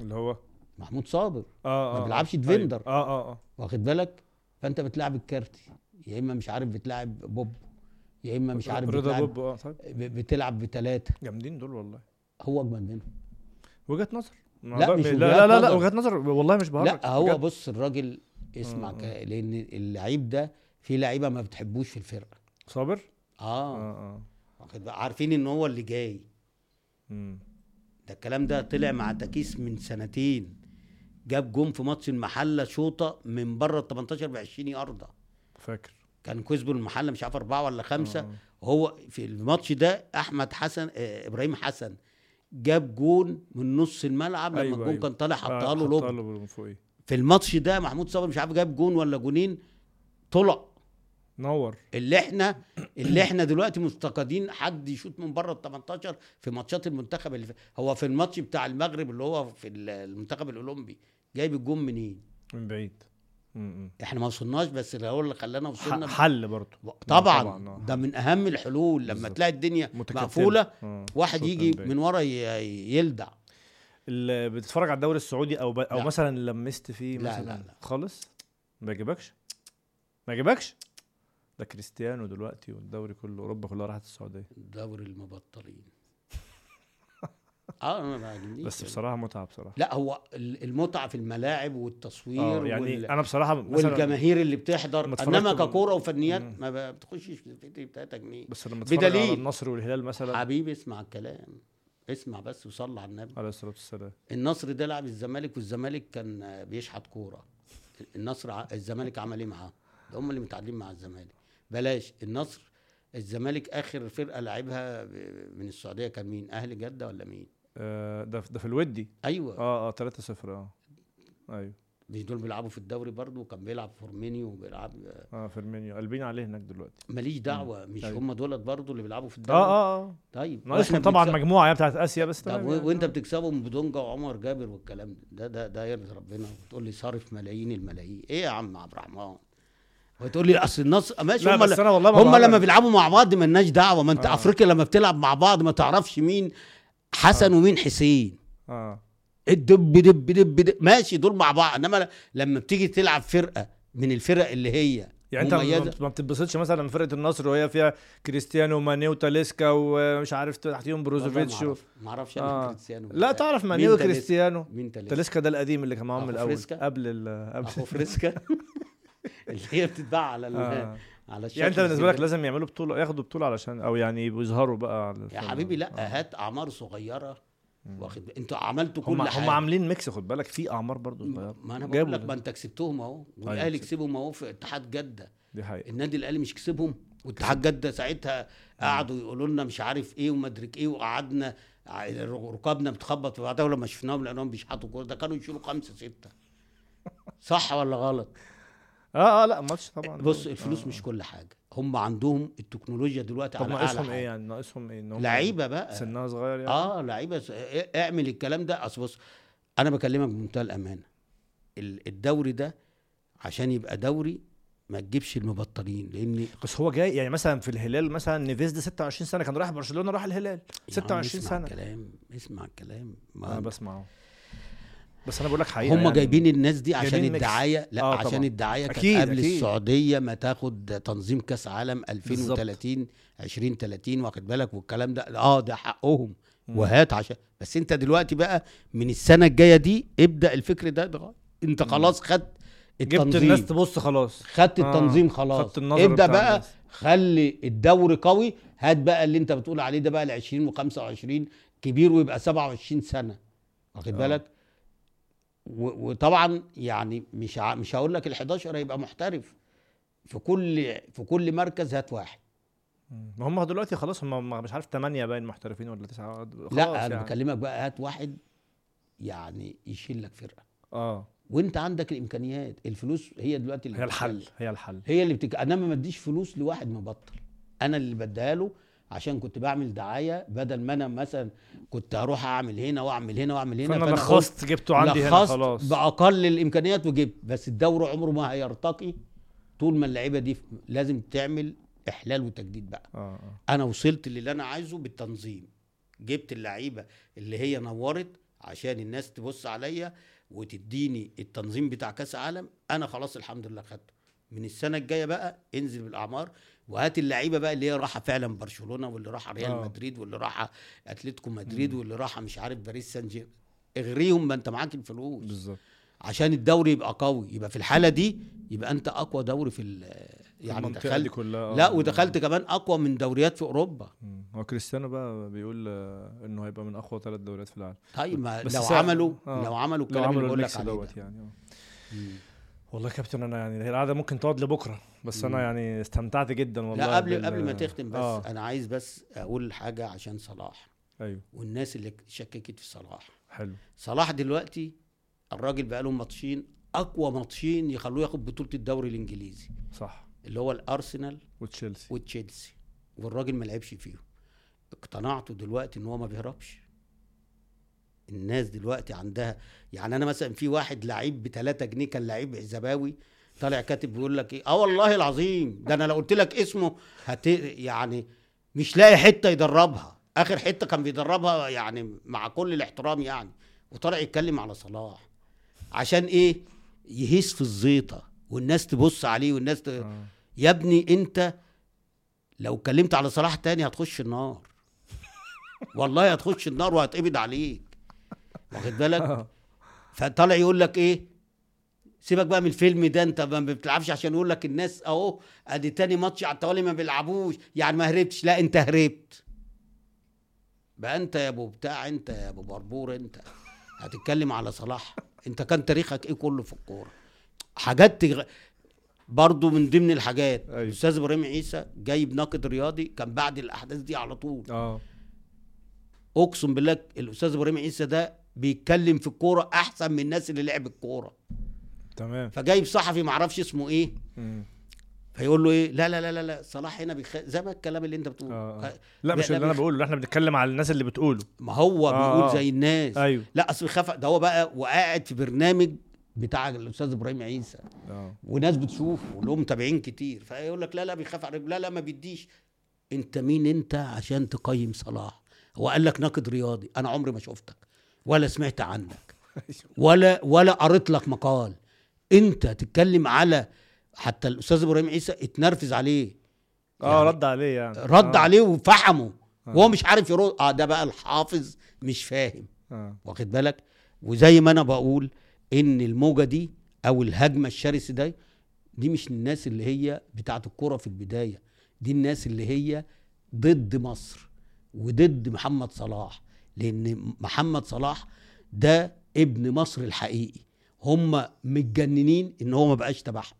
Speaker 1: اللي هو
Speaker 2: محمود صابر
Speaker 1: اه
Speaker 2: ما
Speaker 1: اه
Speaker 2: بيلعبش
Speaker 1: آه.
Speaker 2: ديفندر.
Speaker 1: أيوة. اه اه اه
Speaker 2: واخد بالك فانت بتلعب الكارتي يا اما مش عارف بتلعب بوب يا اما مش عارف
Speaker 1: رضا
Speaker 2: بتلعب
Speaker 1: بوب اه طيب
Speaker 2: ب- بتلعب بثلاثه
Speaker 1: جامدين دول والله
Speaker 2: هو اجمد منهم
Speaker 1: وجهه نظر
Speaker 2: لا،
Speaker 1: والله
Speaker 2: مش
Speaker 1: م-
Speaker 2: وجهات
Speaker 1: لا لا لا
Speaker 2: نظر.
Speaker 1: وجهه نظر والله مش بهرج
Speaker 2: لا هو
Speaker 1: بجد.
Speaker 2: بص الراجل اسمع
Speaker 1: آه،
Speaker 2: ك- لان اللعيب ده في لعيبه ما بتحبوش في الفرقه
Speaker 1: صابر اه
Speaker 2: اه
Speaker 1: اه
Speaker 2: واخد بالك؟ عارفين ان هو اللي جاي
Speaker 1: مم.
Speaker 2: ده الكلام ده طلع مع تكيس من سنتين جاب جون في ماتش المحله شوطه من بره ال 18 ب 20 يارده
Speaker 1: فاكر
Speaker 2: كان كسبوا المحله مش عارف اربعه ولا خمسه
Speaker 1: آه.
Speaker 2: هو في الماتش ده احمد حسن آه، ابراهيم حسن جاب جون من نص الملعب لما
Speaker 1: أيوة،
Speaker 2: الجون
Speaker 1: أيوة.
Speaker 2: كان طالع حطها
Speaker 1: آه،
Speaker 2: له
Speaker 1: حطها
Speaker 2: لوب
Speaker 1: له من فوق ايه
Speaker 2: في الماتش ده محمود صبري مش عارف جاب جون ولا جونين طلع
Speaker 1: نور
Speaker 2: اللي احنا اللي احنا دلوقتي مفتقدين حد يشوط من بره ال 18 في ماتشات المنتخب اللي فات. هو في الماتش بتاع المغرب اللي هو في ال- المنتخب الاولمبي جايب الجون منين؟
Speaker 1: من بعيد مم.
Speaker 2: احنا ما وصلناش بس اللي هو اللي خلانا وصلنا
Speaker 1: ح- حل برضه طبعاً،
Speaker 2: طبعا
Speaker 1: آه.
Speaker 2: ده من اهم الحلول لما
Speaker 1: بالظبط.
Speaker 2: تلاقي الدنيا
Speaker 1: متكتلة.
Speaker 2: مقفوله
Speaker 1: آه،
Speaker 2: واحد
Speaker 1: شوط
Speaker 2: يجي
Speaker 1: بعيد.
Speaker 2: من ورا ي- يلدع
Speaker 1: اللي بتتفرج على الدوري السعودي او ب... او
Speaker 2: لا.
Speaker 1: مثلا لمست فيه
Speaker 2: لا،
Speaker 1: مثلا
Speaker 2: لا، لا.
Speaker 1: خالص ما يجيبكش ما يجيبكش ده كريستيانو دلوقتي والدوري كله اوروبا كلها راحت السعوديه
Speaker 2: دوري
Speaker 1: [LAUGHS]
Speaker 2: المبطلين اه أنا ما عاجبنيش
Speaker 1: بس
Speaker 2: يعني.
Speaker 1: بصراحه متعه بصراحه
Speaker 2: لا هو ال- المتعه في الملاعب والتصوير
Speaker 1: اه يعني
Speaker 2: وال...
Speaker 1: انا بصراحه مثلا
Speaker 2: والجماهير اللي
Speaker 1: ما
Speaker 2: بتحضر
Speaker 1: اتفرجت
Speaker 2: انما
Speaker 1: بال-
Speaker 2: ككوره وفنيات
Speaker 1: مم.
Speaker 2: ما ب- بتخشش في الفكر بتاعتك جنيه
Speaker 1: بس لما اتفرج على
Speaker 2: بدليل.
Speaker 1: النصر والهلال مثلا
Speaker 2: حبيبي اسمع الكلام اسمع بس وصلي على النبي
Speaker 1: عليه الصلاه والسلام
Speaker 2: النصر ده لعب الزمالك والزمالك كان آه، بيشحت كوره النصر ع... الزمالك عمل ايه معاه؟ ده هم اللي متعادلين مع الزمالك بلاش النصر الزمالك اخر فرقه لعبها ب- من السعوديه كان مين؟ اهلي جده ولا مين؟
Speaker 1: آه، ده ده في الودي
Speaker 2: ايوه
Speaker 1: اه اه 3 0 اه ايوه
Speaker 2: مش دول بيلعبوا في الدوري برضه وكان بيلعب فورمينيو وبيلعب آه،
Speaker 1: اه فيرمينيو قلبين عليه هناك دلوقتي
Speaker 2: ماليش دعوه مش
Speaker 1: أيوة.
Speaker 2: هم دولت برضه اللي بيلعبوا في
Speaker 1: اه
Speaker 2: الدوري
Speaker 1: اه اه
Speaker 2: طيب
Speaker 1: ناقصهم
Speaker 2: وإحنا
Speaker 1: طبعا
Speaker 2: بنكسب-
Speaker 1: مجموعه هي يعني بتاعت اسيا بس
Speaker 2: طب
Speaker 1: تمام
Speaker 2: و-
Speaker 1: يعني.
Speaker 2: وانت بتكسبهم بدونجا وعمر جابر والكلام ده ده ده, ده يرضي ربنا وتقول لي صارف ملايين الملايين ايه يا عم عبد الرحمن وتقول لي اصل النصر ماشي
Speaker 1: لا
Speaker 2: هم
Speaker 1: بس انا والله ما
Speaker 2: هم
Speaker 1: بعرف.
Speaker 2: لما بيلعبوا مع بعض ملناش دعوه ما انت
Speaker 1: آه.
Speaker 2: آه. افريقيا لما بتلعب مع بعض ما تعرفش مين حسن آه. ومين حسين
Speaker 1: اه
Speaker 2: الدب دب دب دب ماشي دول مع بعض انما ل- لما بتيجي تلعب فرقه من الفرق اللي هي
Speaker 1: يعني انت ما-
Speaker 2: مميزة.
Speaker 1: ما بتتبسطش مثلا من فرقه النصر وهي فيها كريستيانو وماني وتاليسكا ومش عارف تحتيهم بروزوفيتش و...
Speaker 2: ما اعرفش
Speaker 1: آه.
Speaker 2: انا كريستيانو
Speaker 1: لا تعرف ماني
Speaker 2: مين تاليسكا؟
Speaker 1: وكريستيانو
Speaker 2: مين تاليسكا
Speaker 1: تاليسكا ده القديم اللي كان معاهم من
Speaker 2: أخو
Speaker 1: الاول
Speaker 2: فريسكا؟
Speaker 1: قبل ال
Speaker 2: اخو
Speaker 1: قبل [LAUGHS]
Speaker 2: فريسكا اللي هي بتتباع على ال-
Speaker 1: آه.
Speaker 2: على الشكل
Speaker 1: يعني انت بالنسبه لك
Speaker 2: الزبالة.
Speaker 1: لازم يعملوا بطوله ياخدوا بطوله علشان او يعني يظهروا بقى على
Speaker 2: يا
Speaker 1: الفن.
Speaker 2: حبيبي لا
Speaker 1: آه.
Speaker 2: هات اعمار صغيره
Speaker 1: مم.
Speaker 2: واخد بال- انتوا عملتوا كل
Speaker 1: هم
Speaker 2: حاجه
Speaker 1: هم عاملين ميكس خد بالك في اعمار برضو صغيره
Speaker 2: ما انا
Speaker 1: جابوا
Speaker 2: بقول لك
Speaker 1: ده.
Speaker 2: ما انت كسبتهم اهو
Speaker 1: أيوة،
Speaker 2: والاهلي
Speaker 1: كسبت.
Speaker 2: كسبهم اهو في اتحاد جده
Speaker 1: دي حقيقه
Speaker 2: النادي الاهلي مش كسبهم واتحاد جده ساعتها قعدوا يقولوا لنا مش عارف ايه وما ادري ايه وقعدنا ع- ركابنا بتخبط في بعضها ولما شفناهم لانهم بيشحطوا كوره ده كانوا يشيلوا خمسه سته صح ولا غلط؟
Speaker 1: اه اه لا ماتش طبعا
Speaker 2: بص الفلوس مش كل حاجه هم عندهم التكنولوجيا دلوقتي
Speaker 1: آه. طب
Speaker 2: على اعلى
Speaker 1: ناقصهم
Speaker 2: حاجه
Speaker 1: ايه يعني ناقصهم ايه ان هم
Speaker 2: لعيبه بقى
Speaker 1: سنها صغير يعني
Speaker 2: اه لعيبه س- إيه- اعمل الكلام ده اصل بص انا بكلمك بمنتهى الامانه ال- الدوري ده عشان يبقى دوري ما تجيبش المبطلين لان
Speaker 1: بس هو جاي يعني مثلا في الهلال مثلا نيفيز ده 26 سنه كان رايح برشلونه راح الهلال
Speaker 2: يا عم
Speaker 1: 26
Speaker 2: اسمع
Speaker 1: سنه
Speaker 2: الكلام اسمع الكلام ما
Speaker 1: انا بسمعه بس انا بقول لك حقيقه
Speaker 2: هم
Speaker 1: آه، يعني
Speaker 2: جايبين الناس دي عشان
Speaker 1: جايبين ميكس.
Speaker 2: الدعايه لا
Speaker 1: آه
Speaker 2: آه عشان
Speaker 1: طبعاً.
Speaker 2: الدعايه كانت
Speaker 1: أكيد،
Speaker 2: قبل
Speaker 1: أكيد.
Speaker 2: السعوديه ما تاخد تنظيم كاس عالم 2030 2030 واخد بالك والكلام ده اه ده حقهم
Speaker 1: مم.
Speaker 2: وهات عشان بس انت دلوقتي بقى من السنه الجايه دي ابدا الفكر ده دغ- انت خلاص خدت
Speaker 1: جبت
Speaker 2: التنظيم
Speaker 1: الناس تبص خلاص
Speaker 2: خدت
Speaker 1: آه،
Speaker 2: التنظيم خلاص
Speaker 1: خدت النظر
Speaker 2: ابدا
Speaker 1: بتاع
Speaker 2: بقى
Speaker 1: الناس.
Speaker 2: خلي الدوري قوي هات بقى اللي انت بتقول عليه ده بقى ال 20 و25 كبير ويبقى 27 سنه واخد
Speaker 1: آه.
Speaker 2: بالك و- وطبعا يعني مش ع- مش هقول لك ال 11 هيبقى محترف في كل في كل مركز هات واحد
Speaker 1: ما هم دلوقتي خلاص هم هم مش عارف 8 باين محترفين ولا 9
Speaker 2: لا انا
Speaker 1: يعني.
Speaker 2: بكلمك بقى هات واحد يعني يشيل لك فرقه
Speaker 1: اه
Speaker 2: وانت عندك الامكانيات الفلوس هي دلوقتي اللي
Speaker 1: هي الحل
Speaker 2: بتحل.
Speaker 1: هي الحل
Speaker 2: هي اللي بتك... انا ما بديش فلوس لواحد مبطل انا اللي بديها له عشان كنت بعمل دعايه بدل ما انا مثلا كنت هروح اعمل هنا واعمل هنا واعمل هنا
Speaker 1: فانا
Speaker 2: فأنا
Speaker 1: لخصت جبته
Speaker 2: قلت-
Speaker 1: عندي هنا
Speaker 2: لخصت
Speaker 1: خلاص
Speaker 2: باقل الامكانيات وجبت بس الدوري عمره ما هيرتقي طول ما اللعيبه دي في- لازم تعمل احلال وتجديد بقى
Speaker 1: اه اه
Speaker 2: انا وصلت للي انا عايزه بالتنظيم جبت اللعيبه اللي هي نورت عشان الناس تبص عليا وتديني التنظيم بتاع كاس عالم انا خلاص الحمد لله خدته من السنه الجايه بقى انزل بالاعمار وهات اللعيبه بقى اللي هي راحه فعلا برشلونه واللي راحه ريال
Speaker 1: آه.
Speaker 2: مدريد واللي راحه اتلتيكو مدريد
Speaker 1: مم.
Speaker 2: واللي راحه مش عارف باريس سان جيرمان اغريهم ما انت معاك الفلوس
Speaker 1: بالظبط
Speaker 2: عشان الدوري يبقى قوي يبقى في الحاله دي يبقى انت اقوى دوري في ال- يعني
Speaker 1: المنطقة دي
Speaker 2: دخلت
Speaker 1: كلها آه.
Speaker 2: لا ودخلت كمان اقوى من دوريات في اوروبا
Speaker 1: مم. هو كريستيانو بقى بيقول آه، انه هيبقى من اقوى ثلاث دوريات في العالم
Speaker 2: طيب ما
Speaker 1: بس
Speaker 2: لو
Speaker 1: سا-
Speaker 2: عملوا
Speaker 1: آه.
Speaker 2: لو عملوا
Speaker 1: لو
Speaker 2: الكلام اللي
Speaker 1: عملوا
Speaker 2: بقول
Speaker 1: الميكس
Speaker 2: لك عليه ده.
Speaker 1: دوت يعني آه.
Speaker 2: مم.
Speaker 1: والله يا كابتن انا يعني هي القعده ممكن تقعد لبكره بس انا
Speaker 2: مم.
Speaker 1: يعني استمتعت جدا والله
Speaker 2: لا قبل
Speaker 1: بال-
Speaker 2: قبل ما تختم بس
Speaker 1: آه.
Speaker 2: آه. انا عايز بس اقول حاجه عشان صلاح
Speaker 1: ايوه
Speaker 2: والناس اللي شككت في صلاح
Speaker 1: حلو
Speaker 2: صلاح دلوقتي الراجل بقى له ماتشين اقوى ماتشين يخلوه ياخد بطوله الدوري الانجليزي
Speaker 1: صح
Speaker 2: اللي هو الارسنال
Speaker 1: وتشيلسي
Speaker 2: وتشيلسي والراجل ما لعبش فيهم اقتنعته دلوقتي ان هو ما بيهربش الناس دلوقتي عندها يعني انا مثلا في واحد لعيب ب 3 جنيه كان لعيب عزباوي طالع كاتب بيقول لك ايه اه والله العظيم ده انا لو قلت لك اسمه هت يعني مش لاقي حته يدربها اخر حته كان بيدربها يعني مع كل الاحترام يعني وطالع يتكلم على صلاح عشان ايه يهيس في الزيطه والناس تبص عليه والناس ت... [LAUGHS]
Speaker 1: آه.
Speaker 2: يا ابني انت لو اتكلمت على صلاح تاني هتخش النار والله هتخش النار وهتقبض عليك واخد بالك
Speaker 1: آه.
Speaker 2: فطالع يقول لك ايه سيبك بقى من الفيلم ده انت ما بتلعبش عشان يقول لك الناس اهو ادي تاني ماتش على التوالي ما بيلعبوش يعني ما هربتش لا انت هربت بقى انت يا ابو بتاع انت يا ابو بربور انت هتتكلم على صلاح انت كان تاريخك ايه كله في الكوره حاجات تغ... برضو من ضمن الحاجات
Speaker 1: أيوة.
Speaker 2: الاستاذ ابراهيم عيسى جايب ناقد رياضي كان بعد الاحداث دي على طول
Speaker 1: اه
Speaker 2: اقسم بالله الاستاذ ابراهيم عيسى ده بيتكلم في الكوره احسن من الناس اللي لعب الكوره
Speaker 1: تمام
Speaker 2: فجايب صحفي معرفش اسمه ايه
Speaker 1: مم.
Speaker 2: فيقول له ايه لا لا لا لا, لا صلاح هنا بيخ... زي ما الكلام اللي انت بتقوله
Speaker 1: آه، آه.
Speaker 2: خ-
Speaker 1: لا مش
Speaker 2: لا،
Speaker 1: اللي انا
Speaker 2: بيخ-
Speaker 1: بقوله احنا بنتكلم على الناس اللي بتقوله
Speaker 2: ما هو
Speaker 1: آه،
Speaker 2: بيقول
Speaker 1: آه.
Speaker 2: زي الناس
Speaker 1: ايوه
Speaker 2: لا اصل خفق ده هو بقى وقاعد في برنامج بتاع الاستاذ ابراهيم عيسى [LAUGHS]
Speaker 1: اه
Speaker 2: وناس بتشوفه ولهم متابعين كتير فيقول لك لا لا بيخاف على رجله لا لا ما بيديش انت مين انت عشان تقيم صلاح هو قال لك ناقد رياضي انا عمري ما شفتك ولا سمعت عنك ولا ولا قريت لك مقال انت تتكلم على حتى الاستاذ ابراهيم عيسى اتنرفز عليه
Speaker 1: اه
Speaker 2: يعني
Speaker 1: رد عليه يعني
Speaker 2: رد
Speaker 1: آه.
Speaker 2: عليه وفحمه
Speaker 1: آه.
Speaker 2: وهو مش عارف يرد اه ده بقى الحافظ مش فاهم
Speaker 1: آه.
Speaker 2: واخد بالك وزي ما انا بقول ان الموجه دي او الهجمه الشرسه دي دي مش الناس اللي هي بتاعه الكره في البدايه دي الناس اللي هي ضد مصر وضد محمد صلاح لان محمد صلاح ده ابن مصر الحقيقي هم متجننين ان هو ما بقاش تبعهم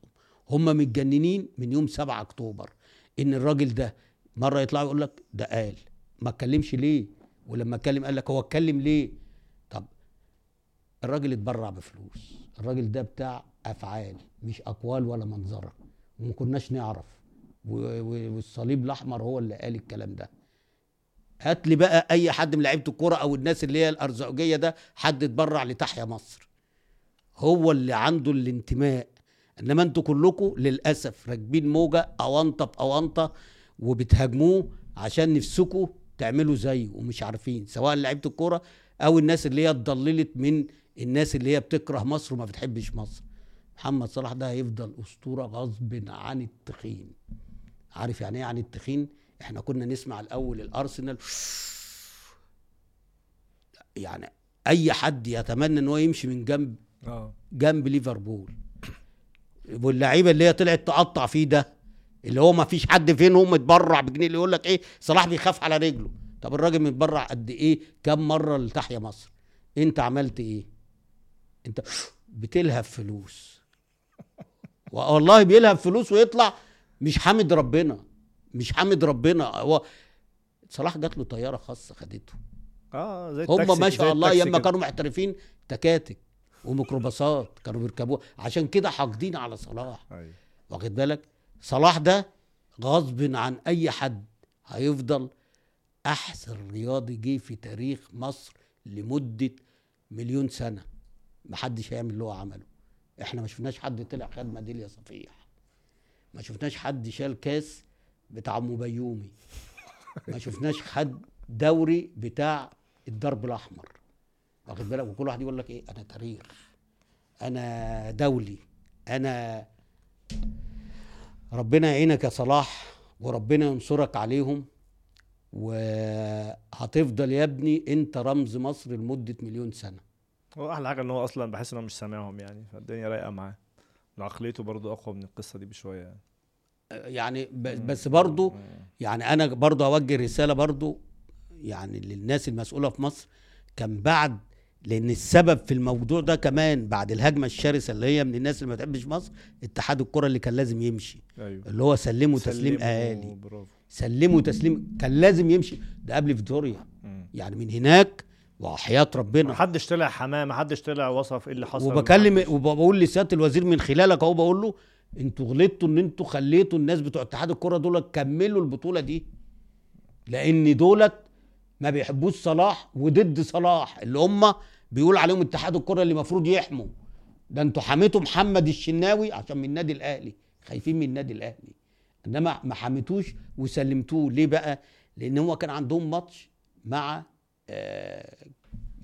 Speaker 2: هم متجننين من يوم 7 اكتوبر ان الراجل ده مره يطلع يقول لك ده قال ما اتكلمش ليه ولما اتكلم قال لك هو اتكلم ليه طب الراجل اتبرع بفلوس الراجل ده بتاع افعال مش اقوال ولا منظره وما كناش نعرف و- و- والصليب الاحمر هو اللي قال الكلام ده هات لي بقى اي حد من لعيبه الكوره او الناس اللي هي الارزعجيه ده حد اتبرع لتحيا مصر هو اللي عنده الانتماء انما انتوا كلكم للاسف راكبين موجه اونطه باونطه وبتهاجموه عشان نفسكم تعملوا زيه ومش عارفين سواء لعيبه الكوره او الناس اللي هي اتضللت من الناس اللي هي بتكره مصر وما بتحبش مصر محمد صلاح ده هيفضل اسطوره غصب عن التخين عارف يعني ايه عن التخين احنا كنا نسمع الاول الارسنال يعني اي حد يتمنى ان هو يمشي من جنب
Speaker 1: اه
Speaker 2: جنب ليفربول واللعيبه اللي هي طلعت تقطع فيه ده اللي هو ما فيش حد فينهم متبرع بجنيه اللي يقول لك ايه صلاح بيخاف على رجله طب الراجل متبرع قد ايه كم مره لتحيا مصر انت عملت ايه انت بتلهب فلوس والله بيلهب فلوس ويطلع مش حامد ربنا مش حامد ربنا هو صلاح جات له طياره خاصه خدته
Speaker 1: اه زي
Speaker 2: هم
Speaker 1: التاكسي-
Speaker 2: ما
Speaker 1: زي
Speaker 2: شاء الله
Speaker 1: التاكسي
Speaker 2: ياما
Speaker 1: كده.
Speaker 2: كانوا محترفين تكاتك وميكروباصات كانوا بيركبوها عشان كده حاقدين على صلاح
Speaker 1: أيوة.
Speaker 2: واخد بالك صلاح ده غصب عن اي حد هيفضل احسن رياضي جه في تاريخ مصر لمده مليون سنه محدش هيعمل اللي هو عمله احنا ما شفناش حد طلع خد ميداليه صفيح ما شفناش حد شال كاس بتاع أم بيومي ما شفناش حد دوري بتاع الدرب الاحمر واخد بالك وكل واحد يقول لك ايه انا تاريخ انا دولي انا ربنا يعينك يا صلاح وربنا ينصرك عليهم وهتفضل يا ابني انت رمز مصر لمده مليون سنه
Speaker 1: هو احلى حاجه ان هو اصلا بحس ان هو مش سامعهم يعني فالدنيا رايقه معاه عقليته برضه اقوى من القصه دي بشويه يعني آه.
Speaker 2: يعني ب- بس برضو
Speaker 1: مم.
Speaker 2: يعني انا برضو اوجه رساله برضو يعني للناس المسؤوله في مصر كان بعد لان السبب في الموضوع ده كمان بعد الهجمه الشرسه اللي هي من الناس اللي ما بتحبش مصر اتحاد الكره اللي كان لازم يمشي
Speaker 1: ايوه
Speaker 2: اللي هو سلموا تسليم
Speaker 1: سلموا،
Speaker 2: اهالي
Speaker 1: برافو
Speaker 2: سلموا تسليم كان لازم يمشي ده قبل فيتوريا
Speaker 1: مم.
Speaker 2: يعني من هناك وحياه ربنا
Speaker 1: محدش طلع حماه محدش طلع وصف ايه اللي حصل
Speaker 2: وبكلم وبقول لسياده الوزير من خلالك اهو بقول له انتوا غلطتوا ان انتوا خليتوا الناس بتوع اتحاد الكره دول كملوا البطوله دي لان دولت ما بيحبوش صلاح وضد صلاح اللي هم بيقول عليهم اتحاد الكره اللي المفروض يحموا ده انتوا حميتوا محمد الشناوي عشان من النادي الاهلي خايفين من النادي الاهلي انما ما حميتوش وسلمتوه ليه بقى لان هو كان عندهم ماتش مع آه،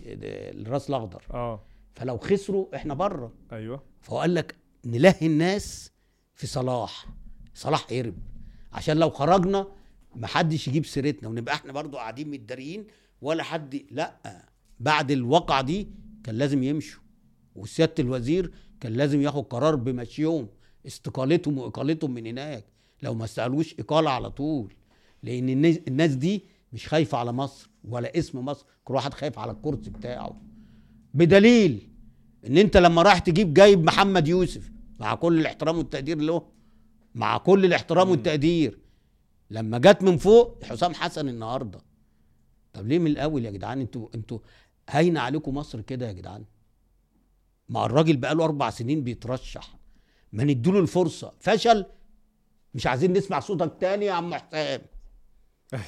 Speaker 2: الراس الاخضر
Speaker 1: اه
Speaker 2: فلو خسروا احنا بره
Speaker 1: ايوه
Speaker 2: فهو قال لك نلهي الناس في صلاح صلاح هرب عشان لو خرجنا محدش يجيب سيرتنا ونبقى احنا برضو قاعدين متداريين ولا حد لا بعد الواقعة دي كان لازم يمشوا وسيادة الوزير كان لازم ياخد قرار بمشيهم استقالتهم واقالتهم من هناك لو ما استقالوش اقالة على طول لان الناس- الناس دي مش خايفة على مصر ولا اسم مصر كل واحد خايف على الكرسي بتاعه بدليل ان انت لما رايح تجيب جايب محمد يوسف مع كل الاحترام والتقدير له مع كل الاحترام والتقدير لما جت من فوق حسام حسن النهارده طب ليه من الاول يا جدعان انتوا انتوا هاينه عليكم مصر كده يا جدعان ما الراجل بقاله اربع سنين بيترشح ما نديله الفرصه فشل مش عايزين نسمع صوتك تاني يا عم حسام
Speaker 1: أيوه.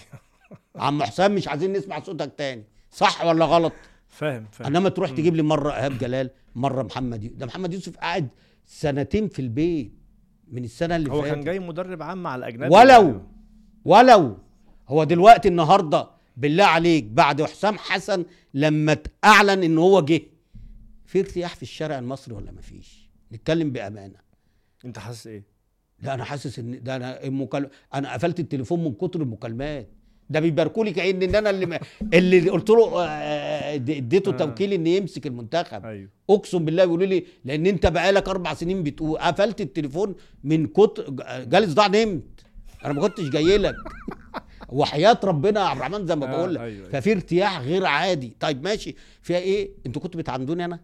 Speaker 2: عم حسام مش عايزين نسمع صوتك تاني صح ولا غلط
Speaker 1: أيوه. فاهم فاهم
Speaker 2: انما تروح تجيب لي مره ايهاب جلال مره محمد يوسف ده محمد يوسف قاعد سنتين في البيت من السنه اللي
Speaker 1: هو كان
Speaker 2: فاتت
Speaker 1: جاي مدرب عام على الاجنبي
Speaker 2: ولو ولو هو دلوقتي النهارده بالله عليك بعد حسام حسن لما ت- اعلن ان هو جه في ارتياح في الشارع المصري ولا مفيش نتكلم بامانه
Speaker 1: انت حاسس ايه؟
Speaker 2: لا انا حاسس ان ده انا المكال... انا قفلت التليفون من كتر المكالمات ده بيباركوا لي كأن ان انا اللي ما... اللي قلت له آه، آه، د- اديته
Speaker 1: آه.
Speaker 2: توكيل ان يمسك المنتخب
Speaker 1: ايوه
Speaker 2: اقسم بالله بيقولوا لي لان انت بقالك اربع سنين بتقول قفلت التليفون من كتر جالس ضاع نمت انا ما كنتش جاي لك وحياه ربنا يا عبد الرحمن زي ما
Speaker 1: آه،
Speaker 2: بقول لك
Speaker 1: أيوة، أيوة.
Speaker 2: ففي ارتياح غير عادي طيب ماشي فيها ايه انتوا كنتوا بتعندوني انا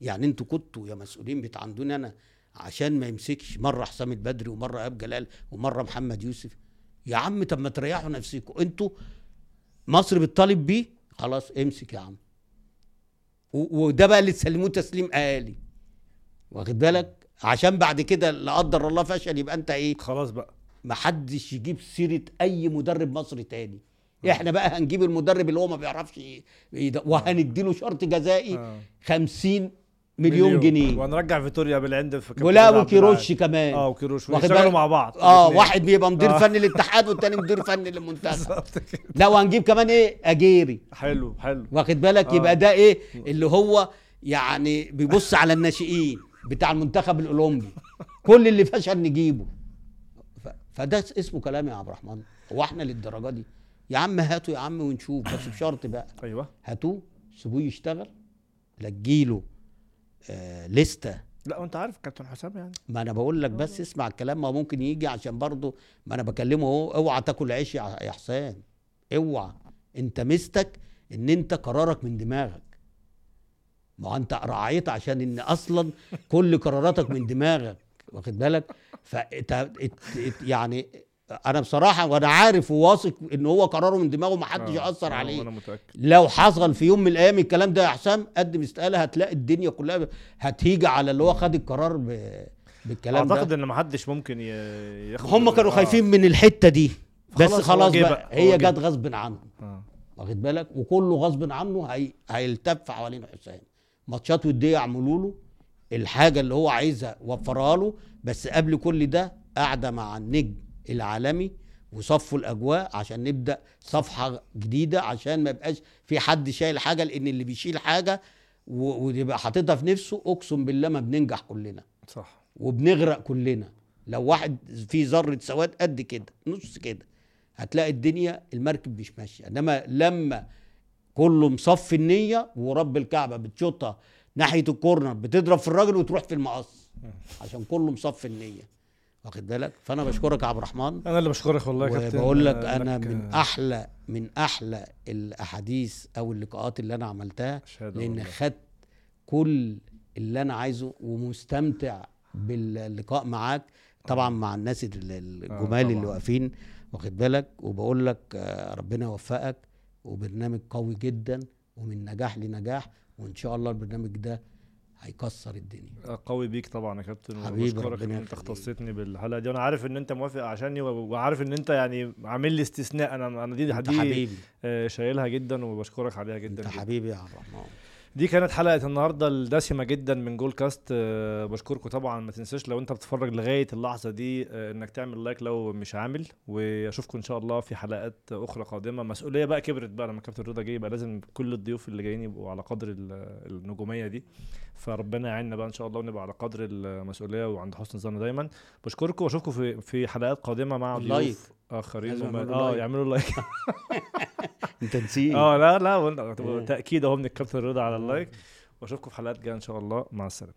Speaker 2: يعني انتوا كنتوا يا مسؤولين بتعندوني انا عشان ما يمسكش مره حسام البدري ومره ايهاب جلال ومره محمد يوسف يا عم طب ما تريحوا نفسكم انتوا مصر بتطالب بيه خلاص امسك يا عم و- وده بقى اللي تسلموه تسليم آلي واخد بالك عشان بعد كده لا قدر الله فشل يبقى انت ايه
Speaker 1: خلاص بقى
Speaker 2: محدش يجيب سيرة أي مدرب مصري تاني احنا بقى هنجيب المدرب اللي هو ما بيعرفش ي- يد- وهنديله شرط جزائي
Speaker 1: آه.
Speaker 2: 50 مليون جنيه
Speaker 1: وهنرجع فيتوريا بالعند في كابتن
Speaker 2: ولا
Speaker 1: عبد
Speaker 2: وكيروش
Speaker 1: العال.
Speaker 2: كمان
Speaker 1: اه وكيروش
Speaker 2: واخد
Speaker 1: ويشتغلوا
Speaker 2: بالك؟
Speaker 1: مع بعض
Speaker 2: اه
Speaker 1: الاتنين.
Speaker 2: واحد بيبقى مدير
Speaker 1: آه.
Speaker 2: فني للاتحاد والتاني مدير فني للمنتخب
Speaker 1: [LAUGHS] بالظبط كده.
Speaker 2: لا وهنجيب كمان ايه اجيري
Speaker 1: حلو حلو
Speaker 2: واخد بالك
Speaker 1: آه.
Speaker 2: يبقى ده ايه اللي هو يعني بيبص على الناشئين بتاع المنتخب الاولمبي كل اللي فشل نجيبه ف... فده اس- اسمه كلام يا عبد الرحمن هو احنا للدرجه دي يا عم هاتوا يا عم ونشوف بس بشرط بقى
Speaker 1: ايوه
Speaker 2: هاتوه سيبوه يشتغل لا تجيله آه لستة
Speaker 1: لا وانت عارف كابتن حسام يعني
Speaker 2: ما انا بقول لك بس اسمع الكلام ما هو ممكن يجي عشان برضه ما انا بكلمه اهو اوعى تاكل عيش يا يا حسام اوعى انت مستك ان انت قرارك من دماغك ما هو انت راعيت عشان ان اصلا كل قراراتك من دماغك واخد بالك فانت يعني انا بصراحه وانا عارف وواثق ان هو قراره من دماغه ما حدش
Speaker 1: آه،
Speaker 2: اثر
Speaker 1: آه،
Speaker 2: عليه
Speaker 1: انا متاكد
Speaker 2: لو حصل في يوم من الايام الكلام ده يا حسام قدم استقاله هتلاقي الدنيا كلها هتهيج على اللي هو خد القرار ب... بالكلام ده
Speaker 1: اعتقد ان محدش ممكن ي- ياخد
Speaker 2: هم كانوا
Speaker 1: آه.
Speaker 2: خايفين من الحته دي بس
Speaker 1: خلاص، هو
Speaker 2: خلاص, خلاص
Speaker 1: جه
Speaker 2: بقى,
Speaker 1: بقى، هو
Speaker 2: هي
Speaker 1: جه.
Speaker 2: جت غصب عنهم
Speaker 1: آه.
Speaker 2: واخد بالك وكله غصب عنه هي... هيلتف حوالين حسام ماتشات وديه يعملوا له الحاجه اللي هو عايزها وفرها له بس قبل كل ده قاعده مع النجم العالمي وصفوا الاجواء عشان نبدا صفحه جديده عشان ما يبقاش في حد شايل حاجه لان اللي بيشيل حاجه و... ويبقى حاططها في نفسه اقسم بالله ما بننجح كلنا
Speaker 1: آه، صح
Speaker 2: وبنغرق كلنا لو واحد في ذره سواد قد كده نص كده هتلاقي الدنيا المركب مش ماشيه انما لما كله مصفي النيه ورب الكعبه بتشوطها ناحيه الكورنر بتضرب في الراجل وتروح
Speaker 1: [LAUGHS]
Speaker 2: في المقص عشان كله مصفي النيه واخد بالك
Speaker 1: [LAUGHS]
Speaker 2: فانا بشكرك يا عبد الرحمن
Speaker 1: انا اللي بشكرك والله يا كابتن
Speaker 2: وبقول لك
Speaker 1: آه،
Speaker 2: انا
Speaker 1: إنك،
Speaker 2: من
Speaker 1: آه،
Speaker 2: احلى من احلى الاحاديث او اللقاءات اللي انا عملتها
Speaker 1: أشهد
Speaker 2: لان
Speaker 1: والله.
Speaker 2: خدت كل اللي انا عايزه ومستمتع باللقاء معاك طبعا مع الناس ال- ال-
Speaker 1: آه،
Speaker 2: الجمال اللي
Speaker 1: طبعاً.
Speaker 2: واقفين واخد بالك وبقول لك آه، ربنا يوفقك وبرنامج قوي جدا ومن نجاح لنجاح وان شاء الله البرنامج ده هيكسر الدنيا
Speaker 1: أه، قوي بيك طبعا يا كابتن
Speaker 2: حبيبي،
Speaker 1: وبشكرك ان
Speaker 2: ربنا
Speaker 1: انت
Speaker 2: يخليك.
Speaker 1: اختصيتني بالحلقه دي وانا عارف ان انت موافق عشاني و- وعارف ان انت يعني عامل لي استثناء انا انا دي
Speaker 2: انت
Speaker 1: دي
Speaker 2: حبيبي
Speaker 1: آه، شايلها جدا وبشكرك عليها جدا
Speaker 2: انت
Speaker 1: جداً.
Speaker 2: حبيبي يا عبد الرحمن
Speaker 1: دي كانت حلقه النهارده الدسمه جدا من جول كاست آه، بشكركم طبعا ما تنساش لو انت بتتفرج لغايه اللحظه دي آه، انك تعمل لايك لو مش عامل واشوفكم ان شاء الله في حلقات اخرى قادمه مسؤوليه بقى كبرت بقى لما كابتن رضا جه يبقى لازم كل الضيوف اللي جايين يبقوا على قدر ال- النجوميه دي فربنا يعيننا بقى ان شاء الله ونبقى على قدر المسؤوليه وعند حسن ظن دايما بشكركم واشوفكم في في حلقات قادمه مع
Speaker 2: لايك
Speaker 1: ضيوف اخرين
Speaker 2: لازم
Speaker 1: وما-
Speaker 2: يعملوا
Speaker 1: اه
Speaker 2: لايك.
Speaker 1: يعملوا لايك
Speaker 2: انت نسيت
Speaker 1: اه لا لا وإن-
Speaker 2: إيه.
Speaker 1: تاكيد اهو من الكابتن رضا على
Speaker 2: آه.
Speaker 1: اللايك واشوفكم في حلقات جايه ان شاء الله مع السلامه